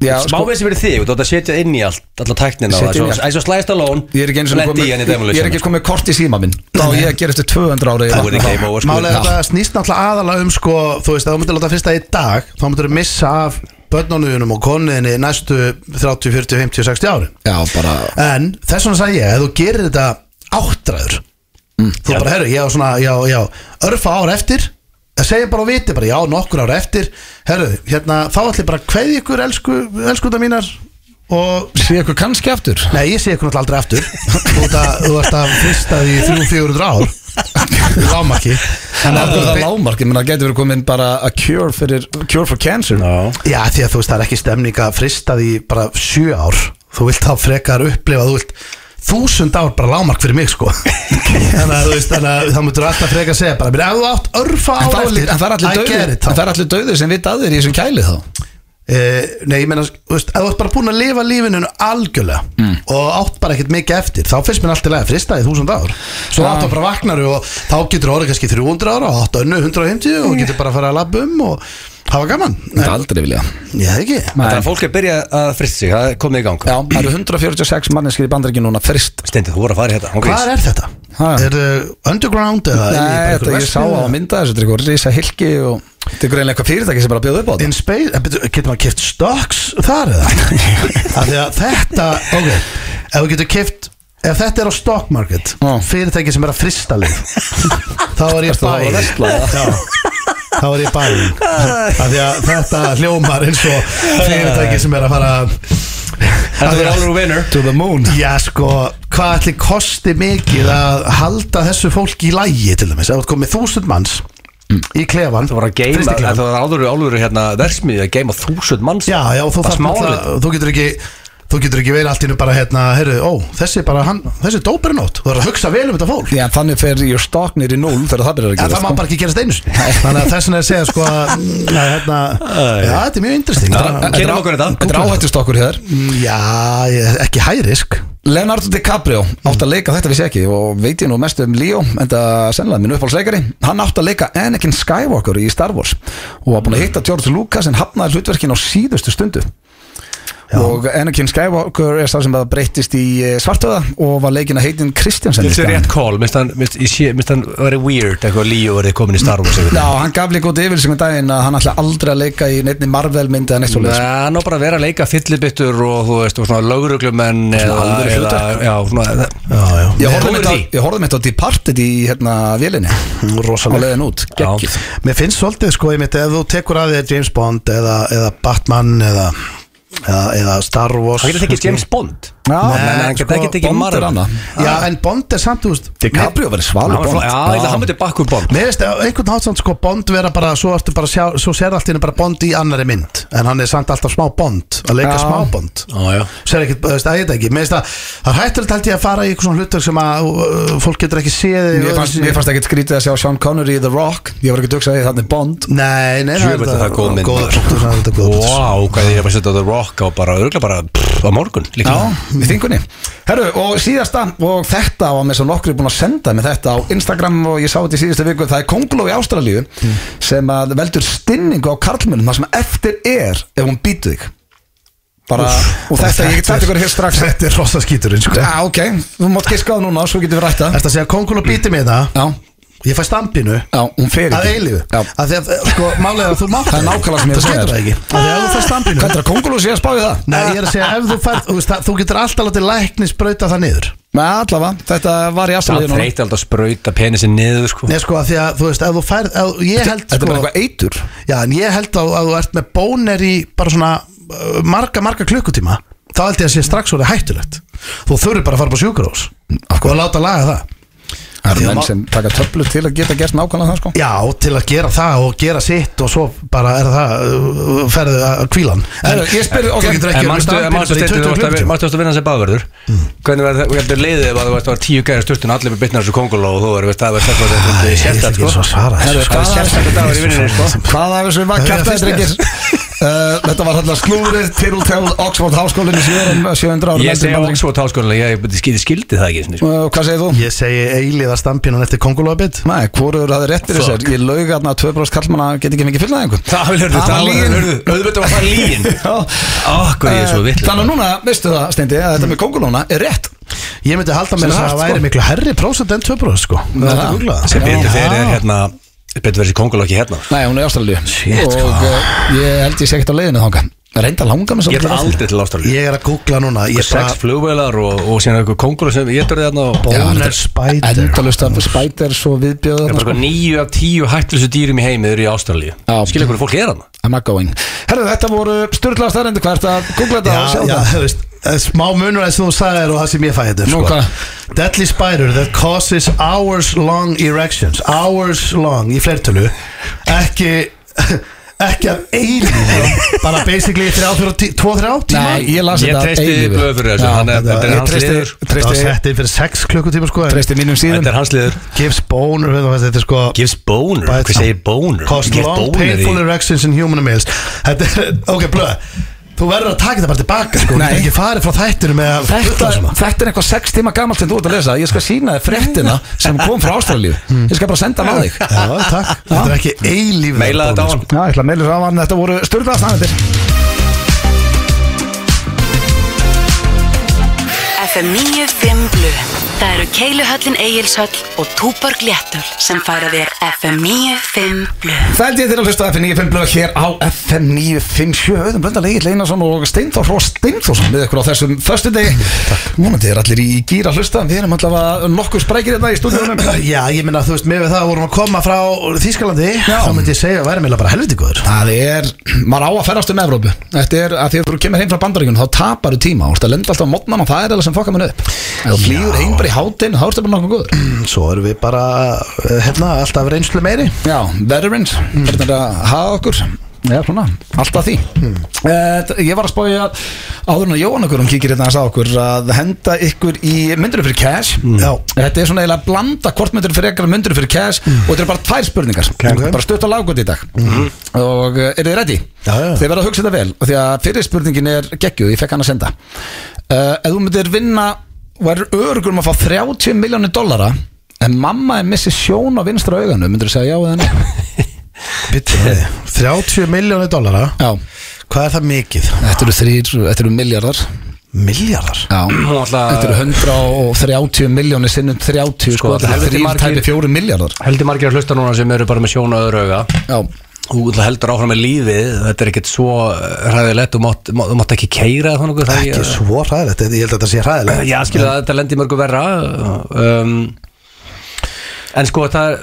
Speaker 8: Já, sko.
Speaker 4: Smá veist fyrir þig Þú átt að setja inn í allt Alla tæknina og
Speaker 8: Setja inn
Speaker 4: Það
Speaker 8: í allt.
Speaker 4: er svo slæst alón
Speaker 8: Ég er ekki eins og
Speaker 4: Lendi í henni
Speaker 8: komið Ég er
Speaker 4: demolition
Speaker 8: ekki
Speaker 4: sko.
Speaker 8: komið kort í síma minn Þá á ég að gera eftir 200 ára í
Speaker 4: Það voru
Speaker 8: vatna.
Speaker 4: game over sko
Speaker 2: Málega þetta snýst náttúrulega aðalega um sko, þú veist, að þú myndir láta fyrsta í dag þá myndir þú missa af börnunum og konuðinni næstu 30, 40, 50, 60 ári
Speaker 1: Já, bara
Speaker 2: En þess vegna sagði ég, ef þú gerir þetta áttræður Þú bara, herru, ég á svona, já, já, örfa ár eftir Það segja bara og viti bara, já, nokkur ár eftir Herru, hérna, þá ætlum ég bara að kveði ykkur, elsku, elsku það mínar Og,
Speaker 1: Sé eitthvað kannski aftur
Speaker 2: nei, ég sé ykkur náttúrulega aldrei aftur Þú ert að, þú ert að frista því 300-400 ár Lámaki
Speaker 1: En
Speaker 2: Þannig
Speaker 1: það er
Speaker 2: að-
Speaker 1: það lágmark, ég menn að getur verið komin bara a cure, fyrir, cure for cancer
Speaker 4: Já
Speaker 2: Já, því að þú veist, það er ekki stemning að frista því bara sjö ár Þú vilt þá frekar upplifa, þú vilt þúsund ár bara lámark fyrir mig, sko Þannig að þú veist, þannig að það mútur alltaf frekar að segja bara "Mér, Ef þú átt örfa
Speaker 1: En
Speaker 2: ára
Speaker 1: það er allir-
Speaker 2: eftir,
Speaker 1: en það er allir
Speaker 2: I
Speaker 1: dauðir
Speaker 2: get
Speaker 1: En
Speaker 2: it þá
Speaker 1: það er allir dauðir sem vita að þér í þessum kæli þá
Speaker 2: Eh, Nei, ég meina, þú veist, ef þú ert bara búin að lifa lífinu algjörlega
Speaker 1: Mm.
Speaker 2: og átt bara ekkert mikið eftir, þá finnst mér alltaf lega að frista því þúsund ár Svo
Speaker 1: Ah.
Speaker 2: átt að bara vaknar og þá getur orðið kannski 300 ára og átt önnu 150 og getur bara að fara að labba um og hafa gaman
Speaker 1: Það er aldrei vilja
Speaker 2: Ég það ekki
Speaker 4: Þannig að fólk er að byrja að frista sig, það er komið í gang
Speaker 1: Já, það eru 146 manneskir í bandaríkinu núna fyrst
Speaker 4: Steindi, þú voru að fara hérna. í þetta hún grís.
Speaker 2: Hvað er þetta?
Speaker 1: Ha?
Speaker 2: Er það underground eða?
Speaker 1: Nei,
Speaker 2: er bara
Speaker 1: þetta
Speaker 2: einhver
Speaker 1: ég sá á
Speaker 2: verksmiðja?
Speaker 1: mynda þessu, þetta er eitthvað risa hilki og þetta er greinlega eitthvað fyrirtæki sem bara bjóð upp á þetta
Speaker 2: In space, eh, byrju, getur maður kift stocks þar eða? Af því að þetta, ok, ef þú getur kift Ef þetta er á stock market
Speaker 1: Já.
Speaker 2: Fyrirtæki sem er að frista lið Þá er ég
Speaker 1: Ertu þá að
Speaker 2: bæði
Speaker 1: versla það?
Speaker 2: Þá er ég bæði Af því að þetta hljómar eins og Fyrirtæki sem er að fara
Speaker 4: Þetta verður alveg vinnur
Speaker 1: To the moon
Speaker 2: Já sko, hvað ætli kosti mikið að halda þessu fólki í lægi til dæmis, ef þú komið þúsund manns í klefan
Speaker 4: Það voru að geima,
Speaker 2: frystiklefann.
Speaker 4: það voru áður, áður hérna versmiði að geima þúsund manns
Speaker 2: Já, já, þú,
Speaker 4: Það
Speaker 2: þarft
Speaker 4: smálit
Speaker 2: náttúrulega- þú getur ekki þú getur ekki verið allt í nú bara hérna, heyrðu, ó, þessi er bara hann, þessi er dóperinót, þú verður að hugsa vel um þetta fólk
Speaker 1: Já, þannig fer your stock nýri 0 þegar það byrjar að
Speaker 2: En
Speaker 1: gera
Speaker 2: það
Speaker 4: sko.
Speaker 2: má bara ekki gerast einu sinni. Þannig að þessin er að segja sko að, mm, að hérna, já, þetta er mjög interesting Þetta er-
Speaker 4: Kynnum okkur þetta.
Speaker 1: Þetta er áhættist okkur hér
Speaker 2: Mm, Já, ég- ekki hærisk
Speaker 1: Leonardo DiCaprio átt að leika þetta vissi ég ekki og veit ég nú mest um Leo en það sennilega minn uppáhaldsleikari hann átt að leika Anakin Skywalker í Star Wars og var búin að hitta George Lucas en hafnaði hlutverkin á síðustu stundu og Anakin Skywalker er sá sem bara breyttist í eh, svartöða og var leikin að heitin Kristjansen
Speaker 4: Þetta er rétt call, minnst hann, minnst, ég sé, minnst hann verið weird eitthvað líu verið komin í Star Wars einhvern
Speaker 1: Já,
Speaker 4: veginn.
Speaker 1: hann gaf líka út yfir sem daginn að hann ætla aldrei að leika í neittni Marvel myndi eða neitt svo
Speaker 4: Nei, hann á bara að vera að leika fyllibittur og þú veist, og svona lögreglumenn eða,
Speaker 1: alvöru
Speaker 4: eða,
Speaker 1: hlutverk.
Speaker 4: já, svona,
Speaker 2: Já, já,
Speaker 1: Ég
Speaker 4: Nei,
Speaker 1: horfði
Speaker 4: hún er
Speaker 1: mitt á,
Speaker 4: því.
Speaker 1: ég horfði mitt á Departed í hérna vélinni á
Speaker 2: rosalega
Speaker 1: leiðin út, geggjuð
Speaker 2: Mér finnst svolítið sko einmitt ef þú tekur að þér James Bond eða, eða Batman eða, eða, eða Star Wars
Speaker 4: hann getur tekið James Bond
Speaker 1: Já,
Speaker 4: Nei, hann getur ekki tekið
Speaker 1: Sko, Bond er
Speaker 4: Marvel.
Speaker 1: annað.
Speaker 2: Já en Bond er samt þú veist
Speaker 1: DiCaprio verið
Speaker 4: Hann
Speaker 1: svalur
Speaker 4: var
Speaker 1: Bond
Speaker 4: flott. Já, ég ætla að hann myndi bakku Bond
Speaker 2: Mér finnst að einhvern hátt samt sko Bond vera bara svo, ertu bara að sjá, svo sér allt hérna bara Bond í annari mynd en hann er samt alltaf smá Bond að leika
Speaker 1: Já.
Speaker 2: smá Bond
Speaker 4: Já, já
Speaker 2: Sér ekkert, þú veist, að ég veit ekki Mér finnst að það er hættilegt held ég að fara í eitthvað svona hlutverk sem að uh, fólk getur ekki séð
Speaker 1: Mér fannst, mér fannst ekkert skrítið að sjá Sean Connery í The Rock Ég var ekki að dugsa því þannig Bond
Speaker 2: Nei, nei,
Speaker 4: Jú, veit að það er góð mynd.
Speaker 2: Góða punktur, það er þetta góð punktur
Speaker 4: Vá, hvað er ég að setja á The Rock á bara, örgulega bara pff, á morgun líka
Speaker 1: Já, í þingunni Herru, og síðasta, og þetta var með svo nokkri búin að senda með þetta á Instagram og ég sá þetta í síðustu viku, það er Konguló í Ástralíu
Speaker 2: Hmm.
Speaker 1: sem að veldur stinningu á karlmönnum það sem eftir er ef hún býtu þig bara, og þetta, ég get sagt ykkur hér strax Já,
Speaker 2: Þetta er rosa skíturinn, sko
Speaker 1: ok, þú mátt giska það núna, svo getum við rætt það
Speaker 2: Ertu að segja kongul og býti mig það
Speaker 1: Já,
Speaker 2: Ég fæ stampinu
Speaker 1: já, hún fer
Speaker 2: Að
Speaker 1: ekki
Speaker 2: eilífu
Speaker 1: Já.
Speaker 2: Að því að, sko, málega að þú mátt
Speaker 1: Það er nákvæmlega sem ég er að segja
Speaker 2: Það
Speaker 1: þér.
Speaker 2: getur það ekki Að því að þú fæ stampinu
Speaker 1: Hvað er að Konguló sé að spá í það?
Speaker 2: Nei, ég er að segja ef þú fær Þú, veist, það- þú getur alltaf látið læknis brauta það niður
Speaker 1: Nei, allavega, þetta var í
Speaker 4: Það
Speaker 1: Ástralíu núna.
Speaker 4: þreyti alltaf að sprauta penisin niður sko
Speaker 2: Nei, sko, að því að, þú veist, ef þú fær ef, Ég held,
Speaker 1: Þetta er
Speaker 2: sko
Speaker 1: bara eitthvað eitur
Speaker 2: Já, en ég held að, að þú ert með bóner í bara svona uh, marga, marga klukkutíma þá held ég að sé strax orðið hættulegt Þú þurfir bara að fara upp á sjúkurós og láta laga það
Speaker 1: Það
Speaker 2: Því
Speaker 1: eru
Speaker 2: að
Speaker 1: menn
Speaker 2: ma-
Speaker 1: sem taka töflu til að geta gert nákvæmlega það sko
Speaker 2: Já, til að gera það og gera sitt og svo bara er það uh, ferðu að kvílan
Speaker 1: Herru, ég spyr- ok.
Speaker 2: þú getur
Speaker 4: En
Speaker 2: ekki verið með
Speaker 4: manstu,
Speaker 2: staðbíl
Speaker 4: manstu
Speaker 2: bara í 20
Speaker 4: stendur þú varst að-
Speaker 2: klukkutíma.
Speaker 4: manstu varst að vinna sem baðverður Hvernig verður það, og ég heldur leiðið ef að þú varst að var tíu gæri styrtun allir með bitnar þessu konguló og þú verður veist að verður þetta
Speaker 2: Æ, Ég ætla
Speaker 4: þetta þetta þetta þetta
Speaker 2: ekki eins og
Speaker 4: sko
Speaker 2: að svara
Speaker 1: Herru,
Speaker 2: þessu
Speaker 1: hvað
Speaker 2: sko.
Speaker 1: er
Speaker 4: sérstakur dagur í vinnunni, sko?
Speaker 1: Hvað af þessu var
Speaker 2: Það er
Speaker 1: kjartaði
Speaker 2: fyrst
Speaker 1: drengir? Uh, þetta var þarna slúrið til og til Oxford háskólinu síðar en 700 ára
Speaker 4: Ég segi Oxford háskólinlega, ég skildi, skildi það ekki einu sinni, sko.
Speaker 1: Hvað segir þú?
Speaker 2: Ég segi eilíða stampinun eftir kongulóabit
Speaker 1: Nei, hvorur hafði rétt fyrir sér? Ég laug að 2% kallmanna get ekki mikið fylgnaði einhver
Speaker 4: Það vil hörðu,
Speaker 1: Það var
Speaker 4: það
Speaker 1: lygin.
Speaker 4: vil hörðu, auðvitað var það líin Akkur ég er svo vill
Speaker 1: Þannig að núna, veistu það, Steindi, að þetta með kongulóna er rétt
Speaker 2: Ég myndi halda
Speaker 1: Sem
Speaker 2: með þess að
Speaker 1: hart,
Speaker 2: það væri
Speaker 1: sko.
Speaker 2: miklu herri prósent en 2% sko Það er
Speaker 1: það.
Speaker 2: að googla það.
Speaker 4: Sem betur fyrir
Speaker 2: Já.
Speaker 4: er hérna, betur fyrir þessi konguló ekki hérna sko.
Speaker 1: Nei, hún er ástralíu Og eh, ég held ég sé ekkert á leiðinu þanga
Speaker 8: reynda að langa með
Speaker 4: Ég ætla aldrei til Ástralíu
Speaker 2: Ég er að googla núna Ég er
Speaker 4: Sex
Speaker 2: bara
Speaker 4: flugvelar og, og síðan eitthvað kongurinn sem ég törði þarna og
Speaker 2: Bóner Spider
Speaker 8: Endalust af spiders og
Speaker 4: Það er bara
Speaker 8: viðbjöður
Speaker 4: sko níu af tíu hættilustu dýrum í heimi eru í Ástralíu
Speaker 8: Já.
Speaker 4: Skilja hvernig fólk er hana
Speaker 8: I'm not going Herðu, þetta voru styrlaðar starrendi hvert að googla þetta
Speaker 2: Já,
Speaker 8: og sjá
Speaker 2: já,
Speaker 8: þetta
Speaker 2: þú veist það er Smá munur eins og þú sagðir og það sem ég fæði þetta sko.
Speaker 8: Nú, hvað?
Speaker 2: Deadly spider that causes hours long erections Hours long í flertölu Ekki Ekki af eilífi Bara basically 3-4-2-3 tíma
Speaker 8: Nei, ég las
Speaker 4: Ég
Speaker 8: þetta
Speaker 4: treysti
Speaker 8: eilífið.
Speaker 4: blöð fyrir þessu,
Speaker 8: Já,
Speaker 4: hann er- þetta er
Speaker 8: ég
Speaker 4: hans
Speaker 8: treysti-
Speaker 4: liður.
Speaker 2: Það var
Speaker 8: Treysti,
Speaker 2: sett inn fyrir 6 klukkutíma sko en
Speaker 8: treysti mínum síðan
Speaker 4: Þetta er hans liður
Speaker 2: Gives boner þú veist, Þetta er sko
Speaker 4: Gives boner,
Speaker 2: Bara
Speaker 4: hvað
Speaker 2: þetta-
Speaker 4: segir boner?
Speaker 2: Cost
Speaker 4: Gives
Speaker 2: long
Speaker 4: boner í-
Speaker 2: painful erections in human males Þetta er, ok, blöð Þú verður að taka þetta bara tilbaka sko. Þú
Speaker 8: Nei.
Speaker 2: getur ekki farið frá þættinu með að
Speaker 8: Þetta,
Speaker 2: fulla saman.
Speaker 8: þetta er eitthvað 6 tíma gamalt sem þú ert að lesa Ég skal sína þér fréttina sem kom frá Ástralíu
Speaker 4: Hmm.
Speaker 8: Ég skal bara senda hann á þig
Speaker 2: Já, takk Þetta er ekki eilíf
Speaker 4: Meilaði þetta á hann
Speaker 8: Já, ég ætla að meila þess að hann Þetta voru styrlaðar starrendir
Speaker 6: FM 95 Blu Það eru Keiluhöllin Egilshöll og Túborg Léttul sem færa þér FM 95 Blu
Speaker 8: Þældi ég til að hlusta á FM 95 blöð hér á FM 957 Auðum blönda leigir Leynason og Steinþór Rós Steinþórsson með ykkur á þessum förstu deg Múnandi er allir í gýra hlusta Við erum allavega nokkuð sprækir þetta í stúdíunum
Speaker 2: Já, ég minna, þú veist, með við það vorum að koma frá Þýskalandi
Speaker 8: Já.
Speaker 2: Þá myndi ég segja að væri meila bara helviti góður
Speaker 8: Það er, maður á að ferðast um Evrópu Þetta er að því að þú kemur heim frá bandaríkun þá tapar þú tíma, þú ert að lenda alltaf á mótnan og það er eða sem fokkar mann upp Ef þú flýgur heim bara í hátinn, þá ertu bara nokkuð góður
Speaker 2: Svo erum við bara, eh, hérna, alltaf reynslu meiri
Speaker 8: Já, veterans,
Speaker 2: Hmm.
Speaker 8: mm. þetta er að hafa okkur Já, svona, alltaf því
Speaker 2: Hmm.
Speaker 8: mm. Ég var að spója áður en að Jóhann okkur, hún kíkir hérna að sá okkur að henda ykkur í myndunum fyrir cash
Speaker 2: Hmm. Já. Hmm.
Speaker 8: Þetta er svona eiginlega að blanda hvort myndur fyrir ekkar myndunum fyrir cash og þetta er bara tvær spurningar
Speaker 2: Ok. Hmm.
Speaker 8: bara stutt á laggóti í dag og uh, eru þið ready?
Speaker 2: Já, já.
Speaker 8: Þið verða að hugsa þetta vel og því að fyrir spurningin er geggjuð, ég fekk hann að senda uh, Ef þú myndir vinna verður örugur um að fá 30 miljónir dollara en mamma er missi sjón á vinstra auganu myndir þú segja já eða nei?
Speaker 2: Bittu, 30 miljónir dollara
Speaker 8: Já,
Speaker 2: Hvað er það mikið?
Speaker 8: þetta eru þrýr, þetta eru miljardar
Speaker 2: Miljardar?
Speaker 8: Já,
Speaker 4: Hún ætla-
Speaker 8: þetta eru 130 miljónir sinnum 30
Speaker 4: Sko,
Speaker 8: sko, þetta eru
Speaker 4: helviti
Speaker 8: þrýr
Speaker 4: margir-
Speaker 8: tæpi fjóri miljardar
Speaker 4: Heldur margir að hlusta núna sem eru bara með sjón og öðru auga
Speaker 8: Já,
Speaker 4: Þú ætla heldur áfram með lífið Þetta er ekkert svo ræðilegt Þú mátt, má- þú mátt ekki keira eða þannig
Speaker 2: Ekki svo hræðilegt, ég held að þetta sé hræðilegt
Speaker 4: Eh, Já, skilja það, þetta lendir mörgu verra um, En sko, það er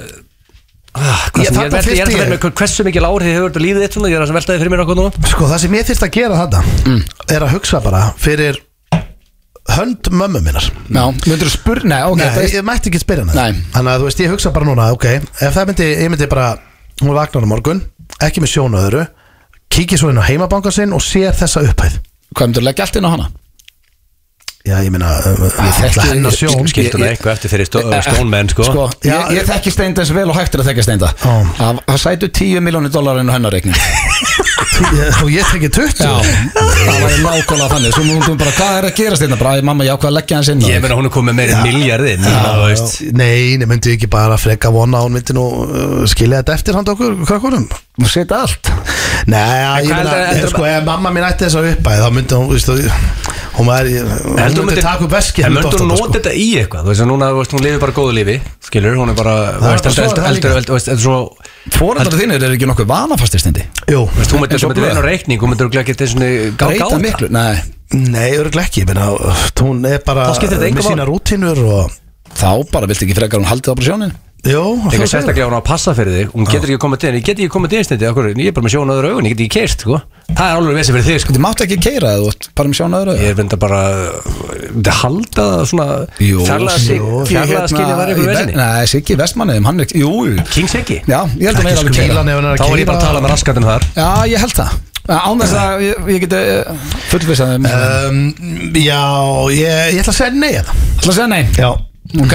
Speaker 4: ah, hvað
Speaker 2: Ég-
Speaker 4: sem
Speaker 2: þarna
Speaker 4: Ég
Speaker 2: þyrfti
Speaker 4: velti- ég er að velta
Speaker 2: ég-
Speaker 4: með hver- hversu mikil áhrif hefur þetta lífið þitt svona, ég er að velta þið fyrir mér okkur nú
Speaker 2: Sko það sem ég þyrst að gera þetta
Speaker 8: Mm.
Speaker 2: er að hugsa bara fyrir hönd mömmu minnar
Speaker 8: já, myndir þú spurna Nei, ok,
Speaker 2: Nei,
Speaker 8: þetta er-
Speaker 2: ég mætti ekki spyrja hana
Speaker 8: Nei.
Speaker 2: Þannig að þú veist, ég hugsa bara núna, ok Ef það myndi, ég myndi bara, hún vagnar á morgun Ekki með sjónu öðru Kíkir svo inn á heimabankan sinn og sér þessa upphæð
Speaker 8: hvað myndir þú leggja allt inn á hana?
Speaker 2: Já, ég meina,
Speaker 8: þekki-
Speaker 2: alltaf hennar sjón
Speaker 8: ég-
Speaker 4: Skiltu
Speaker 8: ég-
Speaker 4: það eitthvað eftir fyrir stó, stónmenn, sko,
Speaker 8: sko
Speaker 2: Já,
Speaker 8: ég, ég þekki steinda eins vel og hægt er að þekki steinda
Speaker 2: Já.
Speaker 8: Það það sætu 10 miljónir dólar inn á hennar reikning
Speaker 2: Ég- Og ég tekið 20
Speaker 8: það var nákvæmlega þannig Svo múlum við bara, hvað er að gera steinda? Bara, æ, mamma, ég ákvað að leggja hans inn á
Speaker 4: Ég
Speaker 8: þig."
Speaker 4: meina hún er komið með meiri miljardi
Speaker 2: Já, Nei, nei, myndi ég ekki bara freka vona að Hún myndi nú uh, skilja þetta eftir handa okkur Krakkunum
Speaker 8: Þú setja allt
Speaker 2: Nei,
Speaker 4: En
Speaker 2: ég
Speaker 4: hvað
Speaker 2: meina,
Speaker 4: heldur-
Speaker 2: heldur,
Speaker 4: heldur-
Speaker 2: sko, ef mamma mín ætti þessa uppæð þá myndi hún, veist þú, hún var í- hún myndi, taka upp veski
Speaker 4: En myndur hún
Speaker 2: sko.
Speaker 4: nota þetta í eitthvað Þú veist að núna, þú veist, hún lifir bara góðu lífi Skilur, hún er bara, þú veist,
Speaker 2: bara
Speaker 4: eldur,
Speaker 2: svo
Speaker 4: eldur,
Speaker 2: það líka.
Speaker 4: eldur, eldur, veist, eldur, svo
Speaker 8: Fóreldrar þínir eru ekki nokkuð vanafastir steindi
Speaker 2: sko. Jú,
Speaker 4: Veist, Þú myndir
Speaker 8: Eins og
Speaker 4: þú myndir
Speaker 8: blöð.
Speaker 4: vinna á reikning, þú myndir ekki þetta svona gá-
Speaker 8: Breyta
Speaker 4: gáta.
Speaker 8: miklu, nei
Speaker 2: nei, örgulega ekki ég meina, hún er bara
Speaker 4: Þá skiptir þetta engu
Speaker 2: með
Speaker 4: máli.
Speaker 2: sína rútinur og,
Speaker 8: Þá bara viltu ekki frekar hún haldið á brosjónin
Speaker 2: jú,
Speaker 4: Eitthvað sérstaklega ef hún á að passa fyrir þig Hún getur ekki komið til henni, ég get ekki komið til henni stundi okkur, Ég er bara með sjónu öðru augun, ég get ekki keist sko. Það er alveg vesið fyrir þig sko.
Speaker 8: Þú mátt ekki keira eða þú ert bara með sjónu öðru
Speaker 4: Ég er vinda bara Það halda það svona
Speaker 8: Jú,
Speaker 4: Fjarlæða sig,
Speaker 8: jú,
Speaker 4: fjarlæða
Speaker 8: hérna,
Speaker 4: skilja var
Speaker 8: í
Speaker 4: eitthvað
Speaker 8: Ve-
Speaker 4: vesinni
Speaker 8: Nei, Siggi Vestmannum, hann er ekki, jú jú.
Speaker 4: Kings ekki
Speaker 8: Já, ég held að hún er
Speaker 2: ekki
Speaker 8: alveg keira
Speaker 2: skvílan ef hún er
Speaker 4: Þá
Speaker 2: að
Speaker 4: er ég bara að tala
Speaker 2: keira
Speaker 4: með raskatinn þar
Speaker 8: Já, ég held það Án þess að ég, ég geti fullvisað um Það
Speaker 2: um, Já, ég, ég ætla að segja nei hérna. að það
Speaker 8: ætla að segja nei
Speaker 2: Já,
Speaker 8: Ok,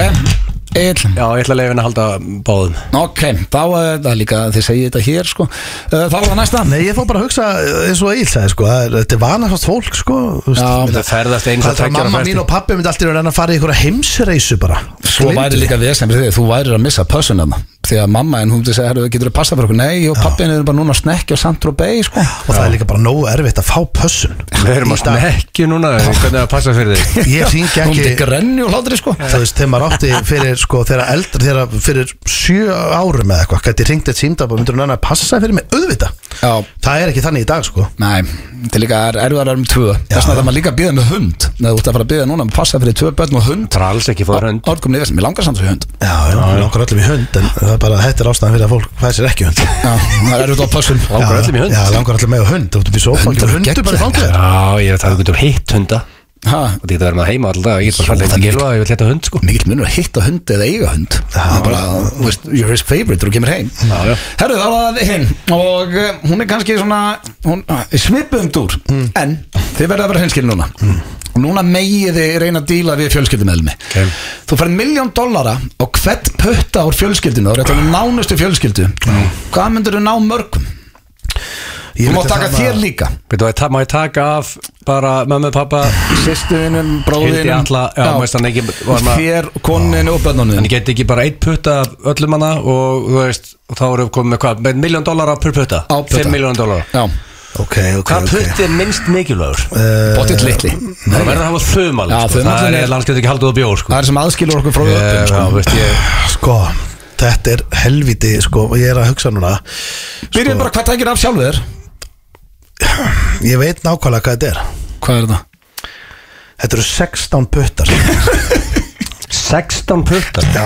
Speaker 8: Egil
Speaker 4: Já, ég ætla að leifa henni að halda báðum
Speaker 8: Ok, þá er það líka, þið segið þetta hér sko Uh, Þá er það næsta
Speaker 2: nei, ég fór bara að hugsa eh, eins og Egil sagði, sko, það er- þetta er vanafast fólk, sko þú veist.
Speaker 8: Já,
Speaker 4: Það ferðast eins og
Speaker 2: Hvað það
Speaker 4: tveggja ára
Speaker 2: mamma
Speaker 4: fresti.
Speaker 2: mín og pappi myndi alltaf reyna að fara í einhverja heimsreisu bara
Speaker 8: Svo væri líka við sem þið, þú værir að missa pössun þarna
Speaker 1: því að mamma en hún myndi segja, herru, getur þú passa fyrir okkur nei, og pappin er bara núna að snekja á Saint-Tropez sko.
Speaker 2: og það er líka bara nógu erfitt að fá pössun
Speaker 4: Við erum
Speaker 2: Í
Speaker 4: að
Speaker 2: dag.
Speaker 4: smekki núna Hvernig er að passa fyrir þig
Speaker 2: ég hringi
Speaker 1: hún myndi
Speaker 2: ekki
Speaker 1: grenni og hlátri sko.
Speaker 2: þú veist, þegar maður átti fyrir sko, þegar eldri, þegar fyrir sjö árum eða eitthvað, gæti hringt eitt símdab og myndur hún annað að passa fyrir mig, auðvita
Speaker 1: Já.
Speaker 2: það er ekki þannig í dag, sko
Speaker 1: Nei, þetta er líka er erfiðar erum tvö Þess vegna þarf maður líka að bíða með hund Nei, þú ert að fara að bíða núna um að passa fyrir tvö börn og hund
Speaker 4: Það er alls ekki fóður hund
Speaker 1: Orgum niður, mér langar samt fyrir hund
Speaker 2: já, já, já. langar öllum í hund en það er bara, þetta er ástæðan fyrir að fólk fæði sér ekki hund
Speaker 1: Já, það er erfitt á pössun
Speaker 4: Langar öllum í hund.
Speaker 2: já, langar öllum með hund, þú ert upp í sofa
Speaker 1: Hundar eru
Speaker 2: hundur, hundur bara í
Speaker 1: geggjaðir.
Speaker 2: fangir
Speaker 4: Já, ég er að það getur hitt hunda
Speaker 1: Ha,
Speaker 4: Og þetta verður maður heima alltaf Ég get bara fallið að gilva Ég vil hitta hund sko
Speaker 1: Mikill munur að hitta hund eða eiga hund Það er bara, þú veist, you're his favorite þegar þú kemur heim
Speaker 4: Já, já.
Speaker 1: Herru, þá var það hinn Og eh, hún er kannski svona hún, ah, Svipum um dúr
Speaker 4: Mm.
Speaker 1: En þið verða að vera hinskil núna Og núna megið þið reyna að díla við fjölskyldumeðlumi
Speaker 4: Ok.
Speaker 1: Þú færð miljón dollara Og hvert putta úr fjölskyldinu Það er þetta nánustu fjölskyldu Hvað myndur þú ná mörgum?
Speaker 2: Ég
Speaker 1: Þú má
Speaker 2: myndi
Speaker 1: taka
Speaker 2: það
Speaker 1: þér
Speaker 2: að-
Speaker 1: líka
Speaker 4: Veitu, það má ég taka af bara mömmu, pappa
Speaker 1: Sýstuðinum,
Speaker 4: Hildi
Speaker 1: bróðinum
Speaker 4: alla Já, veist hann ekki var maður-
Speaker 1: Þér, koninu og
Speaker 4: En ég
Speaker 1: bönnunum
Speaker 4: get ekki bara eitt putta af öllum hana og þú veist, og þá erum við komið með hvað, með miljón dólara per putta,
Speaker 1: Á putta.
Speaker 4: 5 miljón dólara
Speaker 1: Já,
Speaker 2: ok, ok,
Speaker 4: Hvað
Speaker 2: ok Eh,
Speaker 4: putti er minnst mikilvægur?
Speaker 1: bóttið litli
Speaker 4: Það verður að hafa þumal,
Speaker 1: Já,
Speaker 4: sko.
Speaker 1: þumalinn
Speaker 4: það
Speaker 1: er-
Speaker 4: er landskjöld ekki haldið á bjór, sko
Speaker 1: Það er sem aðskilur okkur frá
Speaker 4: Eh,
Speaker 1: öllum
Speaker 4: Já,
Speaker 1: sko.
Speaker 4: veist ég
Speaker 2: sko, þetta er helviti sko, og ég er að hugsa núna
Speaker 4: sko-
Speaker 1: Byrjum bara hvað tækir af sjálfu þér
Speaker 2: ég veit nákvæmlega hvað þetta er
Speaker 1: Hvað er þetta?
Speaker 2: þetta eru 16 puttar
Speaker 4: 16 putta
Speaker 2: já,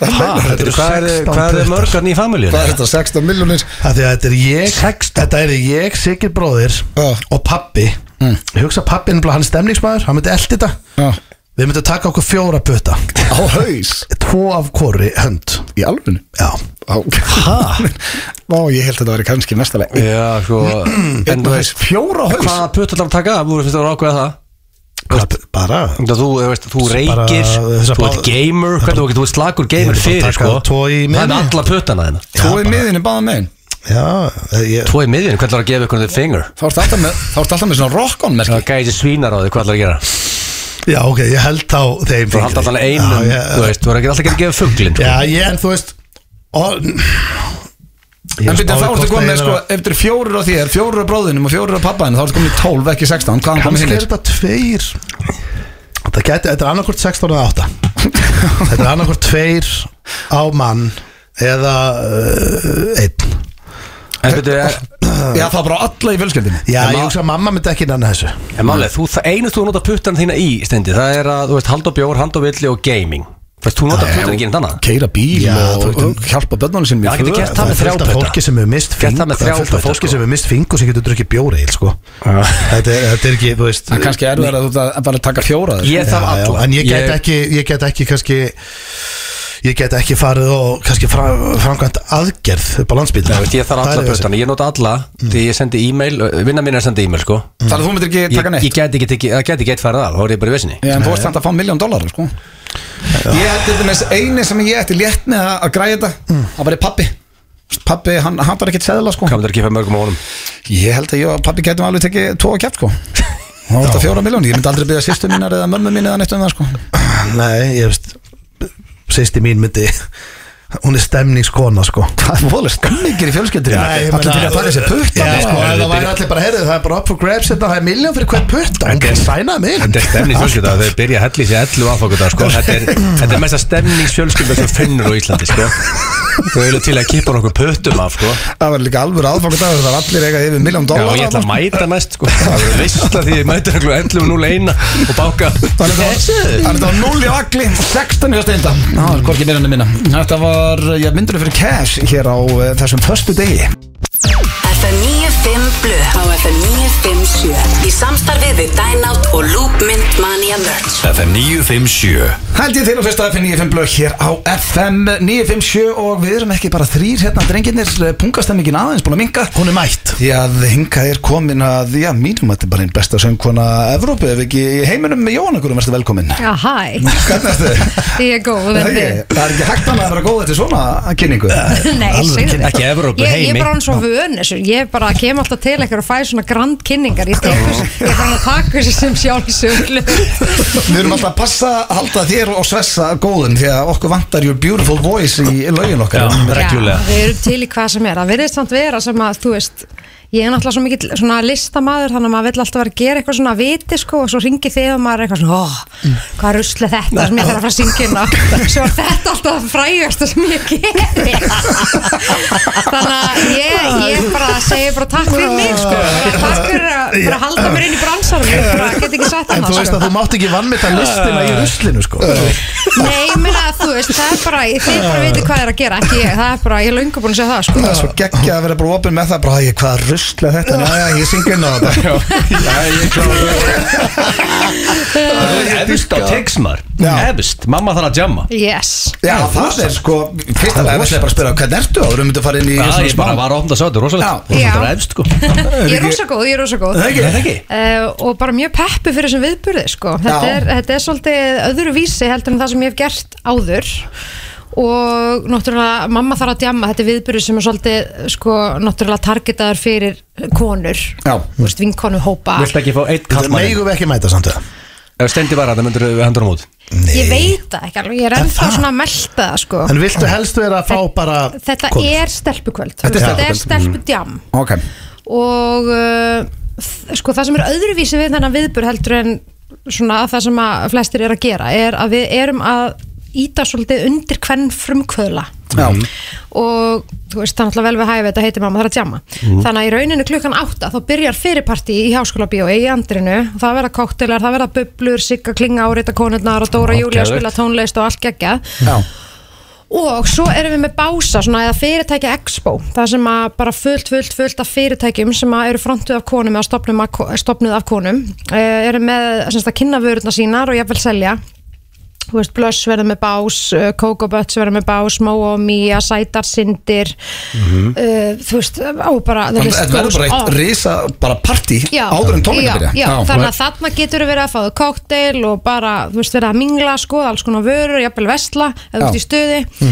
Speaker 4: Hvað
Speaker 2: þetta eru
Speaker 4: er,
Speaker 2: 16
Speaker 4: hvað er
Speaker 2: puttar.
Speaker 4: mörgarn í familíun?
Speaker 1: Hvað er þetta? 16 miljonir
Speaker 2: af því að þetta er ég
Speaker 4: 16.
Speaker 2: þetta er ég, Sigurd bróðir
Speaker 1: Já. Mm.
Speaker 2: og pappi ég hugsa að pappi, nefnilega, hann er stemningsmaður hann myndi eldi þetta við myndum taka okkur fjóra putta
Speaker 1: Á haus
Speaker 2: tvo af hvori hönd
Speaker 1: Í alvunni
Speaker 2: já,
Speaker 1: Hæ? Ó, ég held að þetta væri kannski mestalega
Speaker 4: Já, sko En þú veist,
Speaker 1: Fjóra á haus
Speaker 4: hvaða putta þarf að taka af? Þú finnst að vera ákveða það
Speaker 2: Hvað, bara
Speaker 4: Þú veist, þú, veist, þú
Speaker 2: Bara
Speaker 4: reykir,
Speaker 2: þessa
Speaker 4: þú ert
Speaker 2: báða-
Speaker 4: gamer, hvernig þú getur þú ert slakur
Speaker 2: Ég
Speaker 4: gamer
Speaker 2: vil bara
Speaker 4: fyrir
Speaker 2: taka
Speaker 4: sko
Speaker 2: tvo í
Speaker 4: Það er
Speaker 2: miðjunni.
Speaker 4: alla puttana þeirna
Speaker 1: Þú er miðinni báða megin
Speaker 2: já, ég,
Speaker 4: Tvo í miðjun, hvernig ætlar að gefa ykkur þau finger?
Speaker 1: Þá ertu alltaf með, þá ertu alltaf með svona rock-on merki
Speaker 4: Það gæti svínar á þig, hvað ætlar að gera?
Speaker 2: já, ok, ég held þá þeim
Speaker 4: Þú haldi alltaf
Speaker 2: fingri.
Speaker 4: einum,
Speaker 2: Já, ég-
Speaker 4: þú veist, þú er ekki alltaf ekki að gefa fugglin sko.
Speaker 2: já, ég, en þú veist og,
Speaker 1: En byrja þá ertu komið með sko Eftir fjórir á þér, fjórir á bróðinum og fjórir á pappaðinu Þá ertu komið í 12, ekki 16 Hvaðan komið
Speaker 2: Kannski er
Speaker 1: hinnir?
Speaker 2: þetta tveir Þetta, gæti, þetta er annarkvort 16 eða 8 Þetta er annarkvort tveir á mann eða uh, einn
Speaker 4: En eh, veitu, er,
Speaker 1: Já, það er bara alla í fjölskyldinu
Speaker 2: Já,
Speaker 4: En
Speaker 2: ég
Speaker 4: ma-
Speaker 2: hugsa að mamma myndi ekki nanna þessu
Speaker 4: en málega, þú, það einu þú nota puttana þína í stendi Það er að, þú veist, hald og bjór, hand og villi og gaming Þú veist, þú nota puttana ekki einn annað
Speaker 1: Keira bíl
Speaker 2: Já,
Speaker 1: og,
Speaker 2: þú
Speaker 1: og hjálpa börnunum sinni
Speaker 4: Já, getur gert það með
Speaker 2: fullt af
Speaker 4: þrjá
Speaker 2: fólki
Speaker 4: putta
Speaker 2: sem hefur mist
Speaker 4: Gert það
Speaker 2: fingur
Speaker 4: með
Speaker 2: Það
Speaker 4: sko.
Speaker 2: er fullt
Speaker 4: þrjá
Speaker 2: af fólki
Speaker 4: putta,
Speaker 2: sem hefur mist fingur sem getur drukkið bjóri sko. þetta, er- þetta er ekki, þú veist
Speaker 1: Það er kannski erfið að þú ert að bara taka fjóra þér
Speaker 4: Ég þarf
Speaker 2: Já, já,
Speaker 4: alla
Speaker 2: en ég get ekki, ég get ekki kannski ég get ekki farið og kannski fra, framkvæmt aðgerð upp á landsbyrð
Speaker 4: Nei, veist, Ég þarf alla puttana, ég nota alla
Speaker 2: Mm.
Speaker 4: Því ég sendi e-mail, vinnar mín er að senda e-mail sko
Speaker 1: Þannig að þú myndir ekki
Speaker 4: Ég,
Speaker 1: taka neitt
Speaker 4: ég get ekki, tekið- það get ekki eitt farið af, þá er ég bara í vissinni
Speaker 1: Já, en þú veist þannig að fá miljón dólar sko. Ég held þetta með eini sem ég ætti létt með að að græja þetta Það var í pappi Pappi, hann hattar ekkert seðla sko.
Speaker 4: Hvað myndir ekki fæða mörgum á honum?
Speaker 1: Ég held að ég og pappi getum alveg tekið tvo að kjæft sko. Það var þetta fjóra miljón Ég myndi aldrei byrja sýstu mínar eða mömmu mín eða neitt um það sko.
Speaker 2: Nei, ég veist Sýsti mín myndi Hún er stemningskona sko
Speaker 1: Hvað er fóðlega skammingir í fjölskyldur Allir byrja að fara þessi putta
Speaker 2: Já, sko,
Speaker 1: bara.
Speaker 2: ef það væri allir bara heyrðu Það er bara up for grabs
Speaker 1: hérna,
Speaker 2: þetta Það er miljón fyrir hvern putta Hún getur sænað mig
Speaker 4: Þetta er stemningsfjölskylda, þau byrja að hella í sig 11 aðfangudag sko. þetta, er- þetta er mesta stemningsfjölskylda sem þú finnur á Íslandi sko. Þau eru til að kippa nokkuð pötum af sko.
Speaker 1: Það var líka alvöru aðfangadagur Það var allir eiga yfir miljón
Speaker 4: Já, og
Speaker 1: dólar
Speaker 4: ég ætla að mæta næst sko. Það verður veistla því þið mætir okkur 11 og 0 eina og báka
Speaker 1: Þannig að það var- þannig að þetta var 0 í agli 16 hjá steinda Ná, hvorki meira enn minna Þetta var, ég myndur fyrir cash hér á eh, þessum förstu degi
Speaker 6: FM 95 Blöð á FM 957 í samstarfið við Dynout og Loopmynd Mania Merch
Speaker 7: FM 957
Speaker 1: Held ég til og fyrsta FM 95 blöð hér á FM 957 og við erum ekki bara þrýr hérna drengirnir pungastemmingin aðeins búin að minka
Speaker 2: Hún er mætt
Speaker 1: Því að hingað er komin að, já, mínum þetta er bara einn besta söngkona Evrópu ef ekki í heiminum með Jóhann okkur um verðstu velkomin
Speaker 9: Já, hæ,
Speaker 1: Hvernig er þetta?
Speaker 9: Ah, ég er góð
Speaker 1: Það
Speaker 9: en
Speaker 1: er
Speaker 9: þið?
Speaker 1: ekki hægt annað að vera góð eftir svona kynningu
Speaker 9: Nei, segðu
Speaker 4: ekki Evrópu,
Speaker 9: Ég, ég er
Speaker 4: heimi.
Speaker 9: bara hann svo vön þessu Ég bara kem alltaf til eitthvað og fæ svona grand kynningar Ég stefnus, ég fann að taka þessu sem sjálfsöglu
Speaker 1: Við erum alltaf að passa að halda þér og svessa góðum því að okkur vantar your beautiful voice í lögin okkar
Speaker 4: Já. Reglulega.
Speaker 9: Já, við erum til í hvað sem er Það verðist samt vera sem að, þú veist Ég er náttúrulega svo mikill svona listamaður þannig að maður vill alltaf vera að gera eitthvað svona að viti sko og svo ringi þig og maður er eitthvað svona oh, hvað rusli þetta sem ég þarf að fara að syngja inn á svo er þetta alltaf að frægast sem ég geri þannig að ég, ég bara segi bara takk fyrir mig sko bara takk fyrir að, fyrir að halda mér inn í bransanum ég bara get ekki sagt
Speaker 2: En þú
Speaker 9: annað
Speaker 2: veist
Speaker 9: sko.
Speaker 2: að þú mátt ekki vannmeta listina í ruslinu sko
Speaker 9: Nei, ég meina að þú veist, það er bara þið bara veitir hvað er að gera, ekki ég það er bara, ég er löngu búin að segja það sko
Speaker 1: Það er svo geggja að vera bara opinn með það bara að ég hvað rusla þetta, næja ég syngi inn á þetta
Speaker 4: Efust á tegsmar
Speaker 1: Já.
Speaker 4: Efust, mamma þarf að jamma
Speaker 9: Yes
Speaker 1: Já það er sko, fyrst að það er bara að spyrja hvernig ertu og við myndum að fara inn í
Speaker 4: Já,
Speaker 1: svona
Speaker 4: ég bara
Speaker 1: smá-
Speaker 4: var að opna að sjá þetta, rosalegt
Speaker 1: Já.
Speaker 4: Rosalegt
Speaker 9: Já.
Speaker 4: að vera efst, sko
Speaker 9: Ég er rosa góð, ég er rosa góð
Speaker 1: Það ekki?
Speaker 4: Er það ekki?
Speaker 9: uh, og bara mjög peppu fyrir þessum viðburði sko.
Speaker 1: Já.
Speaker 9: þetta, er, þetta er svolítið öðru vísi heldur en það sem ég hef gert áður og náttúrulega mamma þarf að djamma, þetta er viðburði sem er svolítið sko, náttúrulega targetaður fyrir konur,
Speaker 1: Já.
Speaker 9: þú veist, vinkonu hópa
Speaker 4: Vilt ekki fá eitt
Speaker 2: Þetta
Speaker 4: kallmann
Speaker 2: megum við ekki mæta samt það
Speaker 4: Ef stendi var að það myndur við hendur á mót
Speaker 9: ég veit það ekki alveg, ég er ennþá
Speaker 2: það?
Speaker 9: svona að melta það sko.
Speaker 2: En viltu helst vera að fá
Speaker 9: Þetta-
Speaker 2: bara
Speaker 9: þetta
Speaker 2: kvöld?
Speaker 9: er stelpukvöld
Speaker 2: Þetta er
Speaker 9: þetta er
Speaker 2: stelpukvöld.
Speaker 9: stelpudjam
Speaker 1: Ok,
Speaker 9: og uh, þ- sko það sem er öðruvísi við þennan viðbur heldur en svona það sem að flestir er að gera er að við erum að íta svolítið undir hvern frumkvöðla
Speaker 1: já,
Speaker 9: og þú veist það er náttúrulega vel við hæfi þetta heitir mamma það er að tjama þannig að í rauninu klukkan átta þá byrjar fyrirparti í háskóla bíói í andrinu það verða koktelar, það verða bublur, sigga klinga árita konurnar og Dóra
Speaker 4: Já,
Speaker 9: Júlia
Speaker 4: geðveikt.
Speaker 9: spila tónlist og allt geggjað
Speaker 1: já
Speaker 9: Og svo erum við með bása, svona eða fyrirtækja expo, það sem að bara fullt, fullt, fullt af fyrirtækjum sem að eru frontuð af konum eða stopnuð af, ko- stofnuð af konum, uh, eru með semst að kynna vörurna sínar og jafnvel selja. Þú veist, Blush verður með bás, eh, Coco Butts verður með bás, Moa og Mia, Sætar Sindir, eh, þú veist, á bara,
Speaker 1: Mhm. Þannig
Speaker 9: the
Speaker 1: að
Speaker 9: list
Speaker 1: Þetta verður
Speaker 9: goes
Speaker 1: bara eitt
Speaker 9: on.
Speaker 1: risa bara partí
Speaker 9: Já,
Speaker 1: áður en tónleika
Speaker 9: já,
Speaker 1: byrja
Speaker 9: já, þannig að þarna getur verið að fáðu kokteil og bara, þú veist, verið að mingla sko, alls konar vörur, jafnvel vesla
Speaker 1: Já.
Speaker 9: eða þú
Speaker 1: Mhm.
Speaker 9: ert í stuði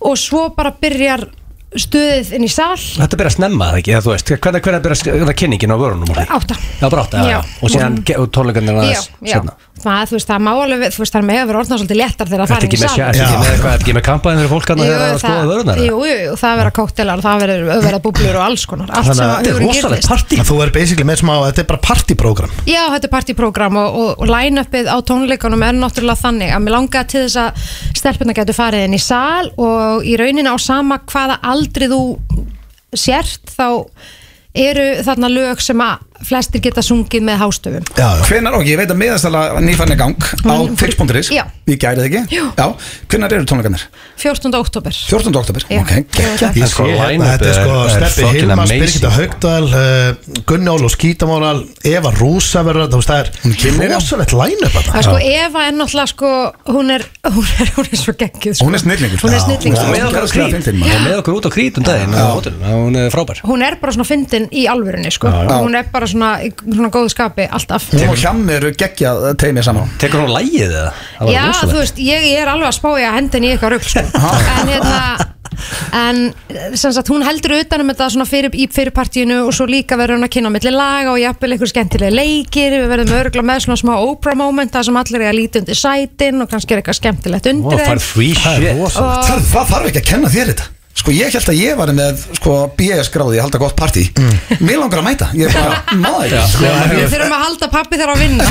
Speaker 9: og svo bara byrjar stuðið inn í sal
Speaker 4: Þetta byrja að snemma það ekki, eða þú veist Hvernig, hvernig byrja að það kynningin á vörunum? Óli?
Speaker 9: átta
Speaker 4: Já, bara átta, já,
Speaker 9: Já. Mm.
Speaker 4: já Og síðan ge- og tónleikarnir
Speaker 9: Já,
Speaker 4: aðeins
Speaker 9: já,
Speaker 4: seinna.
Speaker 9: það, þú veist, það má alveg við- þú veist, það er með að vera orðna svolítið léttar þegar það
Speaker 4: Ertu
Speaker 9: fara inn
Speaker 4: ekki
Speaker 9: í
Speaker 4: með hérna
Speaker 9: sal
Speaker 4: sjá- ertu
Speaker 2: Já.
Speaker 4: ekki með eitthvað, ertu ekki með kampaðin fyrir fólk hann að þeirra að skoða vörunar?
Speaker 9: jú, jú, það verða kokteilar, það verður verða búblur og alls konar allt
Speaker 2: Þannig
Speaker 9: sem
Speaker 2: að
Speaker 9: að
Speaker 4: Þetta er
Speaker 9: hugurinn
Speaker 4: rosalegt
Speaker 9: gerðist.
Speaker 4: partí
Speaker 2: Að Þú er basically með smá, þetta er bara partyprogram
Speaker 9: Já, þetta er partyprogram og, og, og line-upið á tónleikunum er náttúrulega þannig að mér langaði til þess að stelpuna getur farið inn í sal og í rauninni á sama hvaða aldri þú sért þá eru þarna lög sem að flestir geta sungið með hástöfum.
Speaker 2: Já, já
Speaker 1: Hvenar, ok, ég veit að miðastala nýfarni gang á
Speaker 9: Hún-
Speaker 1: fix.is
Speaker 9: Já.
Speaker 1: Ég gæri það ekki
Speaker 9: Jú.
Speaker 1: Já, hvenar eru tónleikanir?
Speaker 9: 14. oktober.
Speaker 1: 14. oktober,
Speaker 9: Já.
Speaker 1: ok, geggja
Speaker 2: Ég
Speaker 4: En sko,
Speaker 2: sé hérna,
Speaker 4: line-upið
Speaker 2: þetta er sko
Speaker 4: er- er
Speaker 2: Steppi
Speaker 4: fucking
Speaker 2: Hilmas,
Speaker 4: amazing.
Speaker 2: Birgitta Haugdal uh, Gunni Ólós Kítamóral Eva Rúsa verður þetta, þú veist, það
Speaker 1: kemur,
Speaker 2: er
Speaker 1: já.
Speaker 2: rosalegt line-up
Speaker 9: Það
Speaker 2: þarna.
Speaker 9: er sko Eva er náttúrulega sko, hún er, hún er, hún er svo geggið sko.
Speaker 1: Hún er snillingur
Speaker 9: Hún er sko.
Speaker 1: Já,
Speaker 9: snillingur.
Speaker 4: Hún er með okkur á
Speaker 1: gerðslega
Speaker 4: Krít.
Speaker 1: fyndin,
Speaker 4: Hún
Speaker 1: maður.
Speaker 4: er með okkur út á krít um daginn á hótelinu. Hún er frábær
Speaker 9: Hún er bara svona fyndin í alvörunni sko.
Speaker 1: já.
Speaker 9: Hún er bara svona, í svona góðu skapi alltaf.
Speaker 1: Hún og Hjammi eru geggja teimið saman
Speaker 4: Tekur hún lægið eða? Það var
Speaker 9: Já,
Speaker 4: rosalegt.
Speaker 9: þú veist, ég, ég er alveg að spája hendin í eitthvað rugl sko. en hérna en sem sagt, hún heldur utanum þetta svona fyrir, í fyrirpartíinu og svo líka verður hún að kynna á milli laga og jafnvel einhver skemmtilega leikir við verðum örgla með svona smá Oprah moment það sem allir er að líti undir sætin og kannski er eitthvað skemmtilegt
Speaker 4: Ó,
Speaker 9: undir
Speaker 4: færð því shit
Speaker 1: Það það þarf ekki að kenna þér þetta Sko ég held að ég var með sko, BS gráði, ég held að gott partí
Speaker 4: Mm.
Speaker 1: Mér langar að mæta, ég er bara maður sko.
Speaker 9: Við þurfum að halda pappi þeirra að vinna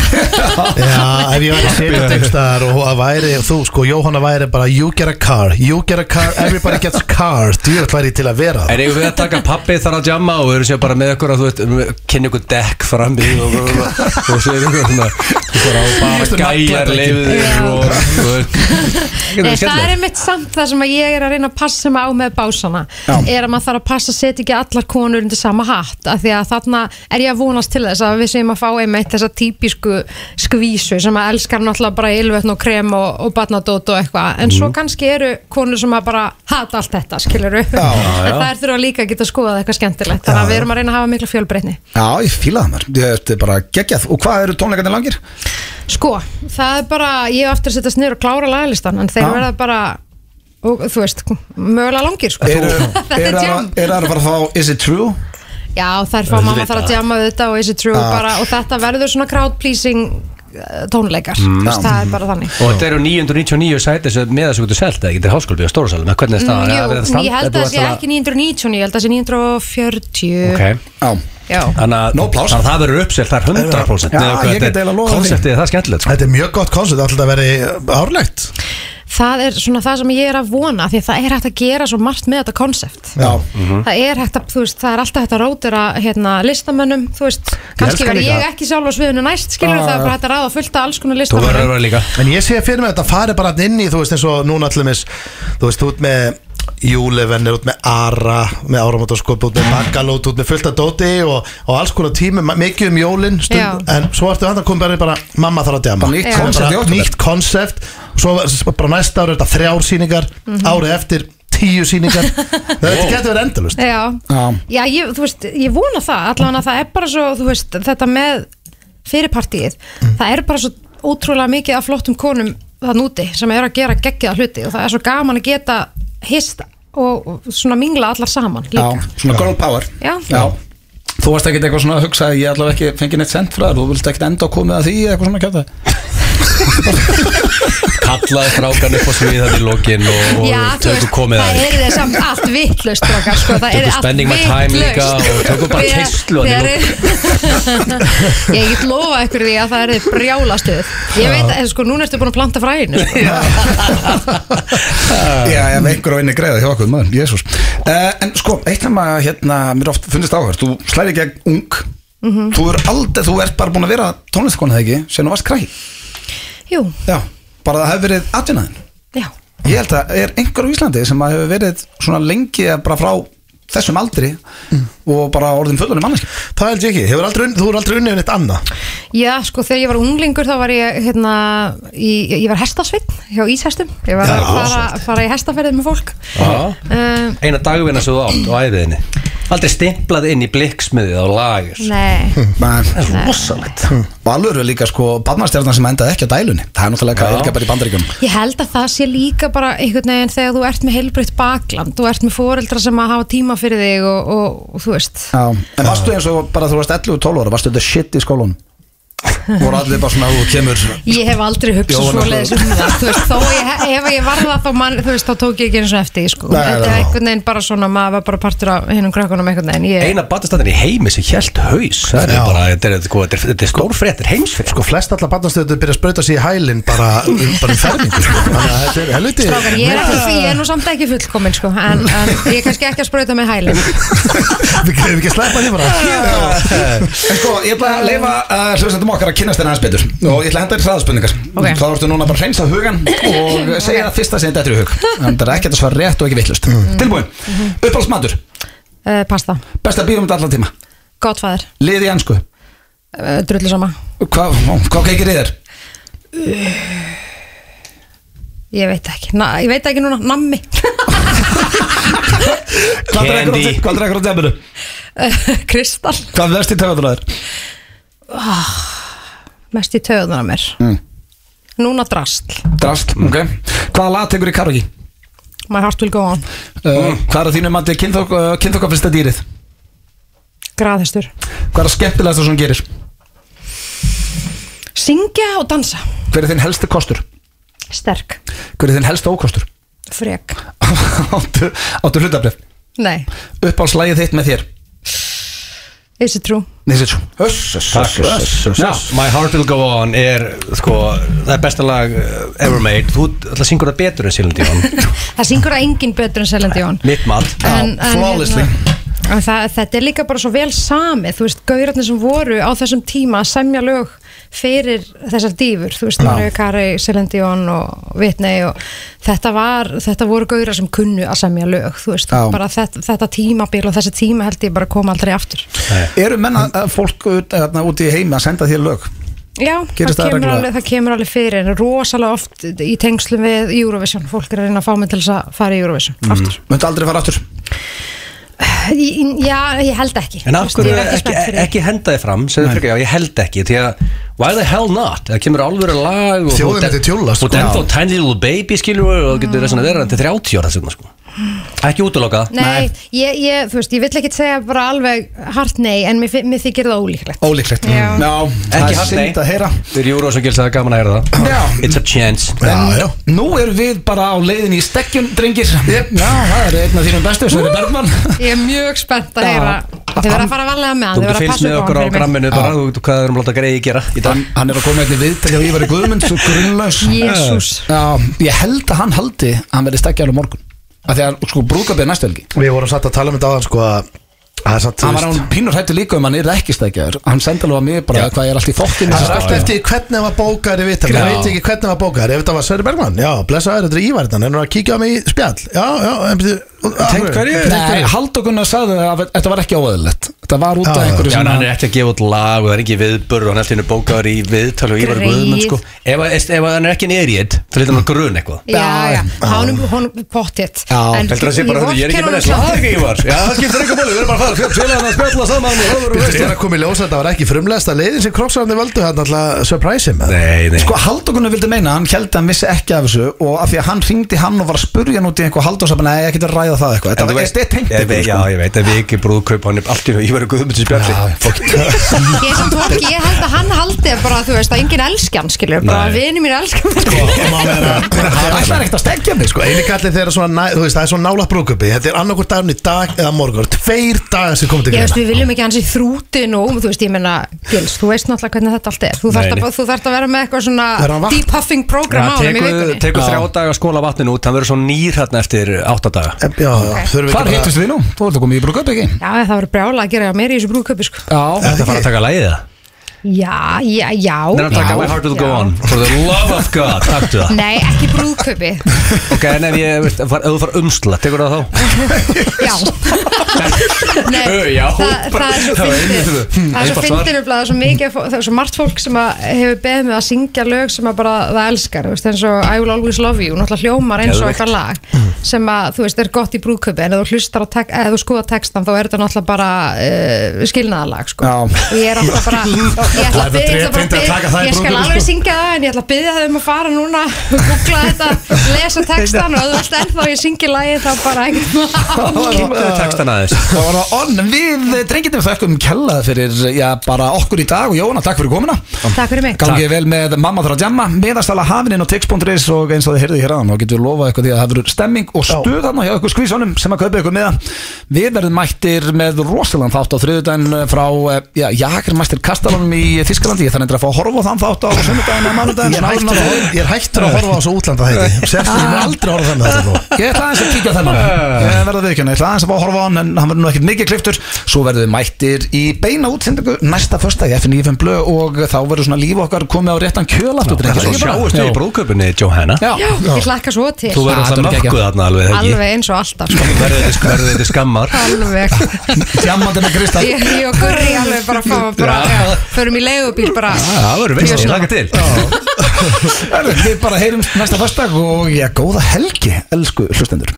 Speaker 2: Já, ef ég væri setjast einhverstaðar og að væri, þú sko, Jóhanna væri bara You get a car, you get a car, everybody gets cars Djúvægt væri ég til að vera það
Speaker 4: En eigum við að taka pappi þar að jamma og eru sér bara með ykkur að þú veist, kynni ykkur dekk fram í og, og, og, og svo er ykkur svona ykkur á bara gæjar
Speaker 9: Já.
Speaker 4: leiðir og þú veist
Speaker 9: Nei,
Speaker 4: Þetta
Speaker 9: það er
Speaker 4: skemmtilegt.
Speaker 9: einmitt samt það sem að ég er að reyna að passa mig á með básana er að maður þarf að passa að setja ekki allar konur undir sama hatt af því að þarna er ég að vonast til þess að við séum að fá einmitt þessa típisku skvísu sem að elskar náttúrulega bara ylvetn og krem og, og barnadót og eitthvað en
Speaker 4: Mhm.
Speaker 9: svo kannski eru konur sem að bara hata allt þetta skilur en það er þurfa líka að geta skoðað eitthvað skemmtilegt þannig að við erum að reyna að hafa mikla fjölbreytni
Speaker 1: Já, ég fíla það maður, þetta er bara geggjað Og hvað eru tónleikarnir langir?
Speaker 9: Sko, það er bara, ég hef aftur að setjast niður og klára lagalistan en þeir
Speaker 1: Já.
Speaker 9: verða bara og, þú veist, mögulega langir sko.
Speaker 1: Eru
Speaker 9: þetta
Speaker 1: er
Speaker 9: er
Speaker 1: að
Speaker 9: jam
Speaker 1: er að fara að fá Is It True?
Speaker 9: já þær fá mamma þarf að djama við þetta og is it true
Speaker 1: Ah.
Speaker 9: bara og þetta verður svona crowd pleasing eh, tónleikar mm. það er bara þannig
Speaker 4: Og þetta eru 999 sæti sem með þessu getur selt eða ekki til háskólbygg og stórasálum eða hvernig er staðan?
Speaker 9: Mm, Jú,
Speaker 4: Eða verður stand-
Speaker 9: ég held
Speaker 4: er
Speaker 9: að
Speaker 4: búið
Speaker 9: það sé
Speaker 4: ætla-
Speaker 9: ekki 990 ég held að það sé 940
Speaker 4: Ok,
Speaker 1: Já,
Speaker 9: já.
Speaker 4: þannig að
Speaker 1: Nóg pláss.
Speaker 4: þannig að það verður uppselt, það er 100%
Speaker 1: Já,
Speaker 4: eða hvað
Speaker 1: ég get
Speaker 4: þetta er-
Speaker 1: eiginlega lofað því.
Speaker 4: Konceptið er það skemmtilegt sko.
Speaker 2: Þetta er mjög gott koncept, alltaf að veri árlegt
Speaker 9: það er svona það sem ég er að vona því að það er hægt að gera svo margt með þetta konsept
Speaker 1: já,
Speaker 4: Mhm.
Speaker 9: það er hægt að, þú veist, það er alltaf hægt að rótira hérna, listamönnum, þú veist kannski
Speaker 4: elska
Speaker 9: verði
Speaker 4: líka Ah.
Speaker 9: ég ekki sjálf á sviðinu næst skilur það er bara hægt að ráða fullt af alls konar
Speaker 4: Þú verður að
Speaker 9: listamönnum
Speaker 4: vera líka
Speaker 2: En ég sé að fyrir mig að þetta fari bara hann inn í Þú veist eins og núna allumis Þú veist út með Júlevennir, út með Ara Með Áramótaskop, út með Magalót Út með fullt af dóti og, og alls konar tími ma- Mikið um jólin
Speaker 9: Já.
Speaker 2: stund, En svo ertu hann að koma bara, bara Mamma þarf að dema
Speaker 1: Bara nýtt
Speaker 9: Já.
Speaker 1: koncept í
Speaker 2: bara,
Speaker 1: október.
Speaker 2: Nýtt koncept Svo var- bara næsta ári er þetta þrjár síningar
Speaker 1: Mhm.
Speaker 2: Árið eftir tíu síningar Þetta getur verið endalust
Speaker 9: já,
Speaker 1: Já.
Speaker 9: já ég, þú veist, ég vona það allavega það er bara svo, þú veist, þetta með fyrirpartíið,
Speaker 4: Mm.
Speaker 9: það er bara svo ótrúlega mikið af flottum konum þann úti sem er að gera geggiða hluti og það er svo gaman að geta hist og og svona mingla allar saman
Speaker 1: já,
Speaker 9: líka
Speaker 1: svona girl power
Speaker 9: Já.
Speaker 1: Þú varst ekkert eitthvað svona að hugsa að ég allavega ekki fengið neitt sent frá þér, þú vilt ekkert enda að koma að því eða eitthvað svona að kjáta
Speaker 4: Kallaði strákan upp á svið þetta í lokin og, og
Speaker 9: Já, þú veist,
Speaker 4: tökum komið að
Speaker 9: það
Speaker 4: því.
Speaker 9: er þeir samt allt vittlust okkar, sko, það er
Speaker 4: Tökum
Speaker 9: allt
Speaker 4: spending my time líka og tökum bara keislu að
Speaker 9: að Ég get lofa ykkur því að það er brjálastuð Ég veit að, sko, núna ertu búin að planta fræðinu sko.
Speaker 1: Já, ég hef einhver á einni greiða hjá okkur, maður, jésús uh, En sko, eitt sem að hérna, mér oft finnist áhverð, þú slæri gegn ung
Speaker 2: Mhm.
Speaker 1: Þú er aldrei, þú ert bara búin að vera tónlistakona þegar ekki, sem þú varst kræk
Speaker 9: Jú,
Speaker 1: Já, bara það hefur verið atvinnaðin
Speaker 9: já,
Speaker 1: Ég held að er einhver á Íslandi sem að hefur verið svona lengi eða bara frá þessum aldri
Speaker 2: Mm.
Speaker 1: og bara orðin fullunum manneski
Speaker 2: Það held ég ekki, Hefur aldrei, unn- þú er aldrei unnið en eitt annað
Speaker 9: já, sko, þegar ég var unglingur þá var ég, hérna í, Ég var hestasveinn hjá Íshestum Ég var að fara, fara í hestaferðið með fólk
Speaker 4: Já.
Speaker 9: um,
Speaker 4: Eina dagvinna sem þú átt á æfiðinni Aldrei stimplað inn í blikksmiðið á lagur
Speaker 9: Nei,
Speaker 1: Það er
Speaker 9: Nei.
Speaker 1: rosalegt Og alveg eru Hmm. líka sko barnastjarnar sem endaði ekki á dælunni Það er náttúrulega hvað er ekki bara í bandaríkjum
Speaker 9: Ég held að það sé líka bara einhvern veginn þegar þú ert með heilbreytt bakland, þú ert með foreldra sem að hafa tíma fyrir þig og, og, og þú veist
Speaker 1: Já, en varstu eins og bara þú varst 11 og 12 ára, varstu þetta shit í skólan voru allir bara svona þú kemur
Speaker 9: Ég hef aldrei hugsað
Speaker 1: Jóhanna,
Speaker 9: svo leiðis um það Þú veist, þó ég, ef ég var það þá, man, þú veist, þá tók ég ekki eins og eftir því, sko.
Speaker 1: Nei,
Speaker 9: Þetta
Speaker 1: nei,
Speaker 9: er
Speaker 1: nei.
Speaker 9: einhvern veginn bara svona maður var bara partur af hinnum krökkunum einhvern veginn ég,
Speaker 4: Eina batastatinn í heimi sem hjælt haus Það er bara, þetta er, sko, þetta er, þetta er stórfrétt, þetta er heimsfrétt
Speaker 2: Sko flest allar barnastöðu byrja að sprauta sig í hælinn bara, bara um fermingu sko. Þannig að þetta er helviti
Speaker 9: Strákar, ég, er ekki, ég er nú samt ekki fullkomin sko, en, en ég er kannski ekki að sprauta með hælin
Speaker 2: Við getum ekki að sleppa því
Speaker 1: Ah.
Speaker 2: bara
Speaker 1: En sko, ég ætla að leifa uh, hlustandum okkar að kynnast þeirra aðeins betur og ég ætla að henda þér hraðaspurningar
Speaker 9: Ok.
Speaker 1: þá ertu núna bara að hreinsa hugan og segja það fyrsta sem þetta er í hug en það er ekkert að svara rétt og ekki vittlust Tilbúin, uppáhaldsmatur,
Speaker 9: uh, Pasta,
Speaker 1: besta bíómynd allan tíma
Speaker 9: gottfæður,
Speaker 1: lið í ennsku,
Speaker 9: uh, drullu sama
Speaker 1: hvað hva keikir í þér?
Speaker 9: Ég veit ekki, Na, ég veit ekki núna, nammi
Speaker 1: Hvað drekkur á
Speaker 4: Candy.
Speaker 1: te- Hvað drekkur á dæmuru?
Speaker 9: Eh, Kristall,
Speaker 1: Hvað verðst í töfadræður?
Speaker 9: mest í töðunar að mér
Speaker 1: Mm.
Speaker 9: Núna drasl,
Speaker 1: Drast, ok Hvaða lag tekur í karokki?
Speaker 9: my heart will go on
Speaker 1: Uh, hvað er að þínu mati uh, kynþokkafyrsta dýrið?
Speaker 9: Graðhestur,
Speaker 1: Hvað er að skemmtilegast það sem hún gerir?
Speaker 9: syngja og dansa
Speaker 1: Hver er þinn helsti kostur?
Speaker 9: Sterk,
Speaker 1: Hver er þinn helsti ókostur?
Speaker 9: frek
Speaker 1: áttu, áttu hlutabref
Speaker 9: Nei,
Speaker 1: Uppáhalslægið þitt með þér
Speaker 9: is it true?
Speaker 1: Nei, sér svo Öss, öss, öss, öss, öss,
Speaker 4: Já,
Speaker 1: öss.
Speaker 4: My Heart Will Go On er sko, það er besta lag uh, ever made þú ætla að syngur það betur en Silent Dion
Speaker 9: Það syngur að enginn betur en Celine Dion
Speaker 4: mitt mat
Speaker 9: En- en
Speaker 1: flawlessly.
Speaker 9: hérna, en það, Þetta er líka bara svo vel samið Þú veist, gaurarnir sem voru á þessum tíma að semja lög fyrir þessar dýfur Þú veist, Mario Kari, Celine Dion og Whitney og þetta, var, þetta voru gaurar sem kunnu að semja lög Þú veist,
Speaker 1: Já.
Speaker 9: bara þetta, þetta tímabil og þessi tíma held ég bara koma aldrei aftur
Speaker 1: Eru menna fólk ut- þarna úti í heimi að senda þér lög?
Speaker 9: Já,
Speaker 1: Gerist það
Speaker 9: það, kemur
Speaker 1: reglulega?
Speaker 9: alveg, það kemur alveg fyrir en rosalega oft í tengslum við Eurovision, fólk er að reyna að fá mig til þess að fara í Eurovision
Speaker 4: Mm.
Speaker 9: aftur
Speaker 1: Möndu aldrei fara aftur
Speaker 9: Í- Já, ég held ekki
Speaker 4: en af
Speaker 9: Þú veist,
Speaker 4: hverju
Speaker 9: ég er
Speaker 4: ekki,
Speaker 9: spennt fyrir
Speaker 4: ekki, ekki henda þið fram segðu frekar, já ég held ekki því að why the hell not, það kemur alvöru lag og
Speaker 2: Þjóðin myndi tjúllast,
Speaker 4: og
Speaker 2: sko.
Speaker 4: den
Speaker 9: Mm.
Speaker 4: þá tiny little baby skilur og þú getur þess að vera til 30 ára þess vegna sko Ekki útloka
Speaker 9: Nei, ég, ég, þú veist, ég vill ekki segja bara alveg hart nei, en mér, fi- mér þykir það ólíklegt
Speaker 8: Ólíklegt
Speaker 9: Já.
Speaker 8: það
Speaker 4: Ekki hart
Speaker 8: er
Speaker 4: nei.
Speaker 8: synd að heyra
Speaker 4: Þeir eru Júru og Gils að gaman að heyra það
Speaker 8: Já.
Speaker 4: It's a chance
Speaker 8: En nú erum við bara á leiðin í stekkjun, drengir yep. Já, það er einn af þínum bestu, Sveiri Bergmann
Speaker 9: Ég er mjög spennt að
Speaker 8: Já.
Speaker 9: heyra Þið verða að fara varlega með hann,
Speaker 4: Þú
Speaker 9: þið
Speaker 4: getur
Speaker 9: verða að
Speaker 4: fylgst
Speaker 9: passa
Speaker 4: með
Speaker 9: upp á
Speaker 4: okkur á
Speaker 9: hann fyrir mig
Speaker 4: gramminu bara Þú veitum hvað þeir eru að láta greiði gera í dag
Speaker 8: hann, hann er að koma hérna einnig viðtækja og ég verið Guðmund svo grunnlaus
Speaker 9: Jesús.
Speaker 8: Já, ég held að hann haldi að hann verið stekkjun á morgun Af því að sko brúkabið næstu helgi
Speaker 1: Við vorum satt að tala um þetta áðan sko að Það er satt, þú
Speaker 8: Hann var
Speaker 1: veist,
Speaker 8: án pínur hættu líka um að hann er ekki stekkjaður Hann sendi alveg að mig bara hvað ég er allt í þokkinu
Speaker 1: Það er allt eftir hvernig var bókar í vital Ég
Speaker 8: Já.
Speaker 1: veit ekki hvernig var bókar Ef þetta var Sverri Bergmann, já, blessaður, þetta er Ívarðan En hún er að kíkja á mig í spjall Já, já, en byrju
Speaker 4: Tengt hverju?
Speaker 8: Nei, Halldór Gunnar sagði að þetta var ekki óæðilegt Þetta var út af
Speaker 1: Já, já.
Speaker 8: einhverju
Speaker 4: Já, en
Speaker 8: sem
Speaker 4: hann
Speaker 8: að-
Speaker 4: er ekki að gefa út lag og það er ekki viðbörð og hann er alltaf bókaður í viðtal og Ívar
Speaker 9: Greyið.
Speaker 4: Guðmund sko. ef, ef, ef hann er ekki nýrið þá lítur hann að grun eitthvað
Speaker 9: Já, já, honum, honum pottitt
Speaker 8: Já.
Speaker 4: Heldur það sé bara, "Hörðu, ég er ekki með þess lag Ívar Já, það skiptir ekki máli, við erum bara að fara félagarna að spjalla saman og það
Speaker 1: Það er að koma í ljós að þetta var ekki frumlegasta leiðin sem kroppsarandi völdu hann alltaf surprise him eða?
Speaker 4: Nei, nei
Speaker 8: Sko Halldókunni vildi meina, hann held að hann vissi ekki af þessu og af því að hann ringdi hann og var að spurja hann út í einhver Halldór sem bara, nei, ég get að ræða það
Speaker 4: En
Speaker 8: eitthvað Þetta
Speaker 4: þú
Speaker 8: var
Speaker 4: veist-
Speaker 8: eitthvað tengt
Speaker 4: Ég veit-
Speaker 8: ykkur, sko.
Speaker 4: Já, ég veit, ef við ekki brúðkaup hann er allt í Ívar Guðmund í spjalli
Speaker 9: Ég er samt fólk, ég held að hann haldi bara, þú veist, að enginn elski hann, skilur bara
Speaker 4: Nei.
Speaker 9: vinir mér elski hann
Speaker 8: sko Það ætlar ekkert að stekja mig,
Speaker 1: Sko,
Speaker 8: sko
Speaker 1: eini gallið þegar svona, næ- þú veist, það er svona nála brúkupi Þetta er annarkur dagurinn í dag eða morgun Tveir dagar sem komið til
Speaker 9: Ég
Speaker 4: hérna.
Speaker 9: veist,
Speaker 1: greina
Speaker 9: við viljum ekki hans í þrútin og þú veist, ég menna, Gils, þú veist náttúrulega hvernig þetta allt er Þú þarft
Speaker 4: Nei,
Speaker 9: að,
Speaker 4: nei.
Speaker 9: þú þarft að vera með eitthvað svona
Speaker 1: Er hann vatn?
Speaker 9: deep huffing program á hann í
Speaker 4: Tekur
Speaker 9: vikunni
Speaker 4: tekur þrjá daga skóla vatnin út, hann verður svo nýr hérna eftir átta daga
Speaker 1: Já, já, þurfum við ekki
Speaker 8: Hvar
Speaker 1: bara
Speaker 8: hittist við nú? Þú ert að koma í brúköp ekki?
Speaker 9: Já, það verður brjála að gera meira í þessu brúðköpi, sko
Speaker 8: Já
Speaker 4: Þetta fara að taka lagið það
Speaker 9: Já, já, já
Speaker 4: Nei, hann taka My Heart Will Go
Speaker 9: já.
Speaker 4: On For the love of God, taktu það
Speaker 9: Nei, ekki brúðköpi
Speaker 4: Ok, en ef ég, veist, far- ef þú far umsla, tekur það þá?
Speaker 9: Já Nei,
Speaker 4: Ö, já,
Speaker 9: það,
Speaker 4: bara-
Speaker 9: það er svo
Speaker 4: það var einmitt það.
Speaker 9: fyndið Það er svo
Speaker 4: Einfalt
Speaker 9: fyndið
Speaker 4: svar.
Speaker 9: nefnilega, það er svo mikið fó- Það er svo margt fólk sem að hefur beðið mig að syngja lög sem að bara það elskar þú veist, eins og I Will Always Love You, náttúrulega hljómar eins og
Speaker 4: Geðveikt.
Speaker 9: eitthvað lag sem að, þú veist, er gott í brúðköpi en ef þú hlustar á tek, eða þú skoða textan þá er þetta náttúrulega bara uh, skilnaðalag sko.
Speaker 8: Já.
Speaker 9: og ég er alltaf bara ég ætla að byggja
Speaker 1: Reyndi að taka það í
Speaker 9: ég skal
Speaker 1: brúðkaupi,
Speaker 9: alveg
Speaker 1: sko.
Speaker 9: syngja það en ég ætla að byggja það um að fara núna googla þetta, lesa textan og ef þú vilt ennþá ég syngi lagi þá bara ekkert mál.
Speaker 4: Kíktu textan aðeins
Speaker 8: Það var að onn, en við drengjum þökkum kellaði fyrir, já, bara okkur í dag og Jóna, takk fyrir komuna
Speaker 9: Takk fyrir mig
Speaker 8: Gangið vel með Mamma þarf að jamma, meðastala hafinin og tix.is og eins og þið heyrðu hér aðan og getur við lofað eitthvað því að það verður stemming og stuð þarna hjá ykkur skvísunum sem að kaupa ykkur meða Við verðum mættir með rosalann þátt á þriðudaginn frá, eh, já, Jakir mættir Kastalanum í Þískalandi, ég þarf endur að fá að horfa á þann þátt á sunnudaginn að
Speaker 1: Ég er hættur að- ég
Speaker 8: mannudaginn
Speaker 1: er hættur að horfa á svo útlanda þætti Sérstu, ég mun aldrei horfa þannig sko. að þetta nú
Speaker 8: Ég ætla aðeins að kíkja á þennan Ég verða viðkjörna, ég ætla aðeins að fá að horfa á hann En hann verður nú ekkert mikið kliftur Svo verðum við mættir í beina útsendingu Næsta fösta í FNÍFM Blö Og þá verður svona líf okkar komið á réttan kjöl aftur drengir.
Speaker 4: Svo
Speaker 8: Ekki bara?
Speaker 4: sjáumst við
Speaker 8: Já.
Speaker 4: í brúðköpunni, Johanna
Speaker 8: Já,
Speaker 9: Já, ég hlakka svo til
Speaker 4: Þú verður
Speaker 8: það
Speaker 4: alltaf
Speaker 8: verður
Speaker 4: mökkuð
Speaker 8: geggjað.
Speaker 4: þarna alveg, eða ekki?
Speaker 9: Alveg eins og alltaf sko.
Speaker 4: Verður þetta sk- verður þetta skammar
Speaker 9: Alveg
Speaker 8: Tjammandi með Kristall
Speaker 9: Ég, ég og Gurri alveg bara fá bara, já, Förum í leigubíl bara
Speaker 4: Það verður veist, ég laka til
Speaker 8: Herru, Við bara heyrum næsta fösta Og já, góða helgi, elsku hlustendur